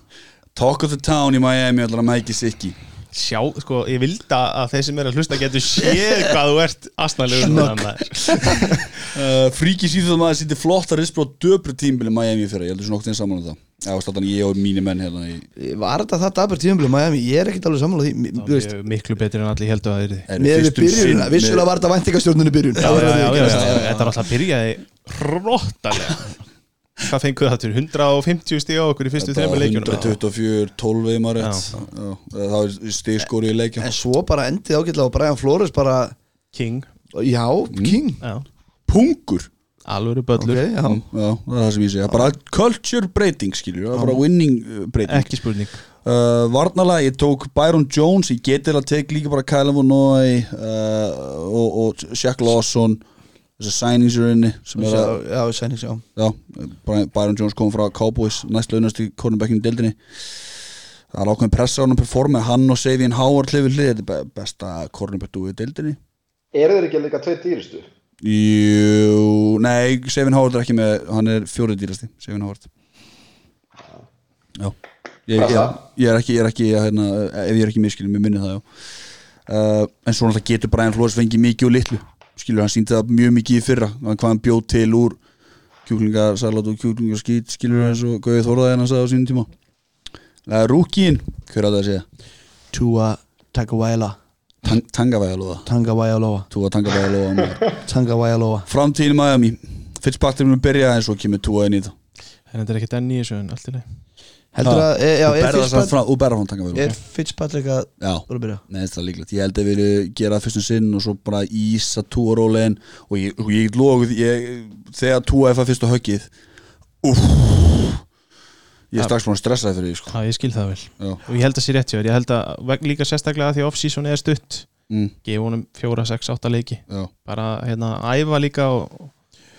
S1: Talk of the town í Miami, allar að Mike Sikki
S3: sjá, sko, ég vildi að þeir sem er að hlusta getur séð hvað þú ert asnalegur snögg
S1: uh, Fríki síðan maður sýndi flottar rispu á döpru tímbili Miami fyrir Ég heldur svona okkur saman um það Já, og státtan ég og mínir menn hérna í
S5: Var þetta þetta abur tíðumlega Miami? Ég er ekkert alveg sammála því Mér- Þú veist,
S3: miklu betur en allir heldur að það er því
S5: mér er byrjunina, vissulega var þetta væntingastjórnunni byrjun
S3: Já, já, já, já, já,
S5: Það verður að
S3: já,
S5: viðurkennast.
S3: þetta er alltaf byrjaði hróttalega hvað fenguð það til 150 stíg á okkur í fyrstu þreymur leikjunum
S1: 124, 12 eða maður rétt
S3: Já.
S1: Já, það var stíðskóri í leikjum
S5: En svo bara endið ágætlega og Brian Flores bara,
S3: King,
S5: já,
S3: Mm.
S5: king
S3: já,
S1: Pungur
S3: alvöru böllur
S5: okay, já.
S1: Já, það er það sem ég segja Bara culture breyting skilur við, Bara winning uh, breyting
S3: ekki spurning
S1: uh, Varnalega, ég tók Byron Jones Ég geti að tek líka bara Kyle Vannoy uh, og, og Shaq Lawson Þessar signings eru inni sem er að,
S5: Já, já, sæning, já
S1: já, Brian- Byron Jones kom frá Cowboys næst launast í cornerbacking deildinni Það er ákveðin pressa á hann að performa hann og Savian Howard hlifir hlið Þetta er be- besta cornerback duð í deildinni
S4: Eru þeir ekki líka tvei dýristu?
S1: Jú, nei, Sevin Howard er ekki með, hann er fjórið dýrasti, Sevin Howard Já Ég, ég, ég er ekki, ég er ekki hérna, ef ég er ekki miskilin, mér minni það já uh, En svo náttúrulega getur Brian Flores fengið mikið og litlu Skilur, hann síndi það mjög mikið í fyrra hann- Hvað hann bjóð til úr kjúklingarsalat og kjúklingarskít Skilur eins og Gauði Þorðaði hann að sagði á sínum tíma uh, Rúkin, hver að það segja?
S5: Tua Tagawaila
S1: Tang Tangavæðalóða
S5: Tangawailoa
S1: Túa Tangavæðalóða maður.
S5: Tangawailoa
S1: Framtíðin í Miami Fitzpatrick mun byrja en svo kemur Túa inn í það
S3: en þetta er ekki enn í þessu en allt í leið
S5: Heldur að, e, já,
S1: Þú
S5: er
S1: berða það
S5: Fitzpat-
S1: fram, þú berða fram tanga
S5: er Fitzpatrick að
S1: Já,
S5: Bara að byrja
S1: neðan það er líklegt Ég held að við gera það fyrstum sinn og svo bara ísa túa rólegin og ég, og ég lóguð ég, þegar túa er það fyrsta höggið Úff Ég er strax búin að stressa það fyrir því sko.
S3: já, ég skil það vel
S1: Já.
S3: og ég held að sé rétt hjá þér, ég held að veg- líka sérstaklega að því off-season er stutt
S1: mm,
S3: gefa honum 4, 6, 8 leiki
S1: Já,
S3: bara hérna æfa líka og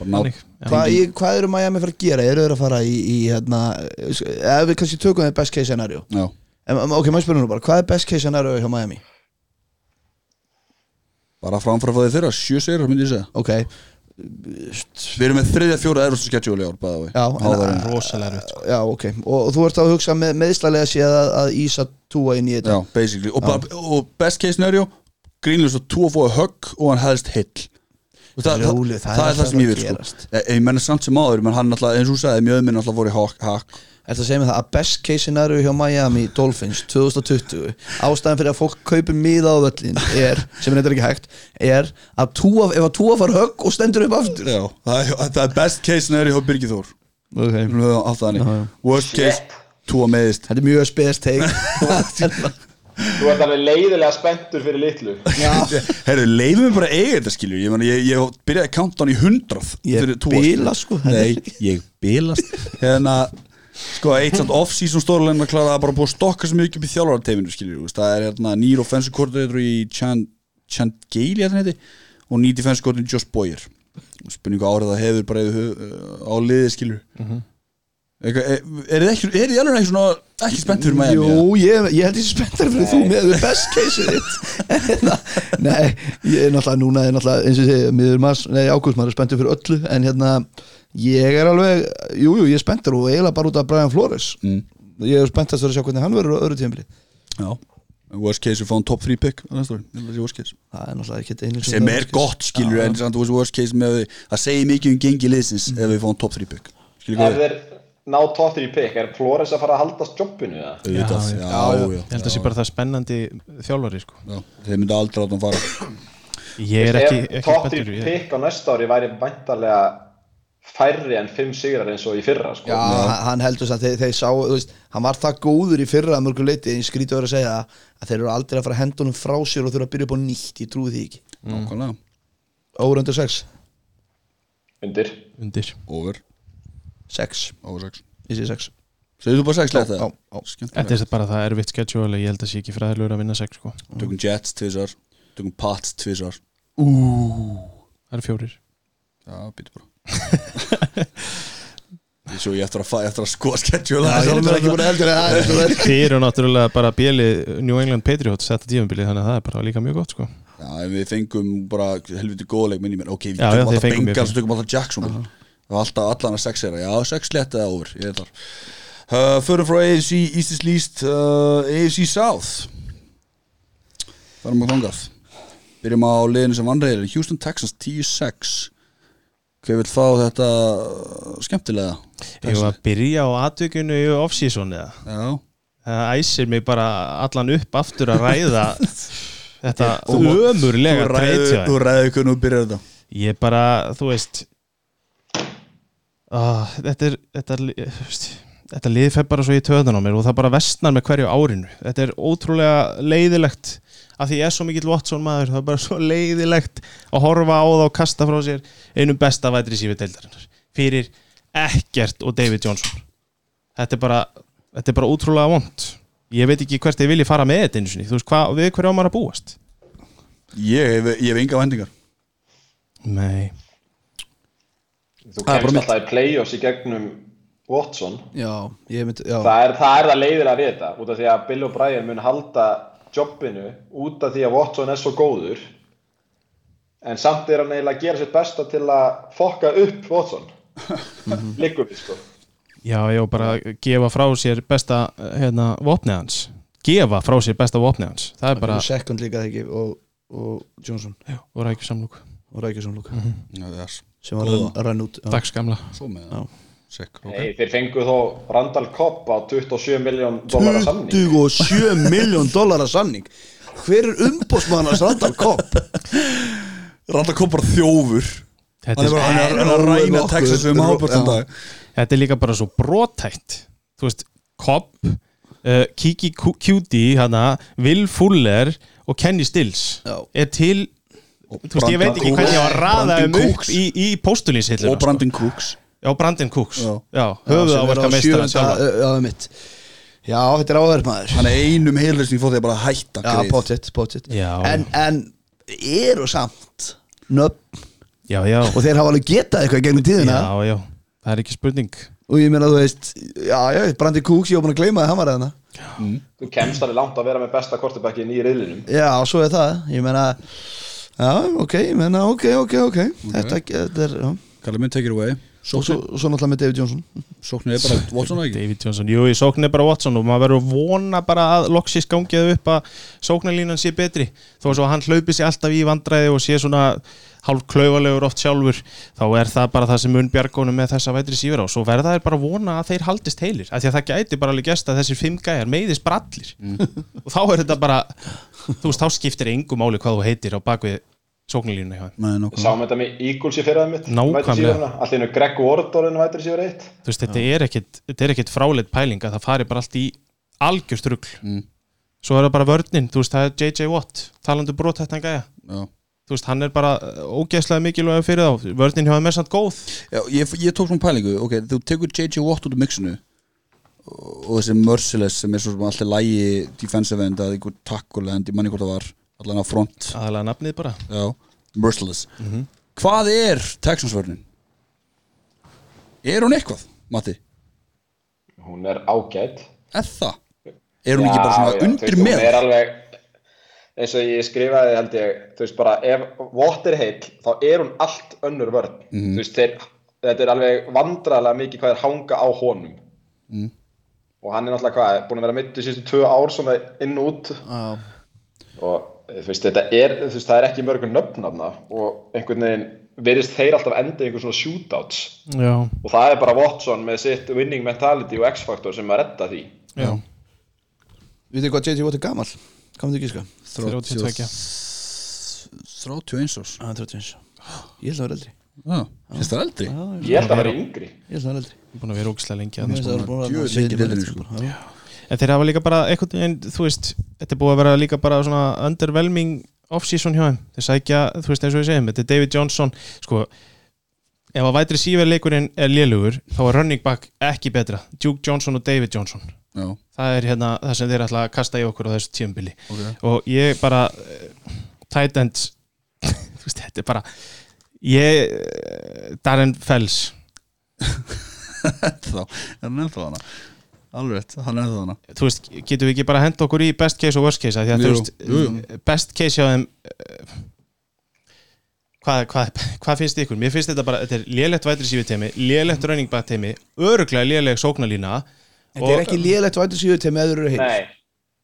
S1: bara ná
S3: þannig. Já.
S5: Hva, í, hvað eru Miami fyrir að gera? Eru þeir að fara í, í hérna, ef við kannski tökum þið best case scenario
S1: Já,
S5: en, em, Ok, maður spyrir nú bara, hvað er best case scenario hjá Miami?
S1: bara framfæra fyrir þeirra, sjö segir myndi ég segja
S5: Ok,
S1: Við erum með þriðja fjóra erfust sketsjúli ár bæða við
S5: Já, en-
S1: en,
S3: rosalega erfitt sko.
S5: já, ok Og, og þú ert að hugsa með, meðslalega séð að, að Ísa túa inn í þetta
S1: Já, basically og, bara, og best case scenario Grínlust og túa fóðu högg og hann helst heill Og það,
S5: Róli,
S1: það, það er það sem ég vil sko.
S5: gerast.
S1: Ég, ég menna samt sem áður, menn hann alltaf, eins og þú sagði, mjög minn alltaf voru í hakk, hakk.
S5: Þetta segir mér það að best case scenario hjá Miami Dolphins 2020 ástæðan fyrir að fólk kaupir miða á völlin er, sem er þetta ekki hægt er að túa, ef að túa far högg og stendur upp aftur
S1: Já, það er, það er best case scenario hjá Birgir Þór.
S5: okay.
S1: Við höfum alltaf
S5: Já,
S1: þannig.
S5: já.
S1: Worst case, túa meðist.
S5: Þetta er mjög spes take
S4: Þú ert alveg leiðilega spenntur fyrir litlu
S1: Herru, leifum við bara að eiga þetta skilju. Ég, meni, ég, ég byrjaði countdown í hundrað.
S5: Ég bila, sko.
S1: Nei, ég bilast. Hérna, sko, eitt samt off-season stórlein að klara að bara búið að stokka sem mikið upp í þjálfarateiminu skilju. Það er hérna nýr offensive coordinator í Chan, Chan Gailey, hérna heiti, og nýr defensive coordinator Josh Boyer. Spurningu árið það hefur bara yfir, hö- á liði skilju. Eitthvað, er, er þið ekki, er þið alveg ekki svona ekki spennt fyrir Miami?
S5: Jú, ég, ég held ég sé spenntar fyrir þú með við best case-ið þitt En það- Nei, ég er náttúrulega núna er náttúrulega, eins og ég segi, miður mars, nei, ágúst maður er spenntur fyrir öllu, en hérna ég er alveg, jú, jú, ég er spenntur og eiginlega bara út af Brian Flores
S1: Mm.
S5: Ég er spenntast fyrir að sjá hvernig hann verður á öðru tímabili
S1: Já Worst case, við fáum top 3 pick á næsta ári. Ég held að það sé worst case.
S5: Það er náttúrulega ekkert einu
S1: sem er gott skilur en samt þú veist worst case með að við- það segir mikið um gengi liðsins ef við fáum top 3 pick skilur
S4: Ef
S1: hvað við
S4: þeir ná tóttir í pikk, er Flores að fara að haldast jobbinu það?
S1: auðvitað
S3: Já, já.
S1: já, já,
S3: ég held að sé bara það spennandi þjálfari sko.
S1: já. þeir myndu aldrei átt að fara
S3: ég er ekki,
S4: Ef
S3: ekki
S4: tóttir
S3: spenntur
S4: í
S3: ég,
S4: pikk á næsta ári væri væntalega færri en fimm sigrar eins og í fyrra sko.
S5: Já, hann- hann heldur þess að þeir, þeir sá, þú veist, hann var það góður í fyrra að mörgu leiti en skrítið verið að segja að þeir eru aldrei að fara hendunum frá sér og þurfa að byrja upp á nýtt, ég trúi því ekki
S1: nákvæmlega
S5: Over under 6
S4: undir
S3: undir
S1: over
S5: 6,
S1: over 6
S5: ég sé 6
S1: segir þú bara 6 leita
S5: Já, já.
S3: Þetta
S1: skemmtilegt
S3: er bara það erfitt schedule ég held að sé ekki fræðilegur að vinna 6 sko.
S1: tökum Jets tvisar tökum Pats tvisar
S3: það eru fjórir
S1: já býtu bara Ég Svo ég eftir að, fa- eftir að skoða schedule
S5: Já, ég er bara ekki búin að heldur að það er svo vel
S3: þið eru náttúrulega bara bjelið New England Patriots þetta tífumbilið þannig að það er bara líka mjög gott sko.
S1: Já, en við fengum bara helviti góðleik minni mér, ok, við
S3: Já, já,
S1: tökum
S3: þið
S1: alltaf
S3: fengum mjög
S1: Bengals,
S3: fínt.
S1: við tökum alltaf Jackson það var alltaf allan að sex era, já, sex lett eða over, ég ætlar uh, Förum frá AFC East is Least uh, AFC South Förum að þangað Byrjum á liðinu sem vannreiðir Houston Texans 10-6 Hver vil fá þetta uh, skemmtilega?
S3: ég var að byrja á atvikinu í off-season eða
S1: Já,
S3: það æsir mig bara allan upp aftur að ræða þetta
S1: Þú-
S3: ömurlega
S1: Þú ræður-
S3: treytja
S1: Þú ræður hvernig þú byrjar þetta
S3: ég bara, þú veist ah, þetta er þetta, er li- þú veist, þetta lið fer bara svo í töðan á mér og það bara vestnar með hverju árinu þetta er ótrúlega leiðilegt að því ég er svo mikill Watson maður það er bara svo leiðilegt að horfa á það og kasta frá sér einum besta vætri sífi deildarinnar fyrir ekkert og David Johnson þetta er bara, þetta er bara ótrúlega vond ég veit ekki hvert ég vilji fara með þetta einu sinni þú veist hvað, við hverju á maður að búast
S1: Ég hef, ég hef enga vendingar
S3: nei,
S1: Það
S4: Þú
S1: er bara
S4: kemst
S1: mitt.
S4: alltaf í play-offs í gegnum Watson
S5: já, ég myndi, já,
S4: það er það, er það leiðilega við þetta út af því að Bill O'Brien mun halda jobbinu út af því að Watson er svo góður en samt er hann eiginlega að gera sitt besta til að fokka upp Watson liggum við sko
S3: já, já, bara gefa frá sér besta, hérna, vopnið hans gefa frá sér besta vopnið hans það er bara,
S5: og second líka þegar ekki og, og Johnson
S3: já, og rækjur samlúk
S5: og Rækjusson líka
S1: yes.
S5: sem var að renn út já.
S3: dags gamla
S1: Svo með
S5: Já.
S1: það Sekk, ok
S4: Nei, þeir fengu þó Randall Cobb á 27 miljón dólar að samning
S5: 27 miljón dólar að sanning hver er umbósmann að Randall Kopp
S1: Randa kom bara þjófur Hann
S3: þetta
S1: er
S3: er,
S1: bara hann er, hann er að ræna Texas um ábúrt þann dag
S3: þetta er líka bara svo brotætt þú veist, Cobb uh, Kiki Ku- Cutie, hana Will Fuller og Kenny Stills
S5: Já.
S3: er til þú veist, ég veit ekki hvernig ég á að raða
S1: Brandon
S3: um upp
S1: Cooks.
S3: í, í postulíshillina
S1: Og Brandon Cooks
S3: já, Brandon Cooks,
S1: Já.
S3: já, höfuð áverka meistara sjálfa
S5: já, það er mitt já, þetta er áverð maður
S1: Hann er einum heilurinn í fótt ég bara að hætta
S5: já,
S1: greyið.
S5: pottitt, pottitt
S3: Já.
S5: en, en eru samt nöfn
S3: já, já,
S5: og þeir hafa alveg getað eitthvað í gegnum
S1: Hérna.
S5: tíðina
S3: já, já það er ekki spurning
S5: og ég meina þú veist já, já, Brandi Cooks, ég var búin að gleyma það hann var eðna
S4: Þú kemst alveg langt að vera með besta kortebækin í riðlinum
S5: já, svo er það, ég meina já, ok, ég meina, ok, ok, ok þetta, þetta er, já
S1: Kallið minn take it away
S5: og svo, og svo náttúrulega með David Johnson
S1: Sóknir er bara Watson ekki
S3: David Johnson, jú, í sókn er bara Watson og maður verður að vona bara að loksis gangið upp að sóknarlínan sé betri þó svo að hann hlaupi sér alltaf í vandræði og sé svona hálf klaufalegur oft sjálfur þá er það bara það sem mun bjargónum með þessa vætri sífur á svo verða þeir bara að vona að þeir haldist heilir af því að það gæti bara alveg gæst að þessir fimm gæjar meiðist bara allir
S5: Mm.
S3: og þá er þetta bara þú veist, þá skiptir engu máli hvað þú heitir á bakvið sóknarlínuna hjá þeim
S1: Nei,
S4: Við
S1: nokkuð
S4: sáum þetta með Eagles í fyrraðum mitt
S3: Nákvæmlega.
S4: Allt í hennu Greg Ward orðin vætir síður eitt
S3: þú veist, þetta er ekkit, þetta er ekkit fráleitt pæling að það fari bara allt í algjörst rugl
S1: Mm.
S3: svo er það bara vörninn, þú veist, það er JJ Watt talandu brotættan gæja
S1: Já.
S3: þú veist, hann er bara uh, ógeðslega mikilvæg fyrir þá, vörninn hjá þeim er samt góð
S1: Já, ég, ég tók svona pælingu, ok, þú tekur JJ Watt út af mixinu og og þessi Merciless sem er svo sem alltaf lægi defensive end að einhver tackle end, ég manni hvort það var allan á front,
S3: aðalega nafnið bara
S1: já, Merciless Hvað er Texansvörnin? Er hún eitthvað, Matti?
S4: Hún er ágætt
S1: Er það? Er hún ekki bara svona undir
S4: þú veist,
S1: með?
S4: hún er alveg eins og ég skrifaði held ég þú veist bara ef Watt er heill þá er hún allt önnur vörn
S1: Mhm.
S4: þú veist þeir, þetta er alveg vandrarlega mikið hvað er hanga á honum
S1: Mhm.
S4: og hann er náttúrulega hvað búin að vera mitt í síðustu tvö ár svona inn og út
S5: já,
S4: og þú veist þetta er þú veist það er ekki mörgum nöfnafna og einhvern veginn verðist þeir alltaf enda einhver svona shootouts
S3: já,
S4: og það er bara Watson með sitt winning mentality og X-faktor sem að redda því
S3: já,
S5: við veitum hvað JT Watt er gamal hvað myndi ekki sko?
S3: 32
S1: 31 árs
S5: Já, 31 ég held að vera eldri
S1: Já, finnst það eldri?
S4: ég held að vera yngri
S5: ég held að vera eldri
S3: búin að vera ógeðslega lengi
S5: Mér
S3: að sko.
S5: finnst það vera búin að
S1: djöfull
S5: vera
S1: lengi í deildinni,
S5: lengi,
S1: sko.
S5: bara, já.
S3: en þeir hafa líka bara einhvern veginn, þú veist þetta er búið að vera líka bara svona underwhelming off-season hjá þeim, þeir sækja þú veist eins og ég segjum, þetta er David Johnson sko, ef að vætri síver leikurinn er lélugur, þá er running back ekki betra, Duke Johnson og David Johnson
S1: Já,
S3: það er hérna það sem þeir ætla að kasta í okkur á þessu tíumbili
S1: ok
S3: og ég bara uh, tight end þú veist, þetta er bara ég, uh, Darren Fells
S1: Þá, er hann ennþá hana? Alveg rétt, hann er ennþá hana
S3: þú veist, getum við ekki bara að henda okkur í best case og worst case, af því að þú
S1: Jú,
S3: veist
S1: jú,
S3: best case hjá þeim eh, hvað, hvað, hvað finnst ykkur? Mér finnst þetta bara, þetta er lélegt vætri sífið teimi, lélegt running back teimi örglega léleg sóknarlína
S5: þetta er ekki lélegt vætu síðu til meður eru heim
S4: Nei,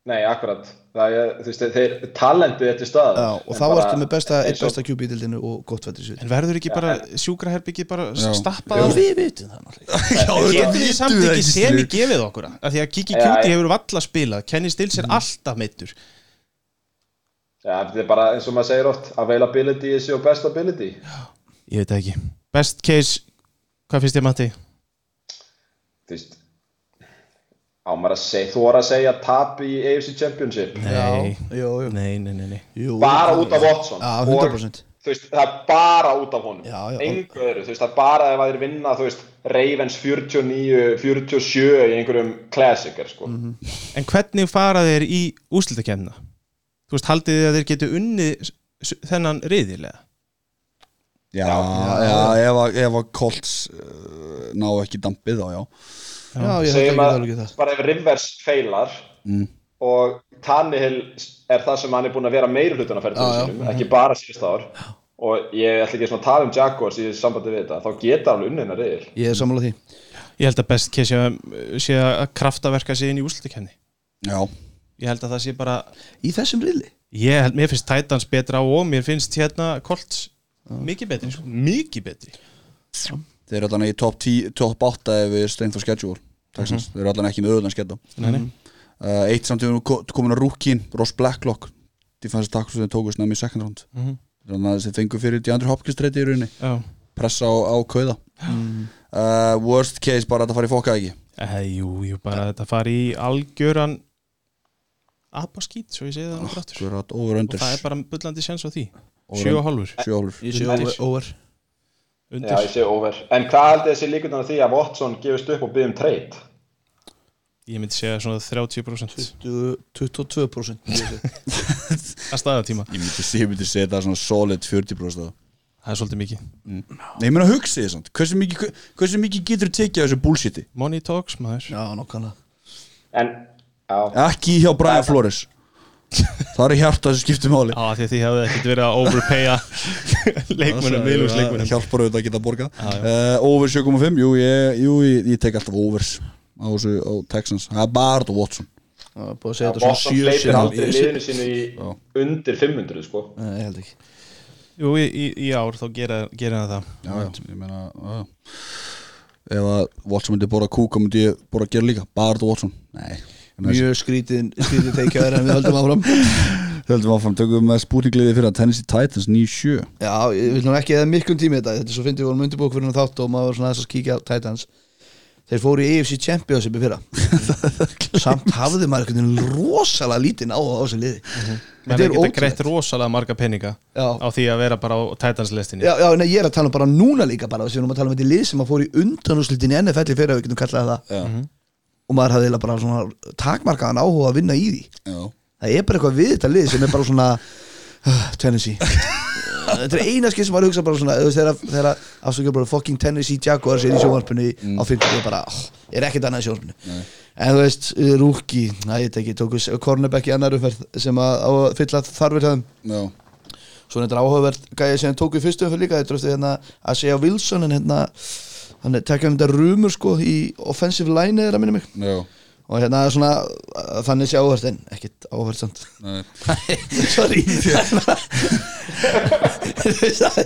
S4: nei, akkurat það er, þú veist, þeir talendið þetta staðar
S5: Já, og
S4: En
S5: þá
S4: bara-
S5: ertu með besta, eitt
S4: eins og-
S5: besta QB í dildinu og gott vettur sér
S3: en verður ekki bara sjúkraherbyggi bara
S1: Já.
S3: stappað á
S5: Við vitum það náttúrulega
S3: getur við samt
S1: það
S3: ekki
S1: ekki,
S3: semi
S1: skilur.
S3: gefið okkur það? af því að Kiki
S4: Já,
S3: Kjúti
S4: já.
S3: hefur valla spilað Kenny Stills
S1: Mm.
S3: er alltaf meittur
S4: Já, þetta er bara eins og maður segir oft availability is your best ability
S3: ég veit það ekki best case Hvað finnst ég Matti?
S4: þú veist á maður að segja, þú voru að segja tap í AFC Championship
S3: Nei,
S5: Jú, jú.
S3: nei, nei, nei, nei.
S5: Jú,
S4: bara
S5: jú.
S4: út af Watson
S5: Já,
S4: Og,
S5: 100%.
S4: þú veist, það er bara út af honum
S5: Já, já.
S4: engu öðru, þú veist, það er bara ef að þeir vinna þú veist, Ravens 49 47 í einhverjum classicer sko.
S5: Mhm.
S3: En hvernig fara þeir í úslitakefna? Þú veist, haldið þið að þeir getu unnið s- s- þennan riðilega?
S1: Já, já, ef að- ef að Colts uh, ná ekki dampið þá já
S5: Já, ég held
S4: segjum
S5: ekki
S4: að
S5: alveg ekki það Mm.
S4: bara ef Rivers feilar og Tannehill er það sem hann er búin að vera meiri hlutin að ferða sínum, ekki bara síðust ár og ég ætla ekki svona að tala um Jaguars í sambandi við þetta, þá geta hann unnið hennar reyðil
S5: Ég er sammála því
S3: Ég held að best kesi að, sé að kraftaverka sig inn í úslitakefni.
S1: Já,
S3: Ég held að það sé bara,
S5: Í þessum riðli
S3: ég held, mér finnst Titans betra og mér finnst hérna Colts mikið betri, sko, mikið betri.
S1: þeir eru allan í top, 10, top 8 ef við strength of schedule Texans, þeir eru allan ekki með auðvitað skella
S3: Mhm. Nei, nei.
S1: uh, Eitt samt við komin að rúkin Ross Blacklock, defensive tackle sem þeir tóku snemmi í second round
S3: Mhm.
S1: þannig að þeir fengu fyrir DeAndre Hopkins treyti í rauninni
S3: Já.
S1: pressa á, á kauða
S3: Mhm.
S1: uh, Worst case bara að þetta fari í fokka ekki
S3: Eh, jú, jú, bara þetta fari í algjöran apaskít, svo ég segi það nú brattur.
S1: Akkurat over
S3: Og
S1: under
S3: það er bara bullandi sens á því.
S1: Over-
S3: Sjö og hálfur.
S1: Sjólfur
S5: Ég sé
S4: Nei.
S5: over- over
S4: Já, ég
S3: Undir.
S4: sé over. En hvað haldið þessi líkundan að því að Watson gefist upp og byggði um treyt?
S3: Ég myndi segja svona 30%
S5: 20 22% ég sé.
S3: að staðatíma.
S1: Ég myndi, ég myndi segja það svona solid 40% af það.
S3: Það er svolítið mikið.
S1: Nei, ég meina hugsið þið samt Hversu mikið, hversu mikið getur tekið af þessu bullshiti?
S3: Money talks, maður.
S5: Já, nokkana
S4: En, já,
S1: Ekki hjá Brian Flores Það er hjarta sem skiptir máli
S3: Já, því að þið hefðu ekkert verið að overpaya leikmönnum, viðlúsleikmönnum
S1: Hjálpar auðvitað að geta borga uh, Over 7.5, jú, ég, jú ég, ég tek alltaf overs á, þessu, á Texans Það er bara þetta Watson
S5: Búið að segja þetta svona
S4: Watson
S5: sjö
S4: hleypir
S5: sinni
S4: aldrei
S5: Ég sé-
S4: liðinu sínu í
S1: Já.
S4: undir 500, sko.
S5: Nei, ég held ekki
S3: Jú, í, í, í ár þá gera, gera hann það
S1: Já, já, ég meina já. Ef að Watson myndi bora kúka myndi ég bora að gera líka Bara þetta Watson Nei,
S5: Mjög skrítið skrítið teikjaður en við höldum áfram
S1: höldum áfram Tökum með spúningliði fyrir að Tennessee Titans 9-7
S5: Já, ég vil nú ekki eða miklum tími í þetta Þetta er svo fyndið við vorum undirbúk fyrir hann þátt og maður var svona þess að kíkja á Titans Þeir fóru í AFC Championship í fyrra Samt hafði maður einhvern veginn rosalega lítinn á á þessu liði
S3: Menn
S5: Þetta er
S3: er geta
S5: ótrúlegt
S3: greitt rosalega marga peninga
S5: Já.
S3: á því að vera bara á Titanslistinni
S5: Já, já, nei, ég er að tala um bara núna líka bara þess að við erum að tala um þetta lið sem að fóru í undanúslutin í NFL í fyrra, við getum kallað það
S1: Já.
S5: Mhm. og maður hafði eiginlega bara svona takmarkaðan áhuga að vinna í því
S1: Já
S5: Það er bara eitthvað við þetta lið sem er bara svona uh, Tennessee Þetta er eina skil sem maður hugsa bara svona þú veist, Þegar, þegar afsökjum bara fucking Tennessee Jaguars er í sjónvarpinu á 50 og bara oh, er ekkert annað í sjónvarpinu En þú veist, Rúki, að ég teki tóku cornerback í annar umferð sem að, á að fylla þarfir hefðum
S1: Já,
S5: Svo þetta er áhugavert gæði sem tóku í fyrstu umferð líka Þeir dröftu hérna að segja Wilson en hérna hann er tekjað um þetta rumur sko í offensive line eða minni mig
S1: já,
S5: og hérna er svona uh, þannig sé áhört en ekkit áhört samt
S1: nei
S5: sorry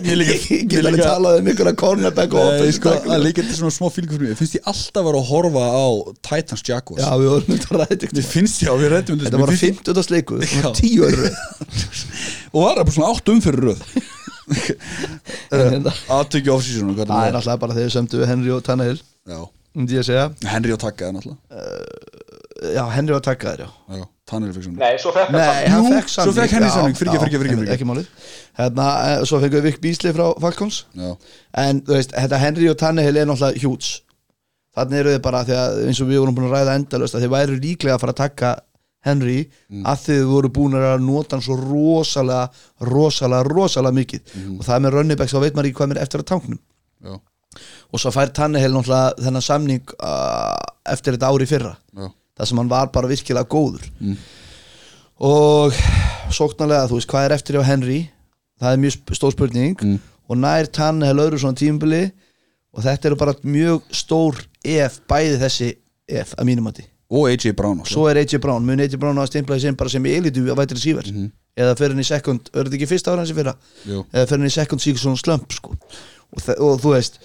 S5: ég
S1: líka-
S5: ég
S1: ég
S5: get alveg
S1: líka-
S5: talað um einhverja cornerback og
S1: Nei,
S5: offensive
S1: sko,
S5: tackle.
S1: að líka þetta er svona smá fílingur fyrir mig Mér finnst ég alltaf að vera að horfa á Titans Jaguars
S5: já við vorum þetta ræðið
S1: Mér finnst ég að við rættum
S5: þetta var að 50 sleiku
S1: Já.
S5: tíu öru
S1: Og var það bara svona átt umfyrir röð
S5: það
S1: Aðtöki off-season og hvað
S5: hérna, er
S1: það er
S5: náttúrulega bara þegar sömdu Henry og Tannehill
S1: Já,
S5: myndi ég að segja
S1: Henry og Takka er náttúrulega
S5: já Henry var takkaður já
S1: Já, Tannehill fyrir svona
S4: Nei, svo fekk hann
S5: Nei,
S4: samt.
S5: hann
S1: Jú,
S5: fekk
S1: svo
S5: samning
S1: fekk Henry
S5: já,
S1: samning, fyrirgef,
S5: já,
S1: fyrirgef, fyrirgef, fyrirgef.
S5: ekki málið hérna, eh, svo fengið við Vic Beasley frá Falcons
S1: Já,
S5: en þú veist, þetta Henry og Tannehill er náttúrulega hjúts þannig eru þið bara því að eins og við vorum búin að ræða endalöst að þið væru líklega að fara að taka Henry að þið voru búin að nota hann svo rosalega, rosalega, rosalega mikið og það með Rönnibæk þá veit maður ekki hvað mér er eftir að tanknum
S1: já,
S5: og svo fær Tannehill náttúrulega þennan samning uh, eftir þetta ári fyrra
S1: já
S5: það sem hann var bara virkilega góður og sóknarlega þú veist hvað er eftir hjá Henry það er mjög sp- stór spurning og nær tann hefur öðru svona tímbili og þetta eru bara mjög stór ef, bæði þessi ef að mínum mati,
S1: Og AJ Brown náttúrulega.
S5: svo er AJ Brown mun AJ Brown á að stimpla þessi bara sem elitu að vætri síver eða fyrir hann í sekund, verður þetta ekki fyrsta ára hans í fyrra
S1: Jú.
S5: eða fyrir hann í sekund síkur svona slömp sko. og, þa- og þú veist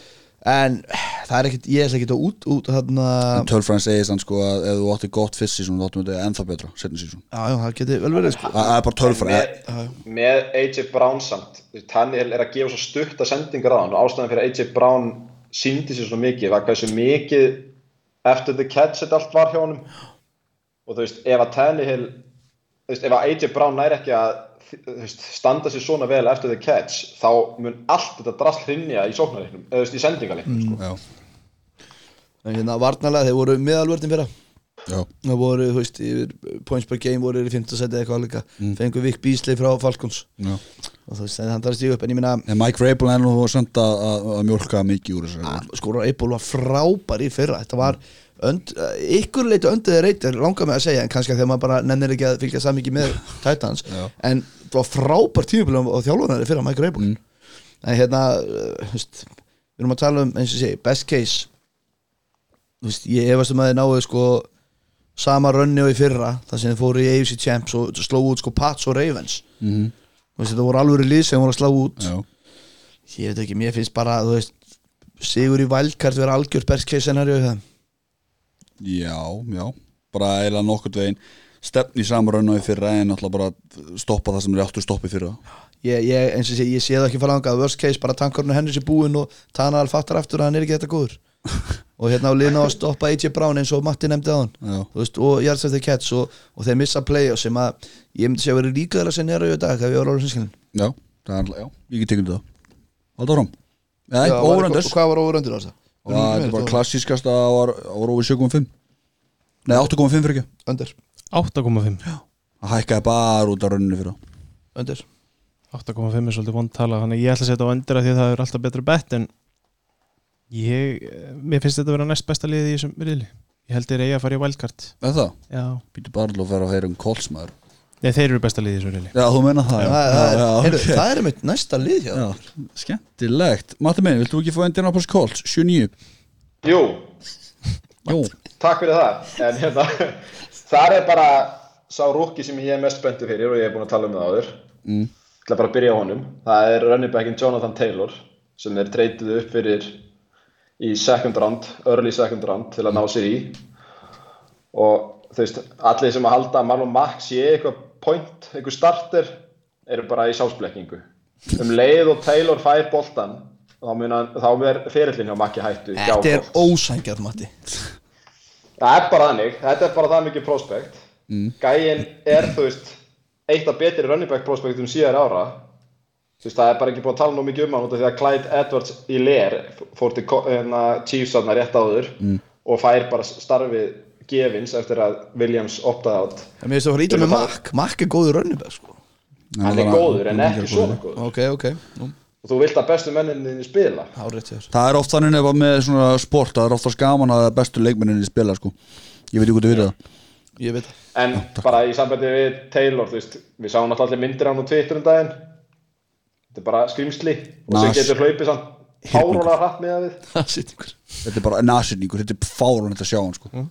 S5: en það er ekkit, ég ætla ekkit að út, út þarna,
S1: En Tölfræn segist hann sko að ef þú átti gott fyrst season þá áttum þetta ennþá betra, setni season
S5: já, já, það geti vel verið sko.
S1: Það það er bara tölfræn
S4: Með, með AJ Brown samt Tannehill er að gefa svo stutta sendingar á hann og ástæðan fyrir að AJ Brown síndi sér svona mikið var hversu mikið eftir the catch þetta allt var hjá honum og þú veist, ef að Tannehill þú veist, ef að AJ Brown næri ekki að þú veist, standa sér svona vel eftir the catch þá mun allt þetta drasl hrinja í sóknarleiknum, eða þú veist, í sendingarleiknum sko.
S1: já,
S5: En hérna varnalega þeir voru meðalvörðin fyrra
S1: já,
S5: Það voru, þú veist, yfir points per game voru þeir í 15 seti eitthvað líka Fengu Vic Beasley frá Falcons
S1: já.
S5: Og þú veist, en hann þarf að stíga upp En ég minna,
S1: En Mike Rabel er nú samt að, að, að mjólka mikið úr
S5: Ah.
S1: þessu
S5: skórar Eipol var frábær í fyrra Þetta var, önd, eh, ykkur leiti öndið reytir Langar mig að segja, en kannski að þegar maður bara Nennir ekki að fylgja samingi með Titans
S1: Já.
S5: En það var frábær tímabil á þjálfunari fyrra Mike Eipol
S1: Mm.
S5: En hérna, eh, þú veist Við erum að tala um, eins og ég segi, best case Þú veist, ég efast um að þið náðu sko sama rönni og í fyrra þar sem þið fóru í AFC Champs og slóðu út sko Pats og Ravens mm
S1: Mhm.
S5: -hmm. veist, þetta voru alvöru lið sem voru að slá út
S1: Já,
S5: ég veit ekki, mér finnst bara þú veist, sigur í valdkart vera algjör best case scenario hjá þeim.
S1: já, já Bara eiginlega nokkurt veginn Stefni í samrönn og í fyrra en alltaf bara stoppa það sem er áttu stoppi fyrra
S5: ég, ég, eins og sé, ég sé það ekki fara langa worst case, bara tankarinn og henni sér búinn og Tanal fattar aftur að hann er ekki þetta góður og hérna á liðna á að stoppa AJ Brown eins og Matti nefndi á hann
S1: Já,
S5: Þú veist, og Jars eftir Cats og, og þeir missa play og sem að ég myndi sé að vera líkaðar að scenario í dag ef ég var alveg sinnskilin
S1: já, það er alltaf, já, ég get tekið það Alltaf áram
S5: Já,
S1: Nei,
S5: var
S1: óvörendis
S5: eitthvað- Hvað var óveröndur á þess að?
S1: Það Ah, er bara klassískast að það var, það var over 7.5 Nei, 8.5 fyrir ekki
S5: Öndur,
S3: 8,5
S1: Það hækkaði bara út af rönninu fyrir það.
S5: öndur
S3: 8,5 er svolítið vond tala þannig að ég ætla að setja á öndira því að það er alltaf betra bett en ég, mér finnst þetta að vera næst besta liðið í þessum riðli ég held þeir eiga að fara í wildcard
S1: Er það?
S3: já,
S1: Býtu bara til að fara að heyra um kolsmaður
S3: nei þeir eru besta liðið í þessum riðli
S1: Já, þú meina það, já, já, já,
S5: Það er-
S1: ok.
S5: það er mitt næsta lið hjá
S1: Já, skemmtilegt Matti minn, viltu ekki fá Indianapolis Colts 7-9?
S4: sko. Jú,
S1: Jó
S4: takk fyrir það en hérna, það er bara sá rúki sem ég er mest spenntu fyrir og ég er búin að tala um það áður mm. ætla bara að byrja á honum það er running backin Jonathan Taylor sem er treytið upp fyrir í second round, early second round til að ná sér í og þú veist, allir sem að halda að Marlon Mack sé eitthvað point, eitthvað starter eru bara í sásblekkingu um leið og Taylor fær boltan þá, muna, þá er ferillin hjá Macki hættu hjá
S5: Þetta er
S4: Colts.
S5: ósængjarn, Matti
S4: Það er bara þannig, þetta er bara það mikið prospekt mm. Gæin er, þú veist, eitt af betri running back prospektum síðar ára Þú veist, það er bara ekki búin að tala nú mikið um hann út af því að Clyde Edwards í ler fór til Co- hérna, Chiefs aðna rétt áður mm. og fær bara starfið gefins eftir að Williams optaði átt
S5: En Mér finnst það að fara ítla með Mark Mark er góður rönnibæð, sko
S4: Hann er góður en ekki svona góður
S5: Ok, ok, nú,
S4: og þú vilt að bestu menninni spila
S5: hárétt hjá þér
S1: Það er oft þannig nefn með svona sport Það er oftast gaman að það er bestu leikmenninni spila sko. Ég veit ekki hvað þú veit það
S5: Ég veit það
S4: En bara í sambandi við Taylor, þú veist, við sáum náttúrulega allir myndir af hann á Twitter um daginn. Þetta er bara skrimsli og sem
S1: Nas.
S4: getur hlaupið samt hárólega hratt með það við.
S5: Það sitt ykkur
S1: Þetta er bara nasinningur, þetta er fárun að sjá hann sko.
S5: Mm.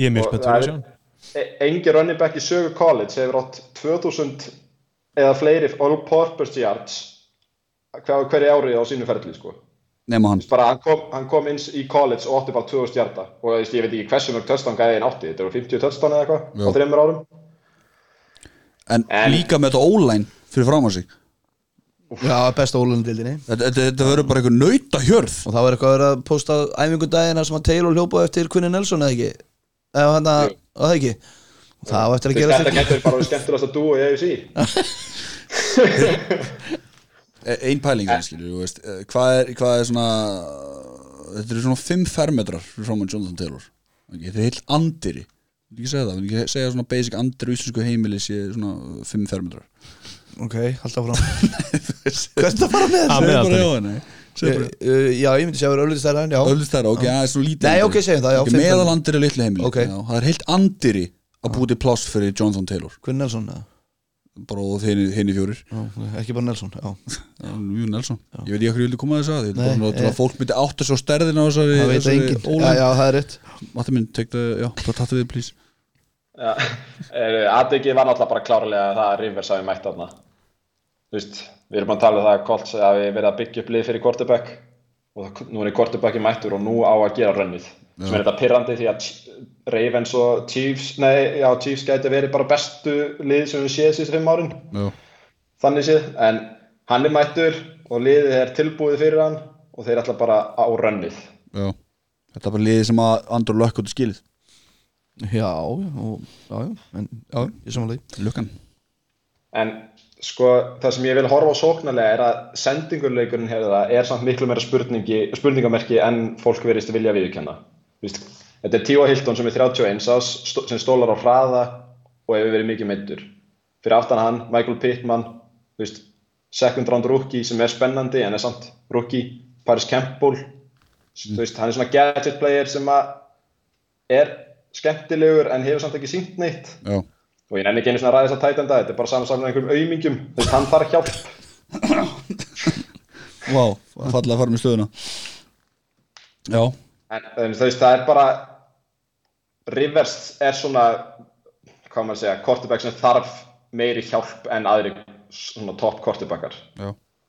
S3: ég er mjög
S4: Og
S3: spennt
S4: það
S3: fyrir
S4: er-
S3: að sjá hann
S4: E- Engi running back í sögu college hefur átt 2000 eða fleiri all purpose yards hver, hverju ári á sínu ferli, sko. Þú
S1: Nefna hann
S4: veist, bara hann kom, hann kom inn í college og átti bara 2000 hjarta og þú veist, ég veit ekki hversu mörg töstan gæðin átti, þetta eru 50 töstan eða
S1: Já.
S4: eitthvað á þreymur árum.
S1: En
S4: En-
S1: líka með þetta ólæn fyrir fram á sig
S5: Já, besta ólundildinni
S1: Þetta, þetta, þetta verður bara eitthvað nautahjörð
S5: Og það var eitthvað að vera að posta á æfingundagina sem að Taylor hljópa eftir Quinn Nelson, eða ekki Eða hann að, það ekki Og Það var eftir að
S4: Þú veist,
S5: gera
S4: Þetta
S5: sér
S4: getur bara skemmtilegast að dúa í AFC.
S1: E- Ein pæling þannig skilur, þú veist eh, Hvað er, hvað er svona Þetta eru svona 5 fermetrar fyrir fram á Jonathan Taylor Ok, Þetta er heilt andiri Ég vil ekki segja það, ég vil ekki segja svona basic andir á íslensku heimili sé svona 5 fermetrar
S5: Ok, halda frá Hvert er það að fara með
S3: Ah,
S5: þessu?
S1: Segðu bara
S3: meðaltali.
S1: já eða nei. Segðu bara-
S5: Eh, Já, ég myndi segja að vera öllutist þær já
S1: Öldust þær, ok, það er svona lítið
S5: Nei,
S1: anddyri.
S5: ok, segjum það, já,
S1: Ok,
S5: fimm fermetrar.
S1: Meðalandir er litlu heimili
S5: Ok.
S1: já, Það er heilt andiri að búti pláss fyrir Jonathan Taylor
S5: Quinn Nelson, eða?
S1: bara og henni fjórir
S5: Já, ok, ekki bara Nelson, já
S1: Jú Nelson, ég veit ekki hverju vildi koma að þess að ég
S5: Nei,
S1: vildi bara til
S5: eh.
S1: að fólk myndi átta svo stærðin á þessari
S5: Það veit
S1: þessari
S5: enginn Já,
S1: ólan.
S5: já, það er rétt
S1: Matti minn, tekta, já, bara tattu við, please
S4: Já, eh, Atvikið var náttúrulega bara klárlega að það að Rivers hafi mætt þarna Þú veist, við erum bara að tala um það að Colts hafi verið að byggja upp lið fyrir quarterback og það- nú er quarterbacki mættur og nú á að gera rönnið sem er þetta pirrandi því að Ch- Ravens og Chiefs, nei, já, Chiefs gæti verið bara bestu lið sem við séð síðustu fimm árin
S1: Já,
S4: þannig séð, en hann er mættur og liðið er tilbúið fyrir hann og og þeir ætla bara á rönnið
S1: Já. Þetta er bara liðið sem að Andor lökk út í skilið
S2: Já, já, og, já, já, en, já, ég samanlega
S1: Lukkan
S4: en sko það sem ég vil horfa á sóknarlega er að sendingurleikurinn hérna er samt miklu meira spurningi, spurningamerki en fólk verist vilja viðurkenna Vist, þetta er Tíó Hilton sem er 31 ás stó- sem stólar á hraða og hefur verið mikið meittur fyrir aftan hann, Michael Pittman vist, second round rookie sem er spennandi en er samt rookie Paris Campbell mm. veist, hann er svona gadget player sem að er skemmtilegur en hefur samt ekki sínt neitt
S1: Já,
S4: og Sko, ég nenni ekki einu svona ræðis að tætenda þetta er bara samansamlega einhverjum aumingjum þú veist, hann þarf hjálp
S1: vá, fallega að fara með stöðuna Já,
S4: en um, þú veist, það er bara Rivers er svona hvað maður að segja, quarterback sem þarf meiri hjálp en aðri svona top quarterbackar
S1: já,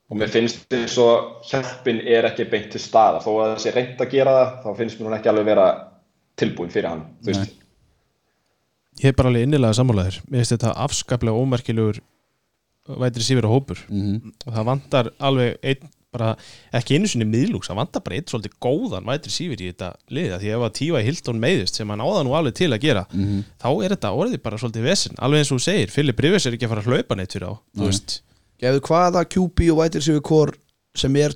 S4: og mér finnst eins og hjálpin er ekki beint til staða, þó að það sé reynd að gera það þá finnst mér hún ekki alveg vera tilbúin fyrir hann, þú veist
S3: Ég er bara alveg innilega sammálaður Mér finnst þetta afskaplega ómerkilegur uh, vætri sífira hópur
S5: Mhm.
S3: og það vantar alveg einn bara, ekki einu sinni miðlúks, það vantar bara einn svolítið góðan vætri sífir í þetta liða því ef að tífa í Hildón meiðist sem hann áða nú alveg til að gera
S5: Mhm.
S3: þá er þetta orðið bara svolítið vesinn alveg eins og þú segir, Filip Rivers er ekki að fara að hlaupa neitt fyrir á, þú veist
S5: Gefðu hvaða QB og vætir sig við hvor sem er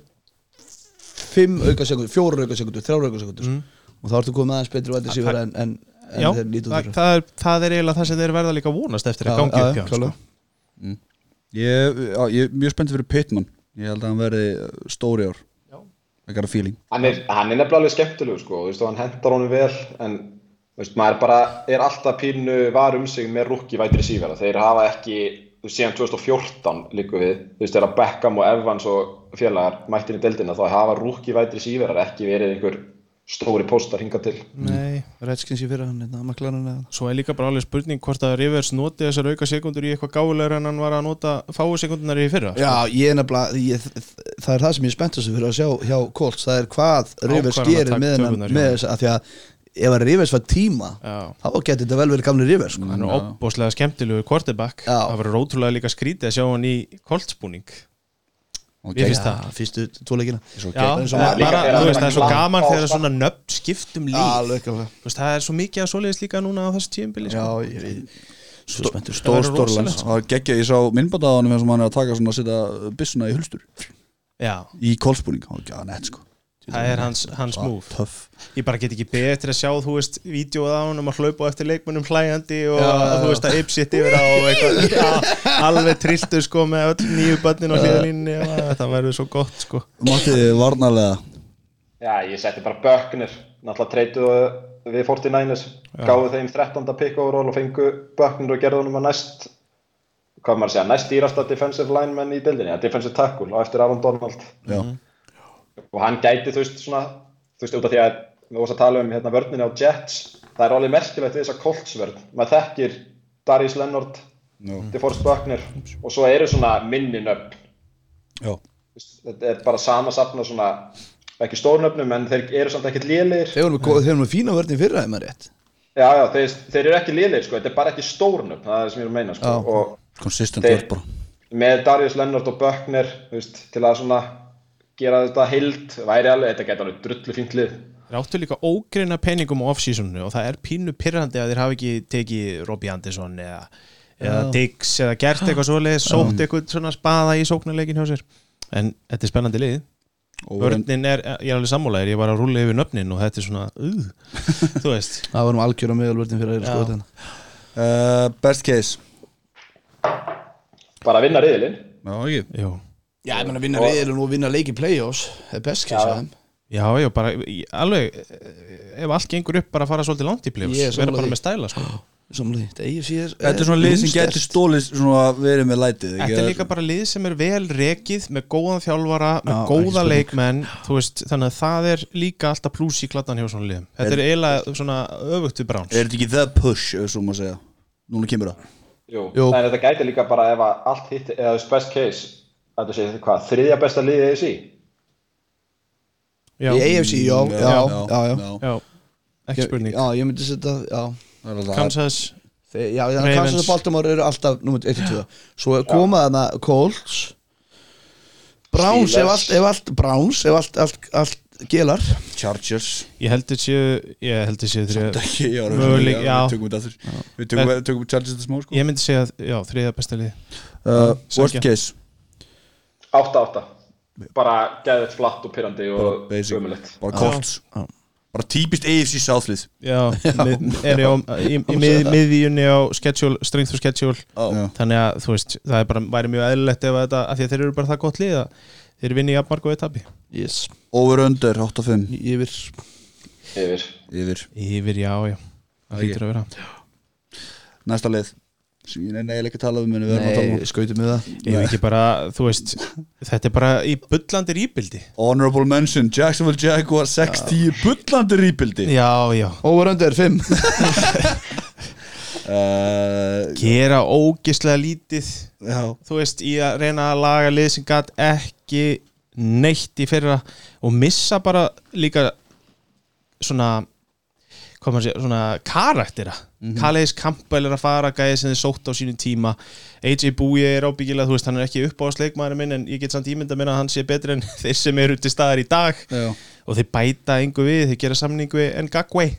S5: 5 auka sekundur, 4 auka sekundur, 3 auka sekundur og þá ertu komið aðeins betri vætir sig
S3: það-
S5: en, en, en
S3: Já,
S5: þeir lítum
S3: það, það, er, það er eiginlega það sem þeir verða líka að vonast eftir að gangi upp hjá hann, sko.
S1: ég, já, ég er mjög spenntið fyrir Pittman Ég held að hann verði uh, stóri ár Já Ekkert feeling
S4: hann er, hann er nefnilega alveg skemmtilegu sko, þú veist, og hann hendar honum vel en þú veist, maður bara er alltaf pínu var um sig með rúkki vætri sífæra þeir hafa ekki, þú veist, síðan 2014 líku við, þú veist, þegar Beckham og Evans og félagar mættin í deildina þá hafa rúkki vætri sífæra ekki verið einhver stóri póstar hinga til
S5: Nei, Redskins í fyrra hann, hérna, maklarinn eða
S3: Svo er líka bara alveg spurning hvort að Rivers noti þessar auka sekundur í eitthvað gáfulegur en hann var að nota fáu sekundunar í fyrra
S2: Já,
S5: Já, ég er nefnilega, ég, það er það sem ég spenntast um fyrir að sjá hjá Colts, það er hvað Rivers
S3: Ákvarðan að
S5: gerir
S3: taka
S5: með hennan,
S3: tökurnar, já.
S5: með þess að því að ef að Rivers var tíma,
S3: Já. Mm.
S5: þá geti þetta vel verið gamli Rivers, sko.
S3: hann er opbóslega skemmtilegu quarterback
S5: Já.
S3: það verður ótrúlega líka skrítið að sjá hann í koltspúning
S1: Og
S3: Mér
S1: gegn-
S3: finnst það
S5: fyrstu tóleikina.
S1: svo
S3: Já,
S1: gegn-
S3: það er
S4: líka-
S3: bara,
S4: er
S3: þú veist, það er svo
S4: bara-
S3: gaman
S4: á-
S3: þegar svona nöfn skiptum líf
S5: Alveg, alveg.
S3: Þú veist, það er svo mikið að svoleiðis líka núna á þessu tíumbili
S5: Já,
S3: sko.
S5: ég veit. Svo spenntur.
S1: Stór
S3: Það verður
S1: stórlands
S3: rosalegt,
S1: Það er geggjað, ég sá minnbanda á hann sem hann er að taka svona að setja byssuna í hulstur
S3: já,
S1: Í kólspúning, hann er ekki að nett sko
S3: það er hans, hans múf
S1: Töff
S3: ég bara get ekki betur að sjá, þú veist, vídjóð á hann um að hlaupa á eftir leikmunum hlæjandi og þú veist að ypsitt yfir á og eitthvað, já, alveg trilltu sko með öll nýju bönnin og hliðalínni og það verður svo gott sko
S1: Matti, varnarlega
S4: Já, ég setti bara Böckner náttúrulega treytuðu við 49ers gáðu þeim 13. pick overall og fengu Böckner og gerðu honum að næst hvað maður að segja, næst dýrasta defensive lineman í deildinni, að defensive tackle á eftir Aaron Donald
S1: Já,
S4: og hann gæti þú veist svona þú veist út af því að við vorum að tala um hérna vörnina á Jets, það er alveg merkilegt við þessa Colts vörn, maður þekkir Darius Leonard,
S1: Já.
S4: DeForest Buckner og svo eru svona minninöfn
S1: já,
S4: Þú veist, þetta er bara sama safna svona ekki stórnöfnum en þeir eru samt ekkert lélir
S5: Þeir voru með góð- þeir voru með fína vörðin fyrra, ef maður rétt.
S4: Já, já, þeir, þeir eru ekki liðleir, sko, þetta er bara ekki stórnum, það er það sem ég er að meina, sko, og
S1: konsistent
S4: þeir,
S1: vörð bara
S4: með Darius Lennart og Böckner, þú veist, til að svona gera þetta heild, væri alveg, þetta gæti alveg drullu fínt lið.
S3: Þeir áttu líka ógreina peningum á off-seasonu og það er pínu pyrrandi að þeir hafi ekki tekið Robbie Anderson eða, eða Diggs eða gert eitthvað svoleiðis, sótt eitthvað svona spaða í sóknarleikin hjá sér en þetta er spennandi lið Vörnin er, ég er alveg sammálaðir, ég var að rúla yfir nöfnin og þetta er svona, uh, þú veist
S5: Það var nú algjör á meðalvörðin fyrra, sko,
S3: Já.
S2: hérna.
S5: þetta.
S1: Uh, best case
S4: Bara að vinna riðilinn.
S1: Já, ekki
S3: Jú.
S5: Já, ég menna vinna reyðilun og vinna leiki playoffs, það er best case að þeim.
S3: Já, já, bara, í- alveg eh, ef allt gengur upp bara að fara svolítið langt í plefus,
S5: Ég er
S3: vera
S5: sammála
S3: bara
S5: því.
S3: með stæla sko.
S5: Samlega, þetta eigið sér. eh,
S1: Þetta er svona lið sem getur stólið svona verið með lætið ekki?
S3: Þetta er líka bara lið sem er vel rekið með góðan þjálfara, með
S5: Já, ekki
S3: góða
S5: spurning.
S3: leikmenn þú veist, þannig að það er líka alltaf pluss í klattan hjá svona liðum Þetta er eiginlega svona öfugt við Browns
S1: Er þetta ekki the push, ef svo maður segja Núna kemur það
S4: Jú.
S5: Jú.
S4: En þetta gæti líka bara ef að allt hitt, eða þess best case, að þú segir hvað, þriðja besta liðið í sí.
S3: Já,
S5: Í AFC, já, já, já, já.
S3: já, ekki spurning
S5: Já, ég myndi setja, já.
S1: Það er alltaf-
S3: Kansas,
S5: Þe- Já, þannig að
S3: Ravens.
S5: Kansas og Baltimore eru alltaf nummer 1-2 Svo koma þarna Colts
S2: Browns ef
S4: Steelers.
S2: allt, ef allt Browns ef allt, allt, allt gelar
S1: Chargers
S3: Ég held þetta séu Ég held þetta séu þrjá
S1: Ekki, já,
S3: Möguleik,
S1: já,
S3: já.
S1: Við tökum þetta aftur Við tökum, við tökum Chargers þetta smá sko
S3: Ég myndi segja, já, þriða besta lið
S1: uh, Worst
S3: sækja.
S1: case
S4: 8-8 bara geðið flatt og pirrandi
S1: Bara
S4: og
S1: basic
S4: umulett
S1: Bara Colts Bara típist AFC Southlið
S3: Já, mið- er ég á í, í mið, miðjunni á schedule, strength og schedule
S1: Já.
S3: þannig að þú veist, það er bara væri mjög eðlilegt ef að þetta, af því að þeir eru bara það gott lið að þeir vinni jafnmark og etabi
S2: yes.
S1: Over under 8-5
S2: yfir
S4: yfir
S1: Yfir
S3: Yfir, já, já, það
S1: Æi.
S3: hlýtur að vera
S1: Næsta leið sem ég nefnir eiginlega ekki að tala um en við verðum að tala um
S2: Nei, skautum við það
S3: Ég veit ekki bara, þú veist þetta er bara í bullandir íbildi
S1: Honorable mention Jacksonville Jaguar 6-10 bullandi rýpildi
S3: Já, já,
S2: over under 5 Eh,
S1: uh,
S3: gera ógislega lítið
S1: Já
S3: þú veist, í að reyna að laga lið sem gat ekki neitt í fyrra og missa bara líka svona hvað maður sé, svona karaktera mm -hmm. Kalleis Campbell er að fara gæði sem þið sótt á sínum tíma AJ Búi er ábyggilega, þú veist, hann er ekki upp á sleikmaðurinn minn en ég get samt ímynda minna að hann sé betri en þeir sem eru til staðar í dag
S1: Já,
S3: og þeir bæta engu við, þeir gera samningu við en gagway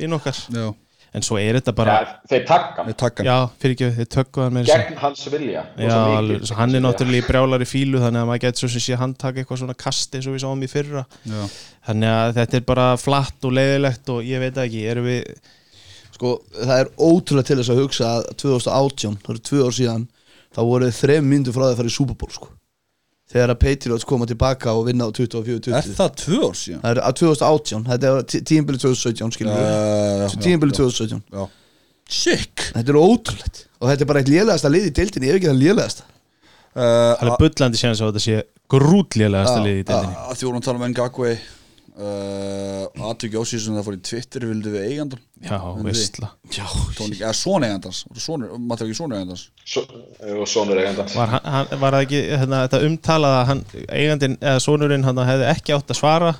S3: við nokkar
S1: já
S3: en svo er þetta
S4: ja,
S3: bara,
S4: þeir takka
S1: Við takka
S3: já, fyrir ekki þeir tökkuðan með
S4: gegn hans vilja
S3: Já, alveg, svo hann er náttúrulega í brjálari fílu þannig að maður getur svo sem sé hann taka eitthvað svona kast eins og við sáum í fyrra
S1: Já.
S3: þannig að þetta er bara flatt og leiðilegt og ég veit það ekki, erum við
S2: sko, það er ótrúlega til þess að hugsa að 2018, það eru tvö ár síðan þá voru þrem myndu frá það að fara í Super Bowl sko. þegar að Patriots koma tilbaka og vinna á 24-20
S1: Er það tvö ár síðan?
S2: það er að 2018, þetta er tí- tímabilið 2017 skilur við,
S1: Uh,
S2: tímabilið 2017
S1: Já Eh, Sick
S2: þetta er ótrúlegt og þetta er bara eitt lélegasta lið í deildinni, ef ekki það lélegasta
S1: uh,
S3: það er bullandi séns á þetta sé grútlélegasta liði í deildinni
S1: að því vorum að tala um Ngakwe uh, aðtökja ásýsum það fór í Twitter vildu við eigandan
S3: Já, veistla
S1: Tónik, eða svona eigandans sonur, maður ekki svona eigandans
S4: og sonur eigandans
S3: Var, hann, hann- var það ekki hérna, þetta umtalað að hann, eigandinn eða sonurinn hann hefði ekki átt að svara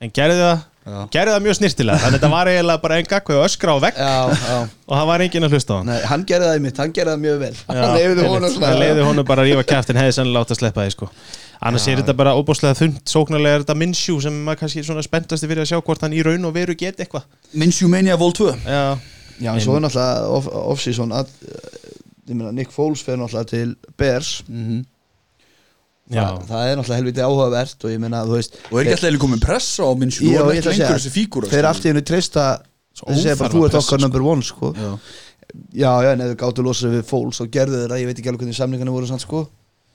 S3: en gerði það,
S1: Já.
S3: gerði það mjög snirtilega þannig að þetta var eiginlega bara einn gagveg og öskra á vekk
S2: já, já.
S3: og það var enginn að hlusta á hann
S2: Nei, hann gerði það í mitt, hann gerði það mjög vel hann
S3: Já,
S2: leiði
S3: einmitt.
S2: honum
S3: Hann
S2: svona
S3: leyfði honum bara að rífa kæftin hefði sennilega átt að sleppa því sko. annars er þetta bara óbúslega þund sóknarlega er þetta minnsjú sem maður kannski svona spenntasti fyrir að sjá hvort hann í raun og veru get eitthvað
S1: Minsjú meinja vol 2
S3: já,
S2: já, en svo er náttúrulega off- off-season að ég meina, Nick Foles fer náttúrulega til Bears
S3: já.
S2: Þa, það er náttúrulega helviti áhugavert og ég meina, þú veist
S1: og er ekki alltaf einu komin pressa á Minsjú
S2: Já,
S1: og
S2: ég
S1: er
S2: ætla
S1: ekki
S2: að
S1: lengur
S2: segja,
S1: þessi fígúra sko.
S2: Þeir allt í hennu treysta
S3: Svo
S2: Þeir segja bara
S3: óþarfa
S2: þú ert
S3: pressa,
S2: okkar number one sko.
S1: Já.
S2: Já, já, en ef þau gáttu losa við fólks og gerðu þeirra, ég veit ekki alveg hvernig samlingarnir voru sann sko.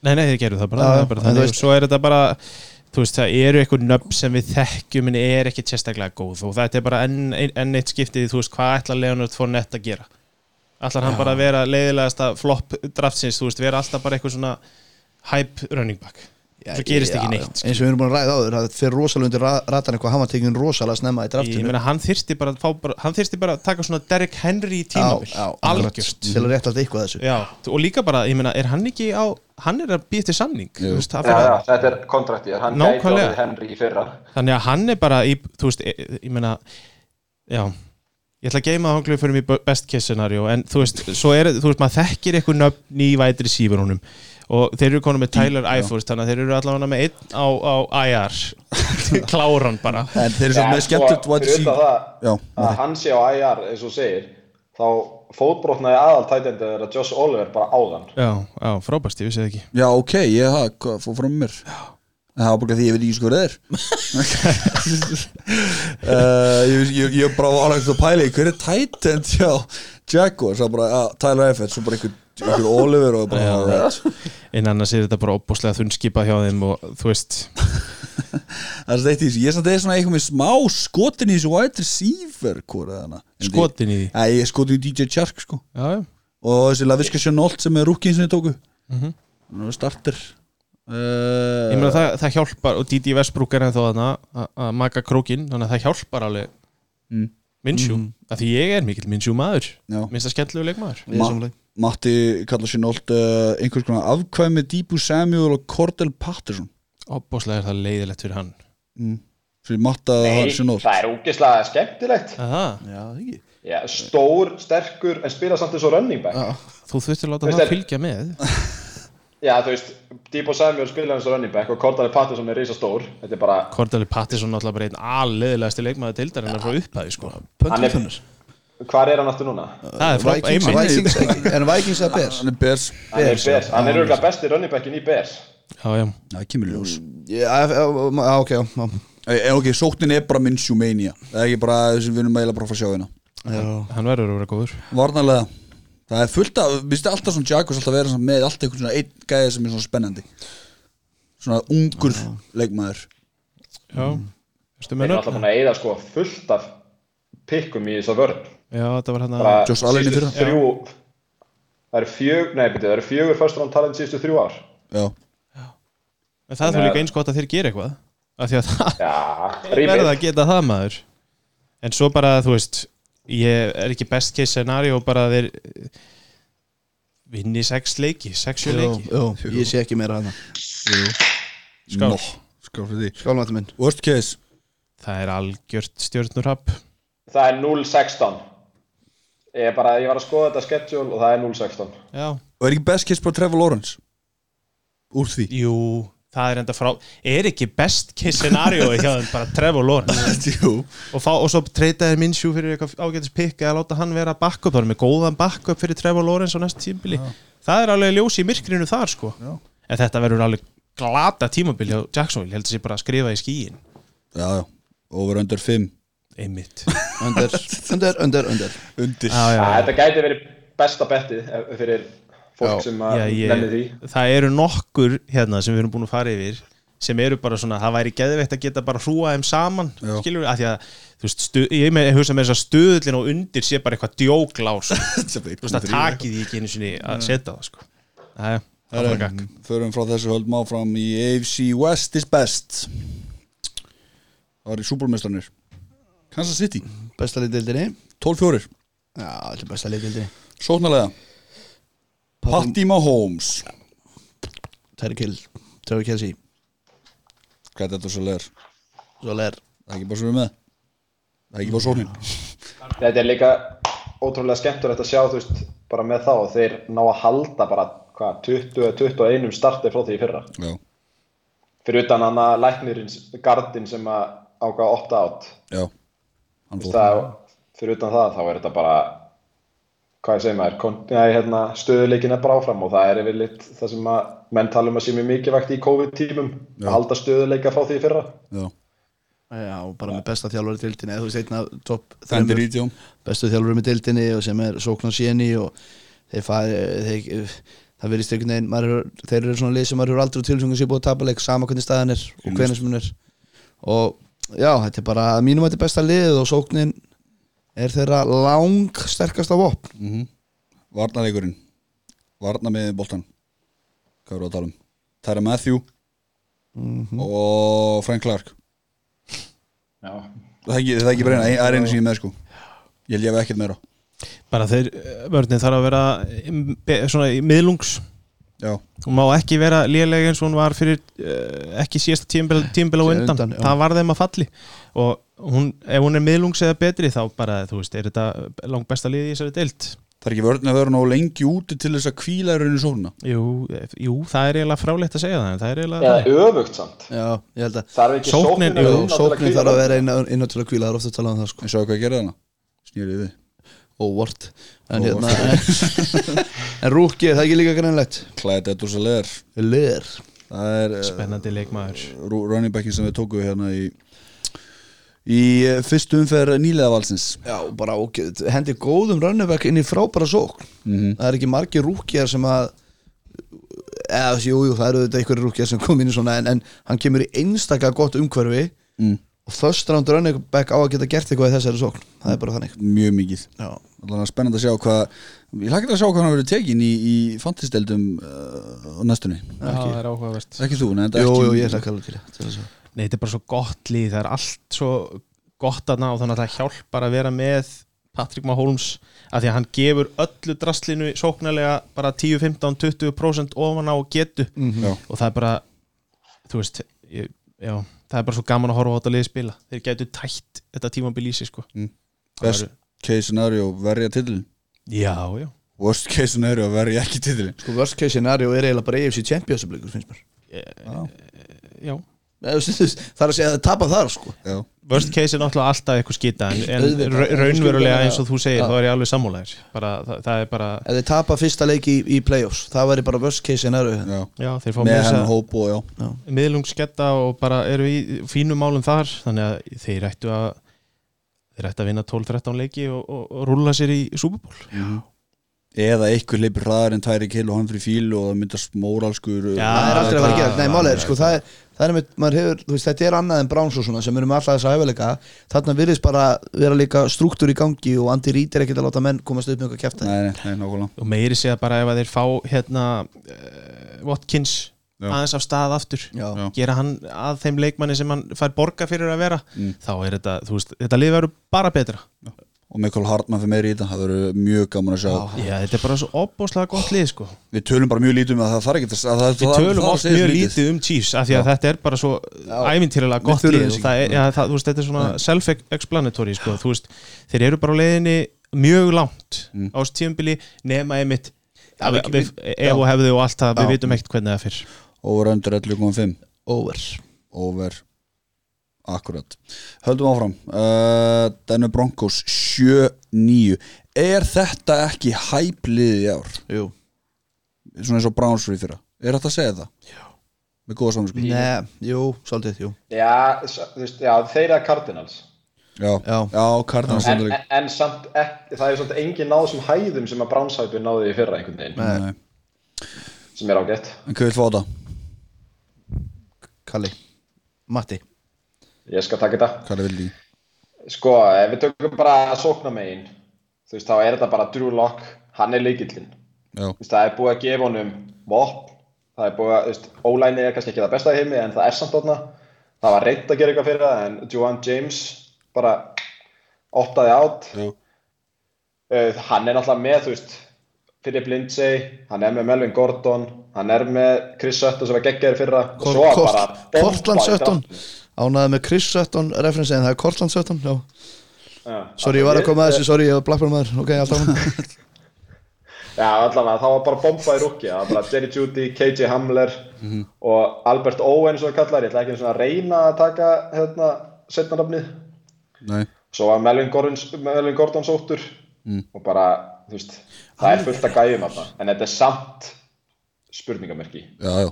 S3: nei, nei, þið gerðu það bara,
S2: Já,
S3: það er bara
S2: en þú
S3: þannig,
S2: veist-
S3: veist, svo er þetta bara þú veist, það eru eitthvað nöfn sem við þekkjum en er ekki sérstaklega góð og þetta er bara enn ein, en eitt skiptið, þú veist, hvað ætlar Leonard fór nett að gera ætlar hann bara að vera leiðilegasta flopp draftsins, þú veist, vera alltaf bara eitthvað svona hype running back svo gerist ekki neitt sko.
S2: Eins og við erum búin að ræða áður, það fer rosalega undir ra- ratarinn hvað hann var tekinn rosalega snemma í
S3: sko. ég
S2: draftinu
S3: meina hann þyrsti bara, að fá bara hann þyrsti bara að taka svona Derek Henry í tímabil algjört
S2: Til að rétta alltaf eitthvað af þessu
S3: já, og líka bara, ég meina, er hann ekki á hann er að býja til samning þú veist, það
S4: já,
S3: fyrir-
S4: já, þetta er kontraktið hann gæti
S3: Nákvæmlega.
S4: orðið Henry í fyrra
S3: þannig að hann er bara í, þú veist, ég, ég meina já, ég ætla að geima honglum fyrir mér best case scenario, en þú veist, svo er, þú veist, maður þekkir eitthvað nöfn í vætri sífur honum og þeir eru konum með Tyler Eifors þannig að þeir eru allavega með einn á, á IR kláran bara
S1: en þeir eru svo
S4: Já,
S1: með skemmtilegt
S4: og
S1: wide
S4: fyrir utan
S1: receiver-
S4: það
S1: Já,
S4: að hann sé á IR eins og þú segir þá fótbrotnaði aðal tætjandi þegar að Josh Oliver bara áðan
S3: já, já, frábæst, ég vissi það ekki
S1: já ok, ég það hvað fór frá mér en það var bara því ég veit ekki sko hvað það er uh, ég, vissi- ég, ég bara var alveg að pæla í, hver er Titan hjá Jaguar, svo bara uh, Tyler Effett, svo bara einhver, einhver Oliver og bara alright
S3: en annars er þetta bara opbúslega þunnskipa hjá þeim og þú veist
S1: Það er eitt í þessu, ég samt eða svona eitthvað með smá skotin í þessu wide receiver hvora þarna
S3: skotin í því
S1: Æ, ég er skotin í DJ Chark sko
S3: já, já.
S1: og þessi Laviska Sjönolt sem er rúkin sem þið tóku Hann er starter uh,
S3: ég meina það, það hjálpar og Didi Vestbrúk er ennþá þarna að- að maka krókin þannig að það hjálpar alveg mm. minnsjú, af því ég er mikill minnsjú maður
S1: Já. Mm.
S3: minnst að skemmtlegu leikmaður
S2: Ég er sammála.
S1: Matti kallar Sjönolt uh, einhvers konar afkvæmi Díbu Samuel og Cordell Patterson
S3: opbúslega er það leiðilegt fyrir hann
S1: fyrir Matta Sjönolt
S4: það er úkislega skemmtilegt
S3: Aha,
S2: Já, ekki
S4: já, stór, sterkur en spila samt eins og running back
S3: þú þurftir að láta
S4: Veist
S3: það
S4: það-
S3: fylgja með
S4: já þú veist, Debo Samuel spilaði eins og running back og Cordarli Pattinson er risastór þetta er bara,
S3: Cordali Pattinson náttúrulega bara einn alveglegasti leikmaður deildar hennar frá upphæði sko
S4: Hann er-
S5: Pöntutunnur
S4: hvar er hann aftur núna?
S3: það er frábæð
S5: Vikings,
S3: einmitt
S5: Vikings, en Vikings að Bears
S1: Hann er Bears
S4: Hann er,
S5: Bears,
S4: Bears, hann er örgulega besti running backin í Bears
S3: já, já.
S1: Það kemur í ljós
S5: Já, ef- ef- já, ok, já, já.
S1: Ei, ei, Mm. Eh, Ok, sóknin er bara Minshew mania Það er ekki bara þessum vinum meila bara að fara að sjá hérna
S3: hann verður að vera góður
S1: Varnarlega Það er fullt af, minnst þið alltaf svona Jakobs alltaf verið svona með alltaf einhvern svona einn gæði sem er svona spennandi Svona ungur leikmaður
S3: já, veistu
S4: þeir
S3: með
S4: eru alltaf
S3: nöfn
S4: búin að eyða sko fullt af pikkum í þessa vörn
S3: já, þetta var hérna
S4: bara
S1: Josh Allen í
S4: síðustu
S1: fyrra.
S4: þrjú það eru fjög, nei byrju, það eru fjögur first round talent síðustu þrjú ár
S1: Já,
S3: en það er þá líka eins gott að þeir gera eitthvað af því að það
S4: já,
S3: verða að
S4: rýmið
S3: geta það maður en svo bara þú veist ég er ekki best case scenario bara að þeir eh, vinni sex leiki, sex sjö
S5: Jú,
S3: leiki
S5: jú, ég sé ekki meira hana
S3: Skál.
S1: Nó, skál fyrir því
S5: Skálmætti minn
S1: Worst case
S3: það er algjört stjórnurhapp
S4: það er 0-16 ég, bara, ég var að skoða þetta schedule og það er 0-16
S3: já,
S1: Og er ekki best case bara Trevor Lawrence? Úr því
S3: jú það er enda frá, er ekki best case scenario hjá þeim bara Trevor Lawrence
S1: Jú
S3: og, fá, og svo treyta þeir minnsjú fyrir eitthvað ágætis pikk eða láta hann vera backup, það er með góðan backup fyrir Trevor Lawrence á næst tímbili það er alveg ljós í myrkrinu þar sko
S1: Já.
S3: en þetta verður alveg glata tímabil hjá Jacksonville, heldur sér bara að skrifa í skíin
S1: Já, já, over under 5
S3: einmitt
S5: Under, under, under, under
S1: Undir
S3: já,
S4: ja,
S3: já,
S4: þetta gæti verið besta bettið eh, fyrir fólk
S5: Já.
S4: sem
S3: já,
S4: að nenni því
S3: ég, það eru nokkur hérna sem við erum búin að fara yfir sem eru bara svona, það væri geðveitt að geta bara hrúa þeim saman,
S1: Já.
S3: skilur við, að því að þú veist, stu, ég með, hugsa með þess að stuðlinn og undir sé bara eitthvað djóglás þú veist að takið því ekki einu sinni að setja það sko Æ, það var gakk
S1: Förum frá þessu höldum áfram í AFC West is best Það var í súbúlmestranir Kansas City,
S5: Besta liðdildinni
S1: 12-4
S5: Já, þetta er besta liðdildinni
S1: Sóknarlega Patty Mahomes
S5: Terry Kill, Terry Kelsey
S1: Hvað er þetta svo leir?
S5: Svo leir
S1: Það er ekki bara sem við með Það er ekki bara sóknin
S4: þetta er líka ótrúlega skemmtilegt að sjá þú veist, bara með þá og þeir ná að halda bara hvað, 20-21 startið frá því í fyrra
S1: Já,
S4: fyrir utan hann að læknirins gardin sem að ákvaða að opta átt
S1: já Hann fór
S4: það, fyrir utan það þá er þetta bara hvað ég segi maður kon- nei, hérna, stöðuleikin er bara áfram og það er yfir lit það sem að menn tala um að sé mjög mikilvægt í COVID-tímum
S1: Já.
S4: að halda stöðuleika frá því í fyrra
S1: Já,
S5: Já, bara með besta þjálfari dildinni Þú veist einna topp
S1: Fendi
S5: þremur
S1: Rítjón
S5: bestu þjálfur með deildinni og sem er sóknar séni og þeir fæði þeir, það verðist einhvern veginn maður, hefur- þeir eru svona lið sem maður hefur aldrei tilfengu sér búið að tapa leik sama hvernig staðan er og hvernig sem hún er og já, þetta er bara að mínum að þetta er besta lið og sóknin er þeirra lang sterkasta vopn
S1: Varnarleikurinn Varnar með boltan Hvað eru að tala um? Tæra Matthew Og Frank Clark
S4: Já.
S1: Það er ekki, það er ekki bara eina, það er eina sem ég er með sko Ég held ég hef ekkert meira
S3: bara þeir, vörðin þarf að vera eh, be- svona í miðlungs
S1: Já,
S3: hún má ekki vera lélega eins og hún var fyrir uh, ekki síðasta tímbil, tímbil á
S5: Síðan
S3: undan,
S5: undan, já.
S3: það var þeim að falli og hún, ef hún er miðlungs eða betri þá bara, þú veist, er þetta langt besta liði í þessari deild
S1: það er ekki vörðin að vera nóg lengi úti til þess að kvíla í rauninu sóknina
S3: jú, eh, jú, það er eiginlega frálegt að segja það en það er eiginlega
S4: eða öfugt samt
S5: já, ég held að
S4: það er ekki
S3: Sóknin-
S4: sóknin,
S5: Jú,
S4: sóknin,
S5: sóknin þarf að vera inn, inn á til að kvíla það er ofta að tala um það sko,
S1: En sjáðu hvað að gera þarna Snýrið við
S5: óvart en
S1: Óvart.
S5: hérna en rúkið, það er ekki líka greinlegt
S1: Klæði Deadus að leir
S5: lir,
S1: Það er eh,
S3: spennandi leikmaður
S1: ru- running backin sem við tóku hérna í Í eh, fyrstu umferð nýlega valsins
S5: já, bara ok hendi góðum rönnubæk inn í frábæra sókn
S1: Mhm.
S5: það er ekki margir rúkjar sem að eða, jú, jú, það eru þetta einhverjir rúkjar sem kom inn í svona en, en hann kemur í einstaklega gott umhverfi
S1: Mm.
S5: og first round running back á að geta gert eitthvað í þessari sókn það er bara þannig
S1: Mjög mikið
S5: já,
S1: Allan að spennandi að sjá hvað Ég hlakka til að sjá hvað hann verið tekin í, í fantisteldum uh, á næstunni
S3: það er áhugavert
S1: Ekki þú, nei, þetta
S5: jú,
S1: ekki
S5: jú, ég ætla að kalla til það til þess að-
S3: Nei, þetta er bara svo gott líð, það er allt svo gott að ná, þannig að það hjálpar að vera með Patrick Mahomes að því að hann gefur öllu drastlinu sóknarlega bara 10, 15, 20% ofan á getu
S1: Já.
S3: og það er bara þú veist, ég, já það er bara svo gaman að horfa á þetta liðið spila þeir gætu tætt
S2: Mm.
S3: þetta tímabil í sig sko
S1: Best case scenario verja til
S3: Já, já,
S1: worst case scenario verði ég ekki titilin
S2: Sko worst case scenario er eiginlega bara AFC Champions blikur finnst mér
S3: já
S2: Nei, þú veist, þú veist, Það er að segja að það tapa þar sko
S1: já,
S3: Worst case er náttúrulega alltaf eitthvað skita en, en
S2: Auðvitað.
S3: ra- raunverulega eins og þú segir
S2: Já.
S3: þá er ég alveg sammálaður bara, það, það er bara,
S2: Ef þið tapa fyrsta leiki í, í playoffs það væri bara worst case scenario hérna.
S1: já.
S3: já, þeir fá
S1: með
S3: með
S1: hennar
S3: þess
S1: hóp og já
S3: að miðlungssketta og bara eru í fínum málum þar þannig að þeir ættu að þeir ættu að vinna 12-13 leiki og, og, og rúla sér í Superból
S1: eða einhver leipur hraðar en tæri kill og hann fyrir fíl og það myndast móralskur
S3: Já.
S2: Það er aldrei að vera að gera Nei,
S3: Já,
S2: málega,
S3: já,
S2: sko, það er, það er einmitt, maður hefur, þú veist, þetta er annað en Browns og svona sem erum alltaf þess að hæfileika þarna virðist bara vera líka struktúr í gangi og Andy Reid er ekkert að láta menn komast upp með eitthvað kæfta
S1: nei, nei, nei, nákvæmlega
S3: og meiri segja bara ef að þeir fá hérna uh, Watkins
S1: Já.
S3: aðeins af stað aftur
S2: Já.
S1: Já.
S3: gera hann að þeim leikmanni sem hann fær borga fyrir að vera þá er þetta, þú veist, þetta lið verður bara betra
S1: og Michael Hartmann fyrir meiri í þetta, það verður mjög gaman að sjá
S3: Já, þetta er bara svo opbóðslega gott lið sko.
S1: við tölum bara mjög lítið um að það þarf ekki að, að, að,
S3: Við
S1: það-
S3: tölum
S1: það
S3: oft
S1: segist
S3: mjög lítið um Chiefs af því að þetta er bara svo ævintýrlega gott
S1: þurfum
S3: lið og
S1: þessi.
S3: það er, ja, það, þú veist, þetta er svona self-explanatory sko. þú veist, þeir eru bara á leiðinni mjög langt á þessu tíumbili nema einmitt að við, við, ef og hefðu og allt það, við vitum ekkert hvernig það er fyrr
S1: over under 11.5
S2: Over
S1: over akkurat höldum áfram uh, Denver Broncos 7-9 er þetta ekki hæplið í ár
S2: Jú
S1: svona eins og Browns fyrir fyrra er þetta að segja það? já með góða samvinsku
S2: Nei, jú, svolítið, jú
S4: Já, s- þú veist, já þeir eru Cardinals
S1: já,
S2: Já.
S1: já Cardinals
S4: en,
S1: sannleik.
S4: en, en samt ekki, það er samt engin náð sem hæðum sem að Brownshæpi náði í fyrra einhvern veginn
S1: Nei.
S4: sem er ágætt
S1: en hvað vil fá þetta?
S2: Kalli Matti
S4: ég skal taka þetta
S1: hvað er vildi?
S4: sko, ef við tökum bara sóknamegin þú veist, þá er þetta bara Drew Lock hann er leikillinn
S1: já,
S4: það er búið að gefa honum vopn það er búið að, þú veist, ólæni er kannski ekki það besta í heimi en það er samt þarna það var reynd að gera eitthvað fyrir það en Joanne James bara optaði átt
S1: Já.
S4: uh, hann er náttúrulega með þú veist, Philip Lindsay hann er með Melvin Gordon hann er með Chris Sutton sem var geggjæri fyrra og svo bara bomba í
S2: Kortland 17
S4: drafti.
S2: Ánaði með Chris 17 referensi en það er Kortland 17 já.
S4: Já.
S2: Sorry, ég var að koma að þessu, sorry, ég var blackburn maður Ok, alltaf hún
S4: Já, allavega, það var bara bomba í rúki það var bara Jerry Judy, KJ Hamler og Albert Owen sem það kallar ég ætla ekki einu sinni að reyna að taka hérna, setnarnafnið
S1: nei
S4: svo var Melvin Gordon, Melvin Gordon sóttur og bara, þú veist það er fullt að gæjum af það, en þetta er samt spurningamerki Þú
S1: já, já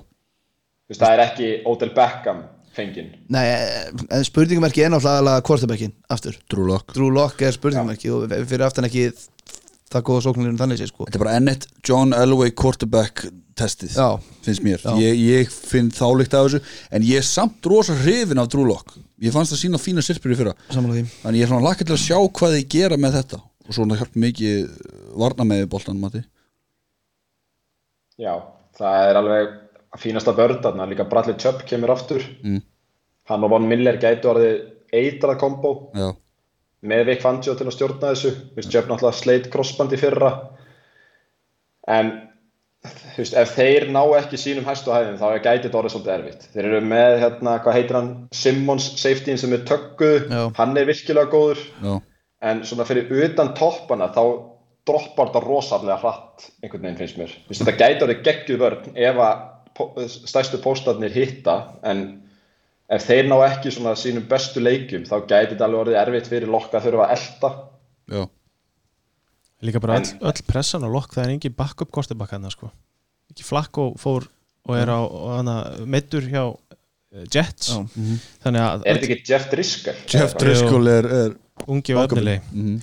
S4: veist, það er ekki Odell Beckham fengin
S2: Nei, eh, en spurningumarki er náttúrulega quarterbackin Aftur
S1: Drew Lock
S2: Drew Lock er spurningumarki og fyrir aftan ekki það góða sóknunum þannig sé sko
S1: þetta er bara ennett John Elway quarterback testið
S2: Já.
S1: finnst mér ég, ég finn þálikt af þessu en ég er samt rosa hrifin af Drew Lock ég fannst það sína fína sirpur í fyrra
S2: Samanlega því
S1: Þannig ég er svona lakka til að sjá hvað þið gera með þetta og svona hjálp mikið varna með boltan Matti
S4: já, það er alveg fínasta börn þarna, líka Bradley Chubb kemur aftur mm. hann og Von Miller gætu orðið eitra kombo
S1: Já,
S4: með Vic Fangio til að stjórna þessu Þú veist, Jöfn náttúrulega sleit crossband í fyrra en þú veist, ef þeir ná ekki sínum hæstu hæðin þá er gætið orðið svolítið erfitt þeir eru með, hérna, hvað heitir hann Simmons safety sem er tökkuð
S2: Já.
S4: hann er virkilega góður
S1: já,
S4: en svona fyrir utan toppana þá droppar þetta rosalega hratt einhvern veginn finnst mér Þú veist, þetta gæti orðið geggjuð vörn ef að po- eh, stærstu póstarnir hitta en ef þeir ná ekki svona sínum bestu leikjum þá gæti þetta alveg orðið erfitt fyrir lokka að þurfa að elta
S1: já
S3: Líka bara öll, öll pressan og lokk, það er engin backup kortebakka hann sko. ekki Flacco fór og er á og hana, meittur hjá eh, Jets
S2: Já.
S3: þannig að
S4: er þetta ekki Jeff Driscoll?
S1: Jeff Driscoll er, er
S3: ungi og öfnileg
S1: Mhm,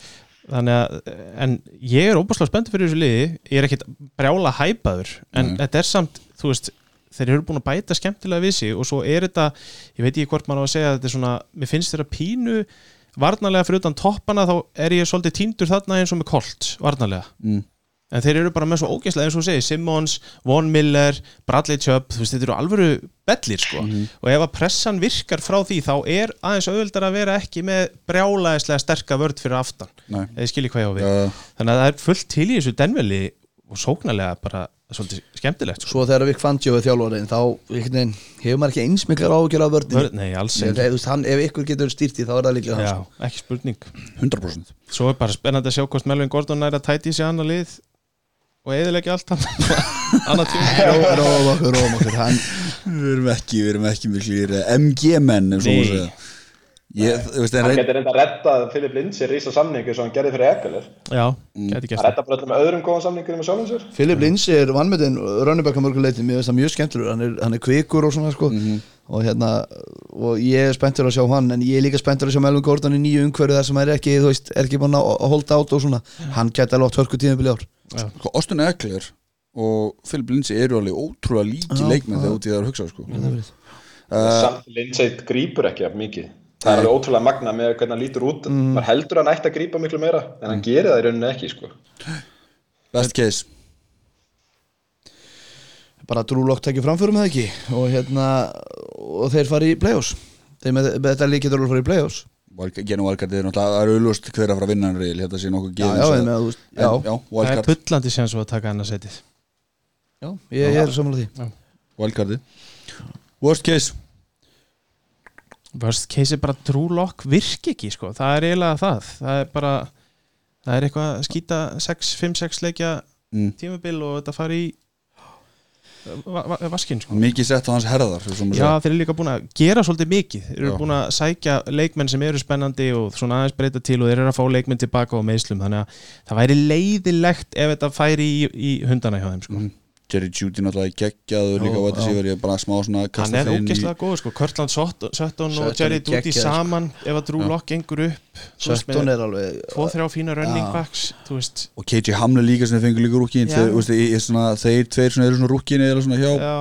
S3: þannig að, en ég er óbúslega spennt fyrir þessu liði, ég er ekkit brjála hæpaður, en þetta er samt þú veist, þeir eru búin að bæta skemmtilega við sig og svo er þetta, ég veit ekki hvort maður á að segja að þetta er svona, mér finnst þeirra pínu varnarlega fyrir utan toppana þá er ég svolítið týndur þarna eins og með kolt varnarlega
S1: Mm.
S3: en þeir eru bara með svo ógeðslega eins og þú segir Simmons, Von Miller, Bradley Chubb þú veist, þetta eru alvöru bellir sko
S1: Mhm.
S3: og ef að pressan virkar frá því þá er aðeins auðvildar að vera ekki með brjálæðislega sterka vörd fyrir aftan
S1: Nei.
S3: eða ég skilji hvað ég á við
S1: Já.
S3: þannig að það er fullt til í þessu denveli og sóknarlega bara svolítið skemmtilegt sko.
S2: Svo þegar Vic Fangio er þjálfarinn þá einhvern veginn, hefur maður ekki eins miklar ágjör af vörðin
S3: Vörn- nei, alls
S2: Ég,
S3: ekki
S2: þú veist, hann, ef ykkur getur stýrt í þá er það líklega hann
S3: Já,
S2: sko.
S3: ekki spurning
S1: 100%
S3: svo er bara spennandi að sjá hvort Melvin Gordon er að tæti í sig annað lið og eðilegja allt hann annað tíma
S5: Ró- Róum okkur, róum okkur hann,
S1: Við erum ekki, við erum ekki miklir MG-menn ef svo má
S3: Nei.
S1: segja Ég, þú veist, en
S4: Hann
S1: reyn,
S4: getur reynda að redda Filip Lindsir rísa samningu sem hann gerði fyrir Ekeler
S3: já,
S2: Mm.
S3: gæti
S4: Hann
S3: gert það
S4: redda bara öllum öðrum góðan samningur með sjálfum sér
S5: Philip Lindsay er vannmöndin Rönnibæk að mörgu leyti, mér finnst það mjög skemmtilegur hann er, hann er kvikur og svona sko og hérna, og ég er spenntur að sjá hann en ég er líka spenntur að sjá Melvin Gordon í nýju umhverju þar sem hann er ekki, þú veist, er ekki búin að að holda át og svona, hann gæti alveg átt hörku tíðanbili ár
S1: sko, Austin Eckler og Philip Lindsay eru alveg ótrúlega líki leikmenn þegar út í það er að hugsa sko.
S4: Samt Lindsay grípur ekki af mikið Það er alveg ótrúlega magna með hvernig hann lítur út mm. Maður heldur að hann ætti að grípa miklu meira En hann gerir það í rauninni ekki sko.
S1: Best case
S5: bara drúlokk tekið framförum það ekki og hérna, og þeir fari í play-offs þeir með, með þetta líkið drúlokk fari í play-offs
S1: Valka- Genú Valgardi er náttúrulega, það er auðlust hver er að fara að vinna hann reyli, þetta sé nokkuð
S5: já,
S1: gefins
S5: já,
S1: að-
S5: en, að, þú veist,
S1: En,
S5: já,
S1: já,
S3: það er
S1: Valgardi
S3: bullandi sem svo að taka hann að setið
S5: já, ég, ég er samanlega því
S1: Valgardi Worst case
S3: worst case er bara true lock virk ekki sko, það er eiginlega það það er bara, það er eitthvað að skýta 5-6 leikja
S1: Mm.
S3: tímabil og þetta fari í va va vaskin sko
S1: Mikið sett á hans herðar svo sem að
S3: Já,
S1: segja.
S3: þeir eru líka búin að gera svolítið mikið Þeir eru
S1: Já.
S3: búin að sækja leikmenn sem eru spennandi og svona aðeins breyta til og þeir eru að fá leikmenn tilbaka á meðslum þannig að það væri leiðilegt ef þetta færi í, í hundana hjá þeim sko.
S1: Jerry Judy náttúrulega geggjaður líka
S3: Já,
S1: og þetta sé verið bara smá svona
S3: Hann
S1: kasta
S3: er
S1: þeim í-
S3: ógeðslega góð sko. Körtland Sutton og
S6: Sutton
S3: Jerry
S6: er
S3: Duty
S6: geggjaður, sko.
S3: saman ef að Drew Lock gengur upp þú veist,
S5: Sörtun
S3: með
S5: er alveg
S3: Tvo þrjá fína running backs Þú veist
S1: og KJ Hamler líka sem fengur líka rúkin
S3: Já.
S1: þeir, veist, ég, ég, svona, þeir tveir svona eru svona rúkin eða svona hjá
S3: Já.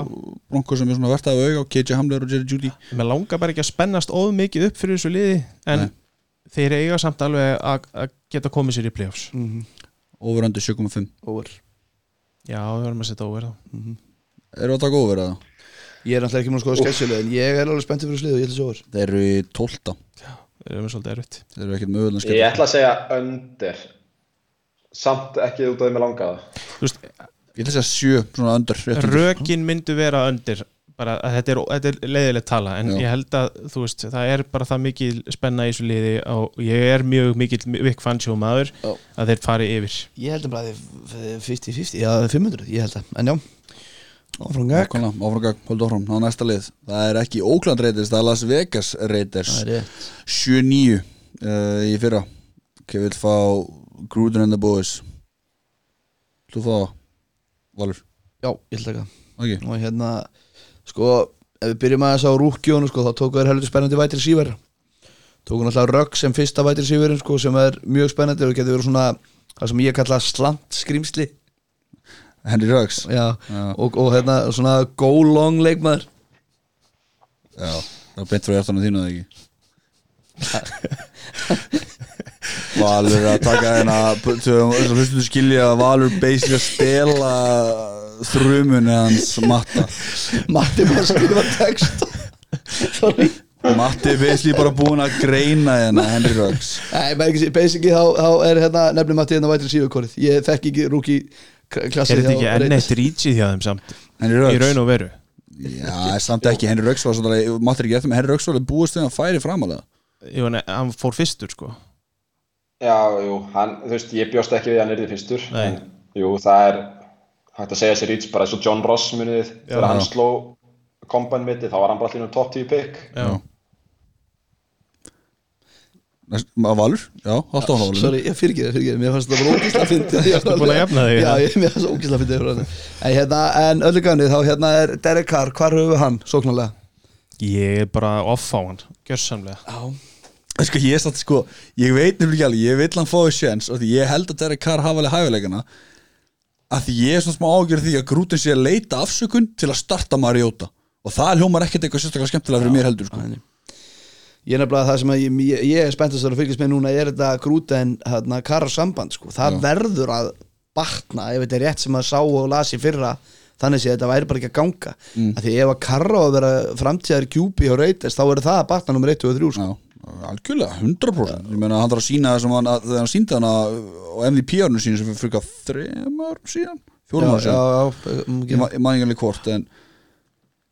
S1: Broncos sem er svona vertað á auga og KJ Hamler og Jerry Judy
S3: Mér langar bara ekki að spennast of mikið upp fyrir þessu liði en
S1: Nei.
S3: þeir eiga samt alveg að að geta komið sér í playoffs
S1: overöndu 7.5
S5: over
S3: Já, við verðum að setja óver þá
S1: eru að taka over eða?
S5: Ég er náttúrulega ekki múin að skoða sketsjulega en ég er alveg spenntið fyrir sliðu, ég ætla að sjá þér
S1: þeir eru í 12
S3: Þeir eru með svolítið erfitt
S1: þeir eru ekkert mögulega
S4: Ég
S1: skemmt
S4: ætla að segja öndir Samt ekki út af því með langaða
S3: Þú veist,
S1: ég ætla að segja 7 svona öndur
S3: rökin myndu vera undir bara að þetta er, þetta er leiðilegt tala en
S1: Já.
S3: ég held að þú veist það er bara það mikil spenna í þessu liði og ég er mjög mikil Vic Fangio maður
S5: Já.
S3: að þeir fari yfir
S5: Ég held að bara þið 50-50, já 500, ég held að, en já Áfram gag
S1: Nákvæmlega, áframgag, höldu áfram, það er næsta lið Það er ekki Oakland Raiders, það er Las Vegas Raiders
S5: Það er rétt
S1: 7-9 uh, í fyrra Ég vil fá Gruden and the Boys Þú fá það, Valur
S5: Já, ég held að það
S1: okay.
S5: Og hérna, sko, ef við byrjum aðeins á rúkjónu sko, þá tóku þær helviti spennandi vætir síver Tóku náttúrulega rögg sem fyrsta vætir síverin sko, sem er mjög spennandi og getur verið svona það sem ég kalla slant skrýmsli
S1: Henry Ruggs
S5: Já,
S1: Já.
S5: Og, og hérna svona go long leikmaður
S1: Já, það er beint frá hjartanum þínu eða ekki Valur er að taka hérna þess að hlustu skilja að Valur basically að stela þrumunni hans matta
S5: Matti bara að skrifa text Sorry
S1: Matti er basically bara búinn að greina hérna Henry Ruggs
S5: Nei, maður ekki, basically þá, þá er hérna nefnum að tíðan á vætri síðukorið Ég þekki ekki rúki
S3: er
S5: klassið
S3: þetta ekki enn eitt rítsið hjá þeim samt
S1: Henry
S3: í raun
S1: Ruggs
S3: og veru
S1: Já, samt ekki, Henry Ruggs var svona Matti er ekki eftir með Henry Ruggs var alveg búist þegar hann færi framalega
S3: Jú, nei, hann fór fyrstur sko
S4: Já, jú, hann, þú veist, ég bjóst ekki við að hann yrði fyrstur
S3: Nei.
S4: en, Jú, það er hægt að segja sér íts bara eins og John Ross munið þegar hann
S1: Já.
S4: sló komban mitti þá var hann bara allir um top 10 pick
S3: Já.
S1: Næst- ma- Valur, já, alltaf hann á Valur
S5: Sorry, ég fyrir ekki það, fyrir ekki það Mér fannst þetta bara ógislega fyndið Ég
S3: búin að jafna þig,
S5: Já,
S3: já.
S5: ég, mér fannst það ógislega fyndið En, hérna, en öllu gafnið, þá hérna er Derek Carr, hvar höfum við hann, sóknarlega?
S3: ég er bara off á hann gjörsamlega
S5: Já
S1: Sko ég er satt sko, ég veit nefnilega ekki alveg, ég vil hann fáið sjens og því ég held að Derek Carr hafa alveg hæfileikana að því ég er svona smá ágjörð því að grútin sé að leita afsökun til að starta Mariota og það hljómar ekkert eitthvað sérstaklega skemmtilega fyrir mér heldur sko.
S5: Ég er nefnilega það sem að ég, ég, ég er spenntast að fylgjast með núna er þetta grúta en hérna, Carr samband sko. Það verður að batna ef þetta er rétt sem að sá og lasi fyrra þannig sé þetta væri bara ekki að ganga mm. að því ef að Carr á að vera framtíðar kjúpi og reytist þá er það að batna nummer 1 og 3 sko.
S1: Já, algjörlega, 100% ég meina hann þarf að sína það sem hann að- þegar hann síndi hann á MVP-árnu sínu sem fyrir fruka þrem árum síðan, fjórum árum
S5: já,
S1: síðan
S5: já,
S1: ég
S5: um,
S1: ma- ég man ekki alveg hvort en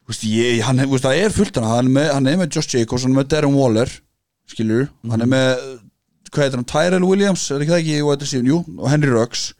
S1: þú veist, ég, hann, þú veist, það er fullt hann hann er með, hann er með Josh Jacobs, hann er með Darren Waller skilur,
S5: Mhm.
S1: hann er með hvað heitir hann, Tyrell Williams er ekki það ekki, og, þetta síðan, jú, og Henry Ruggs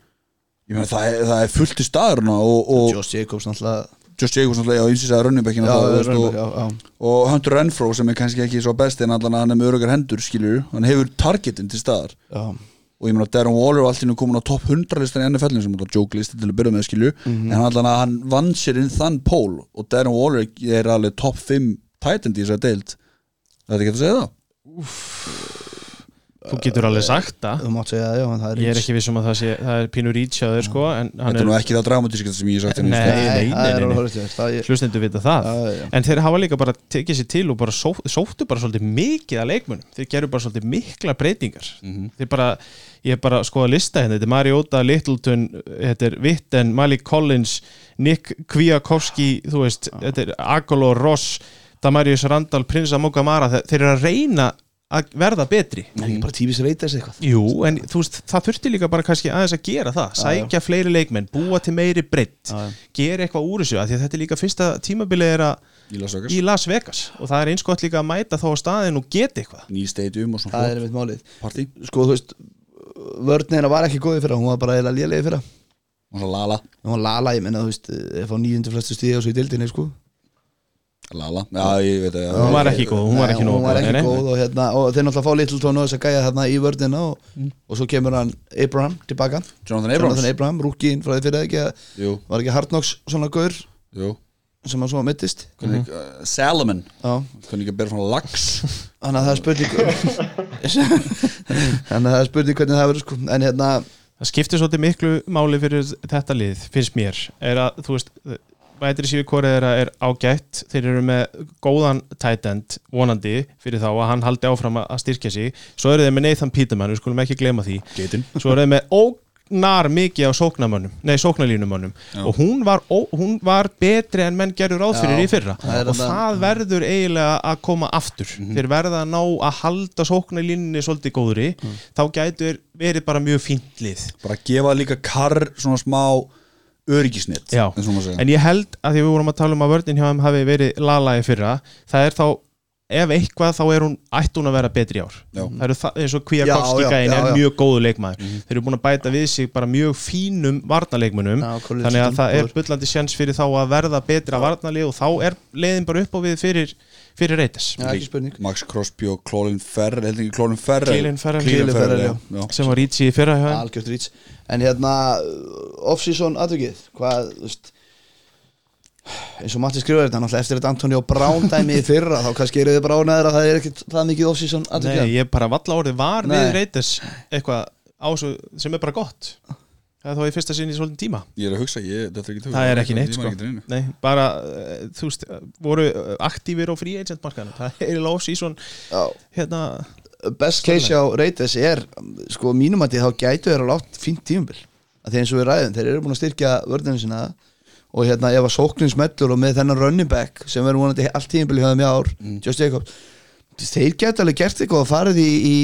S1: Ég meina, það, er- það er fullt í staðurna og, og
S5: Josh Jacobs náttúrulega
S1: Josh Jacobs náttúrulega á einsins að runningbækina
S5: Já,
S1: og,
S5: running back, já, já.
S1: og, og Hunter Renfro sem er kannski ekki svo best en allan að hann er með örugar hendur skilur hann hefur targetin til staðar
S5: já,
S1: og ég meina Darren Waller var allt innu komin á topp 100 listan í NFL-in sem var joke listi til að byrja með skilju en allan að hann vann sér inn þann pól og Darren Waller er alveg topp 5 tætend í þess að deild Þetta er ekki hægt að segja það
S3: Þú getur
S1: Eh,
S3: alveg sagt það
S5: þú mátt segja það, já, en það er
S3: Ég er ekki vissum að það sé, það er pínur ítjáður sko En hann
S1: Þetta er nú
S3: er,
S1: ekki það dramatískast sem ég hef sagt hérna,
S3: Nei.
S1: sko.
S5: Nei, það
S3: nei,
S5: er
S3: nei.
S5: alveg horrið það er
S3: hlustendur vita það
S5: Já, já, já.
S3: En þeir hafa líka bara tekið sér til og bara só, sóttu bara svolítið mikið að leikmunum Þeir gerðu bara svolítið mikla breytingar
S5: Mhm.
S3: Þeir bara, ég er bara að skoða lista hérna Þetta er Mariota, Littleton, þetta er Witten, Malik Collins Nick Kwiatkowski, þú veist Þetta er Agolo Ross, Damarius Randall, Prinsa Mogamara Þeir, þeir eru að reyna að verða betri
S5: Það er ekki bara tífis reytas eitthvað
S3: Jú, en þú veist, það þurfti líka bara kannski aðeins að gera það, sækja fleiri leikmenn búa til meiri breytt, gera eitthvað úr þessu, af því að þetta er líka fyrsta tímabilið er að
S1: sko. Í Las Vegas.
S3: í Las Vegas og það er eins gott líka að mæta þá á staðin og geta eitthvað
S1: ný stadium og svona
S5: það
S1: flott
S5: er einmitt málið
S1: partí
S5: sko, þú veist, vörnina var ekki góðið fyrir hún var bara eða lélegi fyrir
S1: og svo Lala
S5: hún var lala, ég menna, þú veist, ef á nýjundu flestu stíði og svo í dildinni, sko
S1: Lala, já ég veit að já.
S3: Hún var ekki góð, hún var
S5: Nei,
S3: ekki nógu
S5: hún
S3: góð,
S5: var
S3: nei,
S5: ekki
S3: nei.
S5: góð og, hérna, og þeir náttúrulega fá Littleton og þess að gæja þarna í vörnina og,
S3: Mm.
S5: og svo kemur hann Abraham tilbaka
S1: Jonathan Abrams
S5: Jonathan Abraham, rúkiinn frá því fyrir ekki að
S1: Jú,
S5: var ekki Hardnox svona gaur
S1: jú
S5: sem hann svo mittist
S3: Mhm.
S1: Hvernig, uh, Salomon
S5: Já,
S1: Hvernig ekki að bera frá lax
S5: þannig að það er spurning þannig að það er spurning hvernig það verður sko en hérna,
S3: það skiptir svolítið miklu máli fyrir þetta lið, finnst mér er að, þú veist, vætri sífi korið þeirra er ágætt, þeir eru með góðan tight end, vonandi fyrir þá að hann haldi áfram að- að styrkja sig svo eru þeir með Nathan Peterman, við skulum ekki gleyma því
S1: Geitin
S3: svo er það með ógnar mikið á sóknamönnum, nei sóknalínumönnum og hún var, ó, hún var betri en menn gerur ráð fyrir í fyrra
S5: það er Mhm.
S3: og
S5: þetta-
S3: það verður eiginlega að koma aftur þeir verða að ná að halda sóknalínunni svolítið góðri,
S5: Mhm.
S3: þá gætur verið bara mjög fínt lið
S1: Bara gefa líka karr svona smá öryggisnett
S3: Já.
S1: En svona maður segja
S3: en ég held að því við vorum að tala um að vörnin hjá þeim hafi verið lala í fyrra, það er þá ef eitthvað þá er hún ætti hún að vera betri í ár
S1: Já.
S3: það eru það, eins og
S5: Já, já,
S3: Kvíakowski gæin
S5: já, Mhm.
S3: er
S5: já.
S3: mjög góðu leikmaður þeir eru búin að bæta við sig bara mjög fínum varnarleikmunum
S5: Já, Collins
S3: þannig
S5: er
S3: að það er
S5: góður.
S3: bullandi sjans fyrir þá að verða betra varnarlið og þá er leiðin bara upp á við fyrir, fyrir reytis
S5: já, ekki spurning
S1: Max Crosby og Clólin Ferrell Heldur ekki Clólin Ferrell
S3: Clelin Ferrell.
S1: Clelin
S5: Ferrell,
S1: Ferrell,
S5: já.
S1: já, já.
S3: sem var Ritchie í fyrra hjá þeim.
S5: algjört rýts en hérna, off-season aðvikið hvað, þú veist eins og Matti skrifaði þetta, náttúrulega eftir þetta Antonio Brown dæmi í fyrra, þá kannski eru þið bránaðir að það er ekkit það mikið off-season
S3: Nei,
S5: aðvikið
S3: ég bara valla orðið var
S5: Nei.
S3: við reytis eitthvað á svo, sem er bara gott það er þá í fyrsta sinni í svolítið tíma
S1: Ég er að hugsa ég, þetta er ekki
S3: það er ekki neitt
S1: Ég
S3: sko
S1: man ekki til neinu.
S3: Nei, bara, eh, þú veist, voru eh, aktífir á free agent markaðan það er í lás í svon
S5: Já.
S3: hérna,
S5: best case á Reytes er sko mínum að því þá gætu þeir alveg átt fínt tímumbil að því eins og við ræðum, þeir eru búin að styrkja vörðinu sína og hérna ef að sóknin smellur og með þennan running back sem verður vonandi allt tímumbil hjá þeim í ár, Just Jacobs þeir gætu alveg gert eitthvað og farið í, í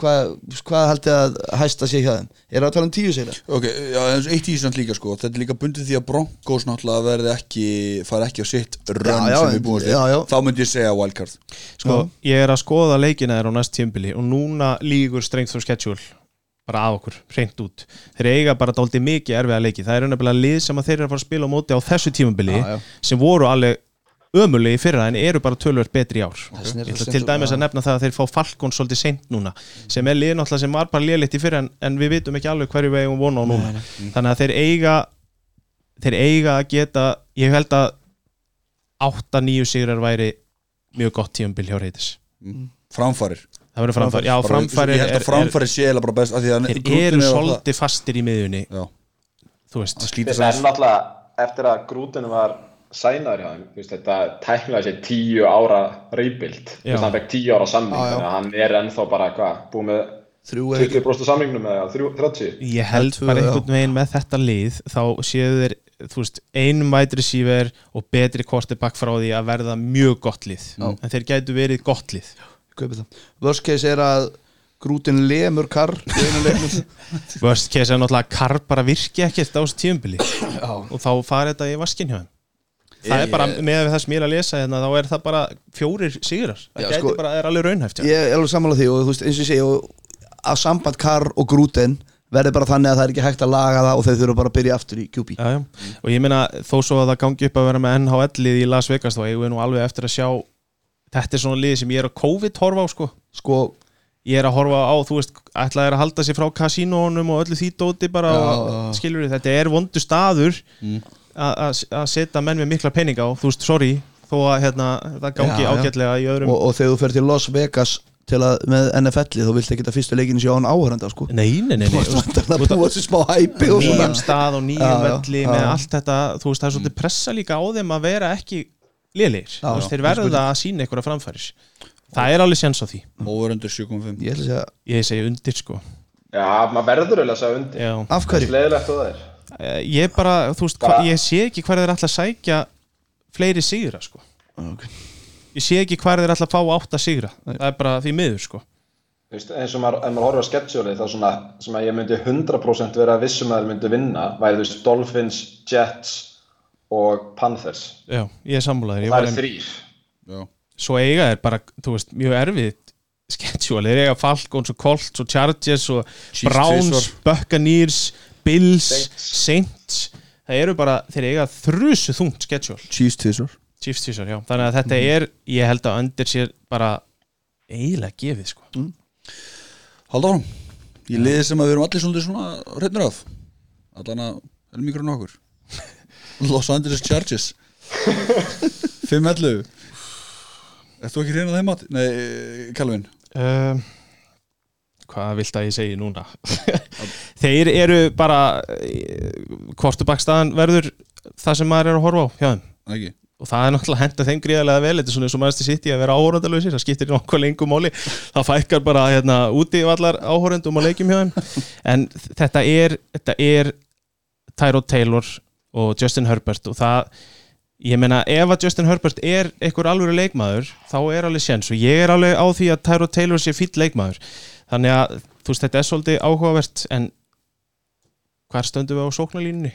S5: hvað, hvað haldið að hæsta sig hjá þeim, er það að tala um tíu segja
S1: Ok, já, en eitt í Ísland líka sko Þetta er líka bundið því að Broncos náttúrulega verði ekki fara ekki á sitt rönn
S5: Já, já,
S1: sem við
S5: en-
S1: búum
S5: já, já.
S1: Þá myndi ég segja wildcard
S3: sko, ég er að skoða leikina þér á næst tímbili og núna lígur strengt þó schedule bara að okkur, reynd út þeir eiga bara dálítið mikið erfiða leiki það er unnafnilega lið sem að þeir eru að fara að spila á móti á þessu tímabili
S5: Já, já.
S3: sem voru alveg ömulegi í fyrra en eru bara tölvöld betri í ár
S5: Þess
S3: Ég ætla
S5: vegna er það
S3: til
S5: skemmtilegt.
S3: dæmis að nefna það að þeir fá Falkon svolítið seint núna sem er lið náttúrulega sem var bara liðleitt í fyrra en, en við vitum ekki alveg hverju við eigum vona á núna
S5: Mm.
S3: þannig að þeir eiga þeir eiga að geta ég held að 8-9 sigrar væri mjög gott tíumbil hjá reytis
S1: Framfarir
S3: það verður framfæri, já
S1: Bara-
S3: framfæri
S1: Ég held að framfæri sé eða bara best af því að
S3: þeir
S1: grúttin er
S3: eru
S1: alltaf-
S3: svolítið fastir í miðjunni
S1: Já,
S3: þú veist,
S1: slítið
S4: Þetta er
S1: sæns
S4: náttúrulega eftir að grútinu var sænaður hjá þeim, þú veist, þetta tæknilega sé tíu ára reybild
S3: Já.
S4: hann fekk tíu ára samning
S5: Já, já.
S4: þannig að hann er ennþá bara hvað, búið með
S5: þrjú er
S4: 20% samningnum eða þrjú- 30
S3: ég held
S5: tvö,
S3: bara
S5: já.
S3: einhvern veginn með þetta lið þá séu þeir, þú veist, einum wide receiver og betri kortibakk frá því að verða mjög gott lið en þeir gætu verið gott lið
S5: kaupið það, worst case er að grútin lemur kar í einu leiknum.
S3: worst case er náttúrulega að Karp bara virki ekkert á þessu tíumbili og þá fari þetta í vaskin hjá þeim það er bara, með við það sem ég er að lesa hérna, þá er það bara fjórir sigrar það
S5: Já,
S3: gæti
S5: sko,
S3: bara, er alveg raunhæft hjá þeim.
S5: ég er alveg sammála því og þú veist eins og ég segi og að samband Karr og Grúten
S2: verði bara þannig að það er ekki hægt að laga það og þeir þurfa bara að byrja aftur í QB
S3: já, já. og ég meina þó svo að það gangi upp að vera með NHL-lið í Las Vegas þá eigum við nú alveg eftir að sjá þetta er svona lið sem ég er að COVID horfa á sko.
S2: sko,
S3: ég er að horfa á, þú veist, ætlaði að halda sig frá kasínónum og öllu því dóti bara
S2: Já,
S3: og,
S2: já.
S3: skilur við, þetta er vondu staður að mm. setja menn með mikla peninga á, þú veist, sorry þó að hérna, það gangi
S2: Já, já.
S3: ágætlega í öðrum
S2: og, og þegar þú fer til Las Vegas til að, með NFL-ið, þú vilt ekki að fyrstu leikinu sé án áhörenda sko
S3: Nei, nei, nei, nei.
S2: Þú veist, það búa þessu smá hæpi og svona
S3: nýjum stað og nýjum
S2: Já, já,
S3: velli
S2: já. Mm.
S3: með allt þetta, þú veist, það er svolítið pressa líka á þeim að vera ekki liðlegir, þú
S2: já,
S3: veist, þeir verða að sína einhverja framfæris það er alveg séns á því
S1: Overundur 7.5
S2: Ég ætla að segja,
S3: ég segi undir sko
S4: Já, maður verður eiginlega að segja undir
S3: já.
S2: af hverju?
S4: Sleiðilegt og það er
S3: Eh, ég bara, þú veist, hva, ég sé ekki hvar þeir ætla að sækja fleiri sigra sko
S2: Ok.
S3: ég sé ekki hvar þeir ætla að fá átta sigra það er bara því miður sko
S4: Þú veist, eins og maður, ef maður horfir á sketsjóli þá svona, sem að ég myndi 100% vera vissum að þeir myndi vinna, væri þú veist Dolphins, Jets og Panthers.
S3: já, ég er sammálaður ég
S4: Það
S3: var
S4: eru
S3: einmitt-
S4: þrýr.
S3: svo eiga er bara, þú veist, mjög erfið schedule, þeir eiga Falcons og Colts og Chargers og Browns
S1: tvisvar.
S3: Buccaneers, Bills
S4: Saints.
S3: Saints, það eru bara þeir eiga þrusu þungt schedule
S1: Chiefs tvisar
S3: Chiefs tísar, já, þannig að þetta er ég held að undir sér bara eiginlega gefið, sko
S1: Halda áfram Í liði sem að við erum allir svolítið svona hreitnir af Allan að helmingurinn okkur Los Angeles Chargers 5.11 Ert þú ekki reyna þeim að Nei, Calvin
S3: um, hvað vilt að ég segi núna þeir eru bara eh, kvortubakstaðan verður það sem maður er að horfa á hjá þeim
S1: Ekki
S3: og það er náttúrulega henda þeim gríðarlega vel þetta er svona eins og maður stið sitt í að vera áhórandalösi það skiptir nokkuð lengur máli það fækkar bara hérna, úti allar áhórandum og leikjum hjá þeim en þetta er, þetta er Tyrod Taylor og Justin Herbert og það ég meina ef að Justin Herbert er einhver alvöru leikmaður þá er alveg séns og ég er alveg á því að Tyrod Taylor sé fýll leikmaður þannig að þú veist þetta er svolítið áhugavert en hvar stöndum við á sóknarlínunni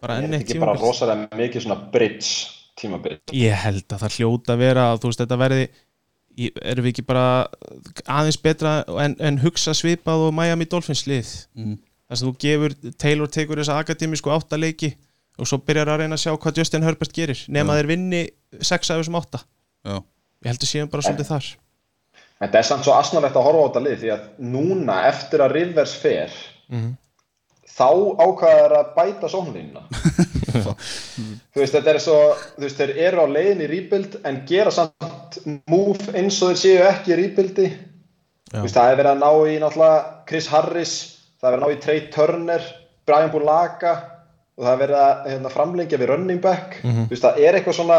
S3: bara
S4: Er
S3: enn
S4: þetta
S3: eitt
S4: ekki bara
S3: tímabil.
S4: rosalega mikið svona bridge, tímabill.
S3: Ég held að það hljóta að vera að þú veist þetta verði ég- erum við ekki bara aðeins betra en, en hugsa svipað og Miami Dolphins lið
S1: Mm.
S3: þar sem þú gefur, Taylor tekur þessa akademísku áttaleiki og svo byrjar að reyna að sjá hvað Justin Herbert gerir nema þeir vinni sex af þessum átta
S1: Já.
S3: ég held að séum bara svolítið þar
S4: Þetta er samt svo asnalegt að horfa á þetta lið því að núna eftir að Rivers fer þá ákvaðar að bæta sónlínuna þú veist þetta er svo þú veist þeir eru á leiðin í rebuild en gera samt move eins og þeir séu ekki í rebuildi þú veist það er verið að ná í náttúrulega Chris Harris, það er verið að ná í Trey Turner Brian Bulaga og það er verið að hérna, framlengja við running back þú veist það er eitthvað svona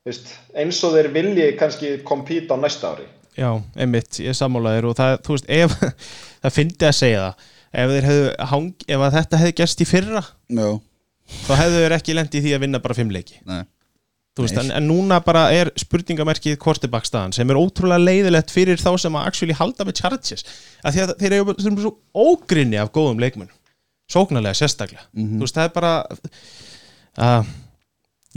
S4: þú veist, eins og þeir vilji kannski kompýta á næsta ári
S3: Já, einmitt, ég er sammálaður og það, þú veist, ef það fyndi að segja það ef, þeir hefðu hang, ef að þetta hefði gerst í fyrra
S1: Já,
S3: þá hefðu þeir ekki lendi í því að vinna bara fimm leiki
S1: nei
S3: Þú veist, en, en núna bara er spurningamerkið quarterbackstaðan sem er ótrúlega leiðilegt fyrir þá sem að actually halda með Chargers af því að þeir eru sem svo ógrinni af góðum leikmunum sóknarlega sérstaklega
S1: Mhm.
S3: þú veist það er bara að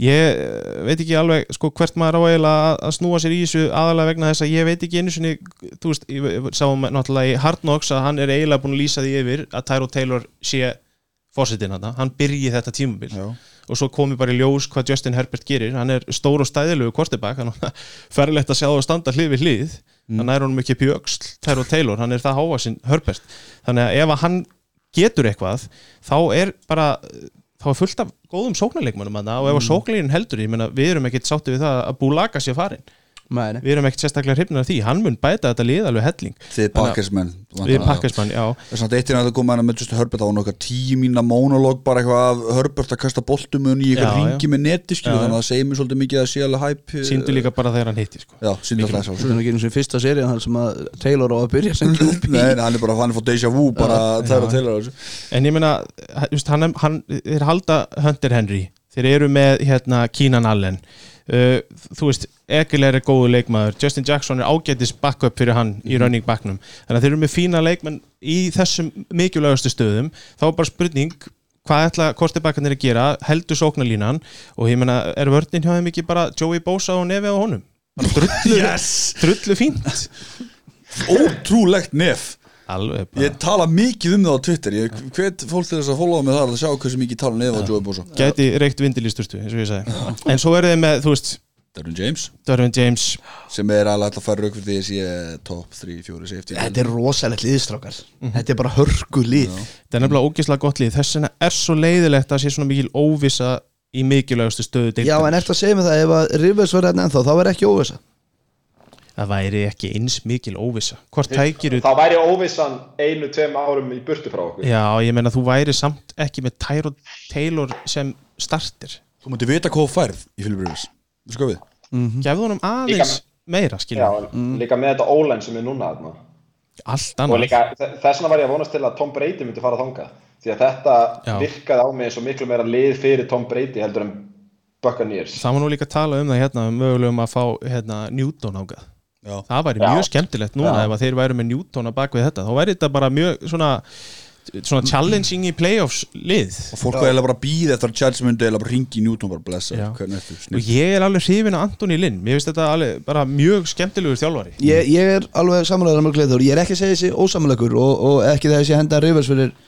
S3: ég eh, veit ekki alveg sko hvert maður á eiginlega að- að snúa sér í þessu aðalega vegna þess að ég veit ekki einu sinni þú veist, ég ég sáum náttúrulega í Hard Knocks að hann er eiginlega búin að lýsa því yfir að Tyro Taylor sé fórsetin hann, hann byrji þetta tímabil
S1: Já.
S3: og svo komi bara í ljós hvað Justin Herbert gerir hann er stór og stæðilegu kortibak hann ferlegt að sjá það standa hlið við hlið hann er honum ekki upp í öxl Tyro Taylor, hann er það háa sinn Herbert þannig að ef að hann getur eitthvað þá er bara þá er fullt af góðum sóknarleikmannum að og ef að sóknarleikin heldur, ég meina við erum ekkit sátti við það að Búlaka sé farin
S2: Nei, nei.
S3: við erum ekkit sérstaklega hrifnir af því, hann mun bæta þetta lið alveg helling,
S1: Þið Pakkersmenn
S3: við erum pakkismann, já
S1: Það er svona eittir að það koma hana með Justin Herbert á nokkar tíu mína monolog bara eitthvað af Herbert að kasta boltum og í eitthvað
S3: Já, já.
S1: ringi með neti skilu
S3: Já, já.
S1: þannig að það segir mér svolítið mikið að sé alveg hæp
S3: síndu líka bara þegar hann hitti sko.
S1: Já, síndu alltaf þess
S2: Svo er það ekki einu sem fyrsta serían þar sem að Taylor á að byrja sem
S1: Nei,
S2: QB
S1: nei, hann er bara, hann er fór deja vu bara þegar að telur þessu
S3: en ég meina, h- þú veist, hann, hann þeir halda Hunter Henry, þeir eru með hérna Keenan Allen uh, þú veist, Egilir er góðu leikmaður Justin Jackson er ágætis backup fyrir hann í running backnum, þannig að þeir eru með fína leikmenn í þessum mikilvægastu stöðum þá er bara spurning hvað ætla kortibakkarnir að gera, heldur sóknarlínan og ég meina, er vörnin hjá þeim ekki bara Joey Bosa og nefið á honum bara drullu,
S1: Yes!
S3: drullu fínt
S1: Ótrúlegt nef
S3: alveg bara
S1: Ég tala mikið um það á Twitter Ég hvet fólk til þess að followa mig þar að sjá hversu mikið tala nefn á Joey Bosa
S3: gæti reykt vindilýsturstu, eins og ég sagði en svo er þið með, þú veist,
S1: Darren James
S3: Darwin James
S1: sem er alveg alltaf að fara rauk fyrir því að sé top 3, 4, safety
S2: Þetta er rosalegt liðstrákar Þetta er bara hörku lið
S3: þetta er nefnilega ógislega gott lið þess vegna er svo leiðilegt að sé svona mikil óvissa í mikilvægustu stöðu
S2: Já, en
S3: deildarinnar.
S2: eftir að segja mig það, ef að Rivers verður hérna ennþá, þá verður ekki óvisa
S3: það væri ekki eins mikil óvissa hvort tækir
S4: þá væri óvissan einu, tveim árum í burtu frá okkur
S3: já, ég meina þú væri samt ekki með Tyron Taylor sem startir
S1: Þú mútti vita hvað þú færð í Philip Rivers Þú sko við
S2: Mhm.
S3: gefðu honum aðeins meira
S4: Já,
S3: skiljum,
S2: Mm.
S4: en líka með þetta ólæn sem er núna þarna.
S3: allt
S4: og
S3: annað
S4: líka þe- þess vegna var ég að vonast til að Tom Brady myndi fara þangað því að þetta
S3: Já.
S4: virkaði á mig svo miklu meira lið fyrir Tom Brady heldur en Buccaneers
S3: það var nú líka að tala um það hérna um mögulegum að fá hérna, Newton ágað
S1: Já.
S3: það væri
S4: Já.
S3: mjög skemmtilegt núna ef að þeir væri með Newton að bak við þetta þá væri þetta bara mjög svona svona challenging í playoffs lið
S1: og fólk var eiginlega bara að býða eftir að Charles myndi eiginlega bara ringi í Newton bara blessa
S3: Já.
S1: hvernig ertu
S3: og
S1: snill
S3: ég er alveg hrifin að Antoni Linn mér finnst þetta alveg bara mjög skemmtilegur þjálfari
S2: ég, ég er alveg samanlegaður með gleður Ég er ekki að segja þessi ósamanlegur og, og ekki það að þessi henda Rivers fyrir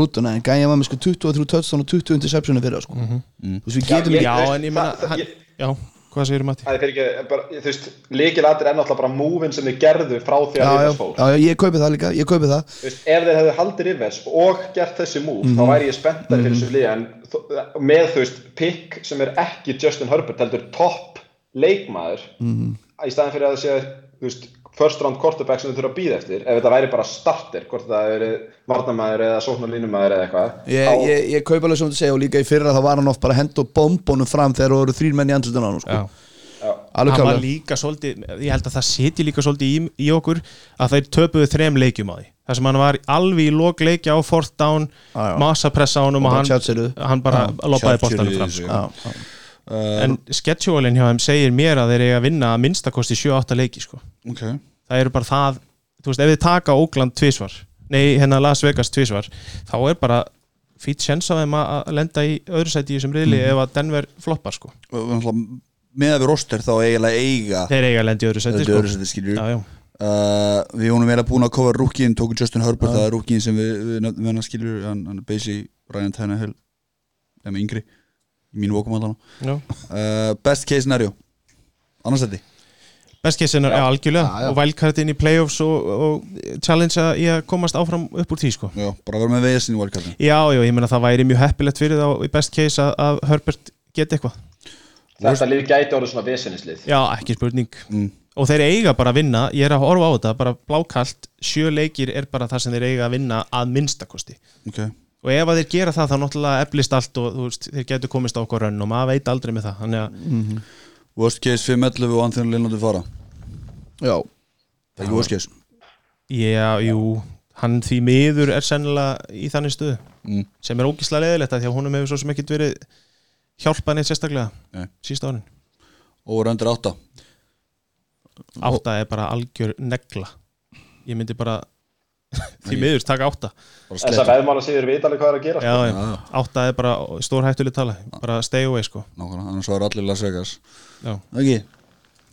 S2: rútuna En gæja var með sko 23 touchdown og 20 interceptionu fyrir það sko
S3: Mhm.
S2: Þú veist, við
S4: Já,
S2: getum
S4: ég-
S2: ekki
S3: já
S4: veist,
S3: en ég meina
S4: það-
S3: hann-
S4: ég-
S3: já, hvað segir Matti?
S4: Það er fyrir ekki, bara, þú veist, líkilatir er náttúrulega bara múvin sem þið gerðu frá því
S2: Já,
S4: að
S2: já,
S4: Rivers fór.
S2: já, já, ég kaupi það líka, ég kaupi það
S4: Þú veist, ef þeir hefðu haldið Rivers og gert þessi múv,
S2: Mhm.
S4: þá væri ég spenntar fyrir þessu liði, en þó- með, þú veist, pick sem er ekki Justin Herbert, heldur topp leikmaður,
S2: Mhm.
S4: í staðin fyrir að það sé, þú veist, first round quarterback sem þau þurfa að býða eftir, ef þetta væri bara starter, hvort það eru varnamæður eða sóknarlínumæður eða eitthvað.
S2: Ég, ég, ég kaupi alveg sem þú segja og líka í fyrra þá var hann oft bara að henda bombónum fram þegar það voru þrín menn í andlutin á hann sko.
S3: Já.
S2: Alveg
S3: hann var
S2: klálega
S3: líka svolítið, ég held að það siti líka svolítið í, í okkur að þeir töpuðu þrem leikjum á því þar sem hann var alveg í lok leikja á fourth down,
S2: Já, já.
S3: massa pressa á honum
S2: Og
S3: og
S2: bara
S3: hann,
S2: tjátseruðu.
S3: hann bara loppaði
S1: Charles
S3: boltanum
S1: í
S3: fram
S1: þessu.
S3: sko.
S2: Já, já.
S1: Uh,
S3: en schedule-in hjá þeim segir mér að þeir eiga að vinna að minnstakosti 7-8 leiki sko.
S1: ok
S3: það eru bara það þú veist, ef þið taka Oakland tvísvar nei, hérna Las Vegas tvísvar þá er bara fýtt sjens á þeim að- að lenda í öðru sæti í þessum riðli ef að Denver floppar sko.
S1: Og náttúrulega, með að við roster þá eiginlega eiga
S3: þeir eiga að lenda í öðru sæti
S1: þetta
S3: sko.
S1: öðru sem þetta skilur
S3: já, já.
S1: Uh, við vonum eiginlega búin að kofa rúkin tókum Justin Herbert, það er rúkin sem við, við nefnum hennar skilur, hann, hann er basically Ryan Tannehill, nefnum yngri í mínu vokum allan
S3: Já.
S1: uh, best case scenario annars þetta
S3: Best case scenario, já, algjörlega og valkart inn í playoffs og, og challenge að í að komast áfram upp úr tí sko.
S1: Já, bara vera með veginn í valkartin
S3: Já, já, ég meina það væri mjög heppilegt fyrir þá í best case að, að Herbert geti eitthvað
S4: Þetta lið gæti orðið svona veseninslið.
S3: Já, ekki spurning og þeir eiga bara að vinna, ég er að horfa á þetta bara blákalt, sjö leikir er bara það sem þeir eiga að vinna að minnstakosti
S1: okay.
S3: og ef að þeir gera það þá náttúrulega eflist allt og þú veist, þeir getur komist á okkur rönn og maður veit aldrei með það þannig að
S1: worst case 5-11 og Anthony Linnardur fara
S2: já,
S1: það er ekki worst case
S3: Já, jú, hann því miður er sennilega í þannig stuðu sem er ógíslega leðilegt að því að honum hefur svo sem ekkit verið hjálpað neitt sérstaklega
S1: Nei.
S3: sísta árin.
S1: og röndir 8
S3: Átta er bara algjör negla ég myndi bara því miður taka átta
S1: bara
S4: Þessar
S1: slett
S4: veðmála síður vita alveg hvað er að gera.
S3: já, já. átta er bara stór hættuleg tala bara stay away sko
S1: Nákvæmlega, annars var allir Las Vegas
S3: já.
S1: ekki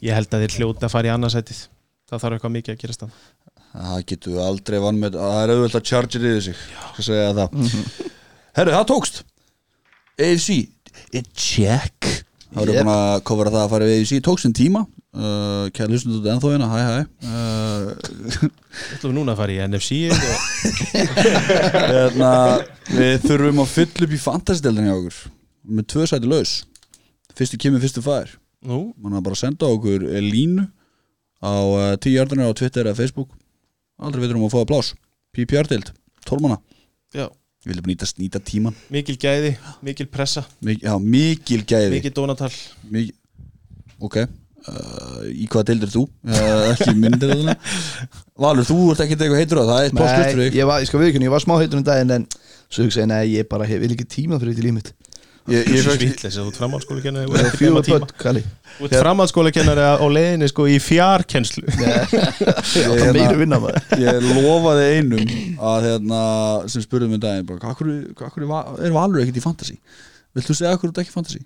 S3: ég held að þeir hljóta að fara í annarsætið það þarf eitthvað mikið að gerast þannig
S1: það getur við aldrei vann með það er auðvitað að charger yfir sig skal segja það herru það tókst AFC it check það voru
S2: Yep.
S1: búin að kofra það að fara við AFC tókst en tíma uh, kæra lusnum þetta ennþá hérna hæ hæ uh,
S3: Þú ætlum við núna að fara í NFC og...
S1: hérna, við þurfum að fylla upp í fantasy-deldinni á okkur með tvö sæti laus fyrstu kemur, fyrstu fær
S3: Nú,
S1: mann að bara senda okkur eh, línu á eh, 10 jarðarnir á Twitter eða Facebook aldrei við þurfum að fá að blás PPR-deild, 12 manna
S3: já,
S1: við viljum nýta, nýta tíman
S3: mikil gæði, mikil pressa
S1: Mik, já, mikil gæði
S3: mikil dónatal
S1: mikil, ok Uh, í hvaða deildir þú? Uh, ekki myndir þarna Valur, þú ert ekki eitthvað heitur á það, það er
S2: Nei,
S1: plástur
S2: ég, var, ég skal viðkynna, ég var smá heitur um daginn en svo hugsaði, ég, nei, ég bara hef, vil ekki tíma fyrir þetta í líf mitt
S1: ég, ég, ég,
S3: Svítlis, þú ert framhaldsskóla kennari
S2: Það er fjögur börn, Kali
S3: Þú ert framhaldsskóla kennari á leiðinni sko í fjarkenslu
S2: Það er meira vinna maður
S1: ég lofaði einum að hérna, sem spurði mig um daginn bara, hvað akkur, akkur er Valur ekkert í fantasy vilt þú segja akkur út ekki í fantasy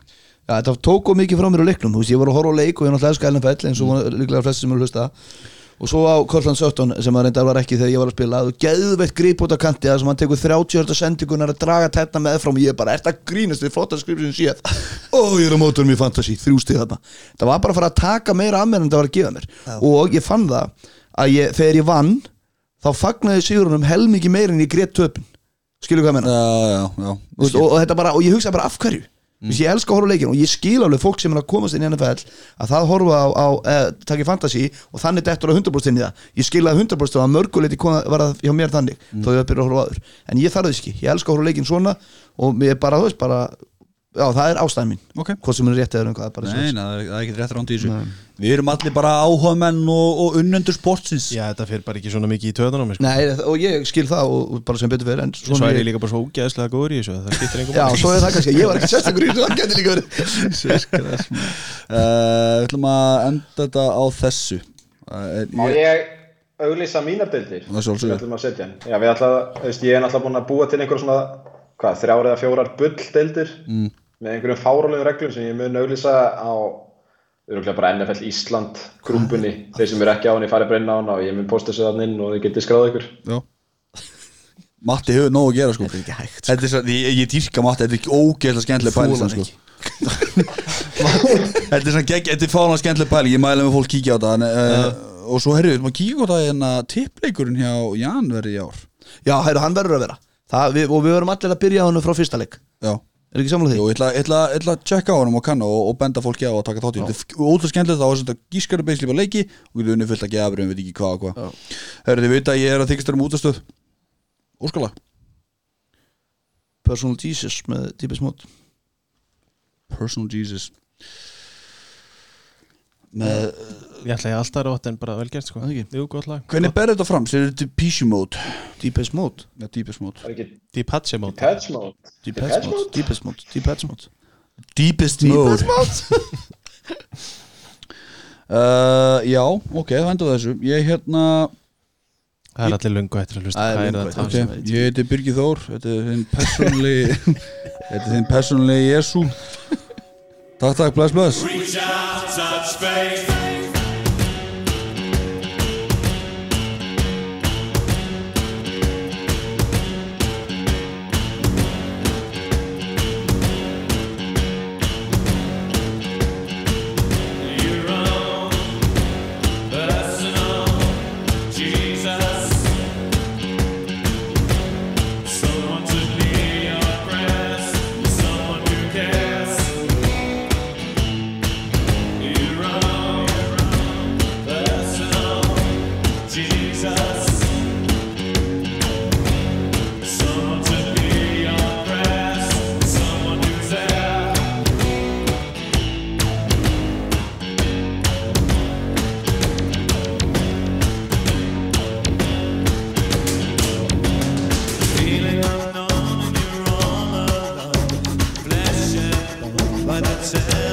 S2: Já, það tók of mikið frá mér á leiknum, þú veist, ég var að horfa á leik og ég náttúrulega elska NFL eins og mm. líklega flestir sem eru að hlusta
S5: og svo á Kortland 17 sem að reyndar var ekki þegar ég var að spila að þú geðveitt grip út á kanti það sem hann tekur 30 hörta sendingunar að draga tætna með frá mig ég er bara, ert að grínast við flottar skrif sem ég séð og ég er á mótunum í fantasy, þrjú stig þarna það var bara að fara að taka meira af mér en það var að gefa mér og ég fann það að ég, þegar ég vann þá fagnaði sigurunum helmingi meir en ég grét töpin skilur hvað ég meina
S1: Já, já, já
S5: Þú veist, og, og, þetta bara, og ég hugsaði bara af hverju mm. ég elska að horfa á leikin og ég skil alveg fólk sem er að komast inn í NFL að það horfa á, á eh, takk í fantasy og þannig dettur að 100% inn í það ég skil að 100% og að mörguleiti kom- var það hjá mér þannig
S3: Mm.
S5: þó ég var að byrja að horfa aður en ég þarf þess ekki, ég elska að horfa á leikin svona og ég bara, þú veist, bara já, það er ástæðan mín,
S1: Ok.
S5: hvort sem er rétt eða um hvað bara
S1: Nei,
S5: svoleiðis.
S1: na, það er- það er ekki rétt rándi í þessu Við erum allir bara áhugamenn og, og unnendur sportsins
S3: Já, þetta fyrir bara ekki svona mikið í töðan á mér sko.
S5: Nei, og ég skil það og, og bara sem betur fyrir en
S3: Svo
S5: svona
S3: er ég líka bara svo ógeðslega góður í þessu að Það skiptir engum
S5: Já, svo er það kannski, ég var ekki sérstakur í þessu, það gæti líka verið
S1: Sérskræs Eh, Við ætlum að enda þetta á þessu uh,
S4: Má ég auglýsa mínar deildir?
S1: Það er sjálfsögðu.
S4: Við ætlum að setja hann. Já, við ætlum að, þú veist, ég er náttúrulega búin að búa til einhver svona, hvað, þrjár eða fjórar bull deildir mm. með einhverjum fárulegum reglum sem ég mun auglýsa á, öruglega bara NFL Ísland grúmbunni. Þeir sem eru ekki á henni farið bara inn á henni og ég mun posta þessu þannig inn og þið getið skráð ykkur.
S1: Já Matti hefur nóg að gera sko Þetta er ekki hægt er svo, Ég, ég dýrka Matti, þetta er ekki ógeðslega skemmtileg
S5: Þola
S1: pæling
S5: hann
S1: sko. Þetta er svona gegg, þetta er fána skemmtileg pæling Ég mæla með fólk kíkja á þetta en, uh, Og svo herrið, við ætlum að kíkja á þetta En að tippleikurinn hjá Jan verði í ár
S5: Já, heyrðu, hann verður að vera það, við, og við verum allir að byrja á hann frá fyrsta leik
S1: Já
S5: Er ekki samlega því?
S1: Jú, ég ætla, ég ætla, ég ætla að tjekka á honum og kanna og, og benda fólki á að taka þátt í Þetta er ótrúlega skemmtilegt þá er þetta gískaru beisli bara leiki og getur unni fullt að gefa við veit ekki hvað og hvað Hörðu, þið veit að ég er að þykist þér um útastöð Óskala,
S5: Personal Jesus með típis mót
S1: personal Jesus
S5: með,
S3: Ég ætla ég alltaf rátt en bara velgert sko
S5: Það ekki.
S3: Jú, gott lag
S1: Hvernig berðu þetta fram? Sér þetta písju mót
S5: Típis mót
S1: Já, deepest mót
S4: Það er ekki
S3: Deepache mode
S4: patch mode.
S5: Típis mót Típis mót Típis mót
S1: Deepest mót uh, Já, ok, það endur þessu Ég hérna,
S3: Það er allir löngu eftir að hlusta
S5: Það er
S3: Hvað
S5: löngu
S3: það að tala
S1: ok, ég heiti Birgir Þór Þetta er þinn personlegi Þetta er þinn personlegi Jesu Takk, takk, bless, bless
S7: Reach out, touch faith. You're wrong, personal, Jesus. Someone to be your breast, someone who cares. Jesus, someone to be your press, someone who's there. Feeling unknown and you're all alone, blessed by the tell.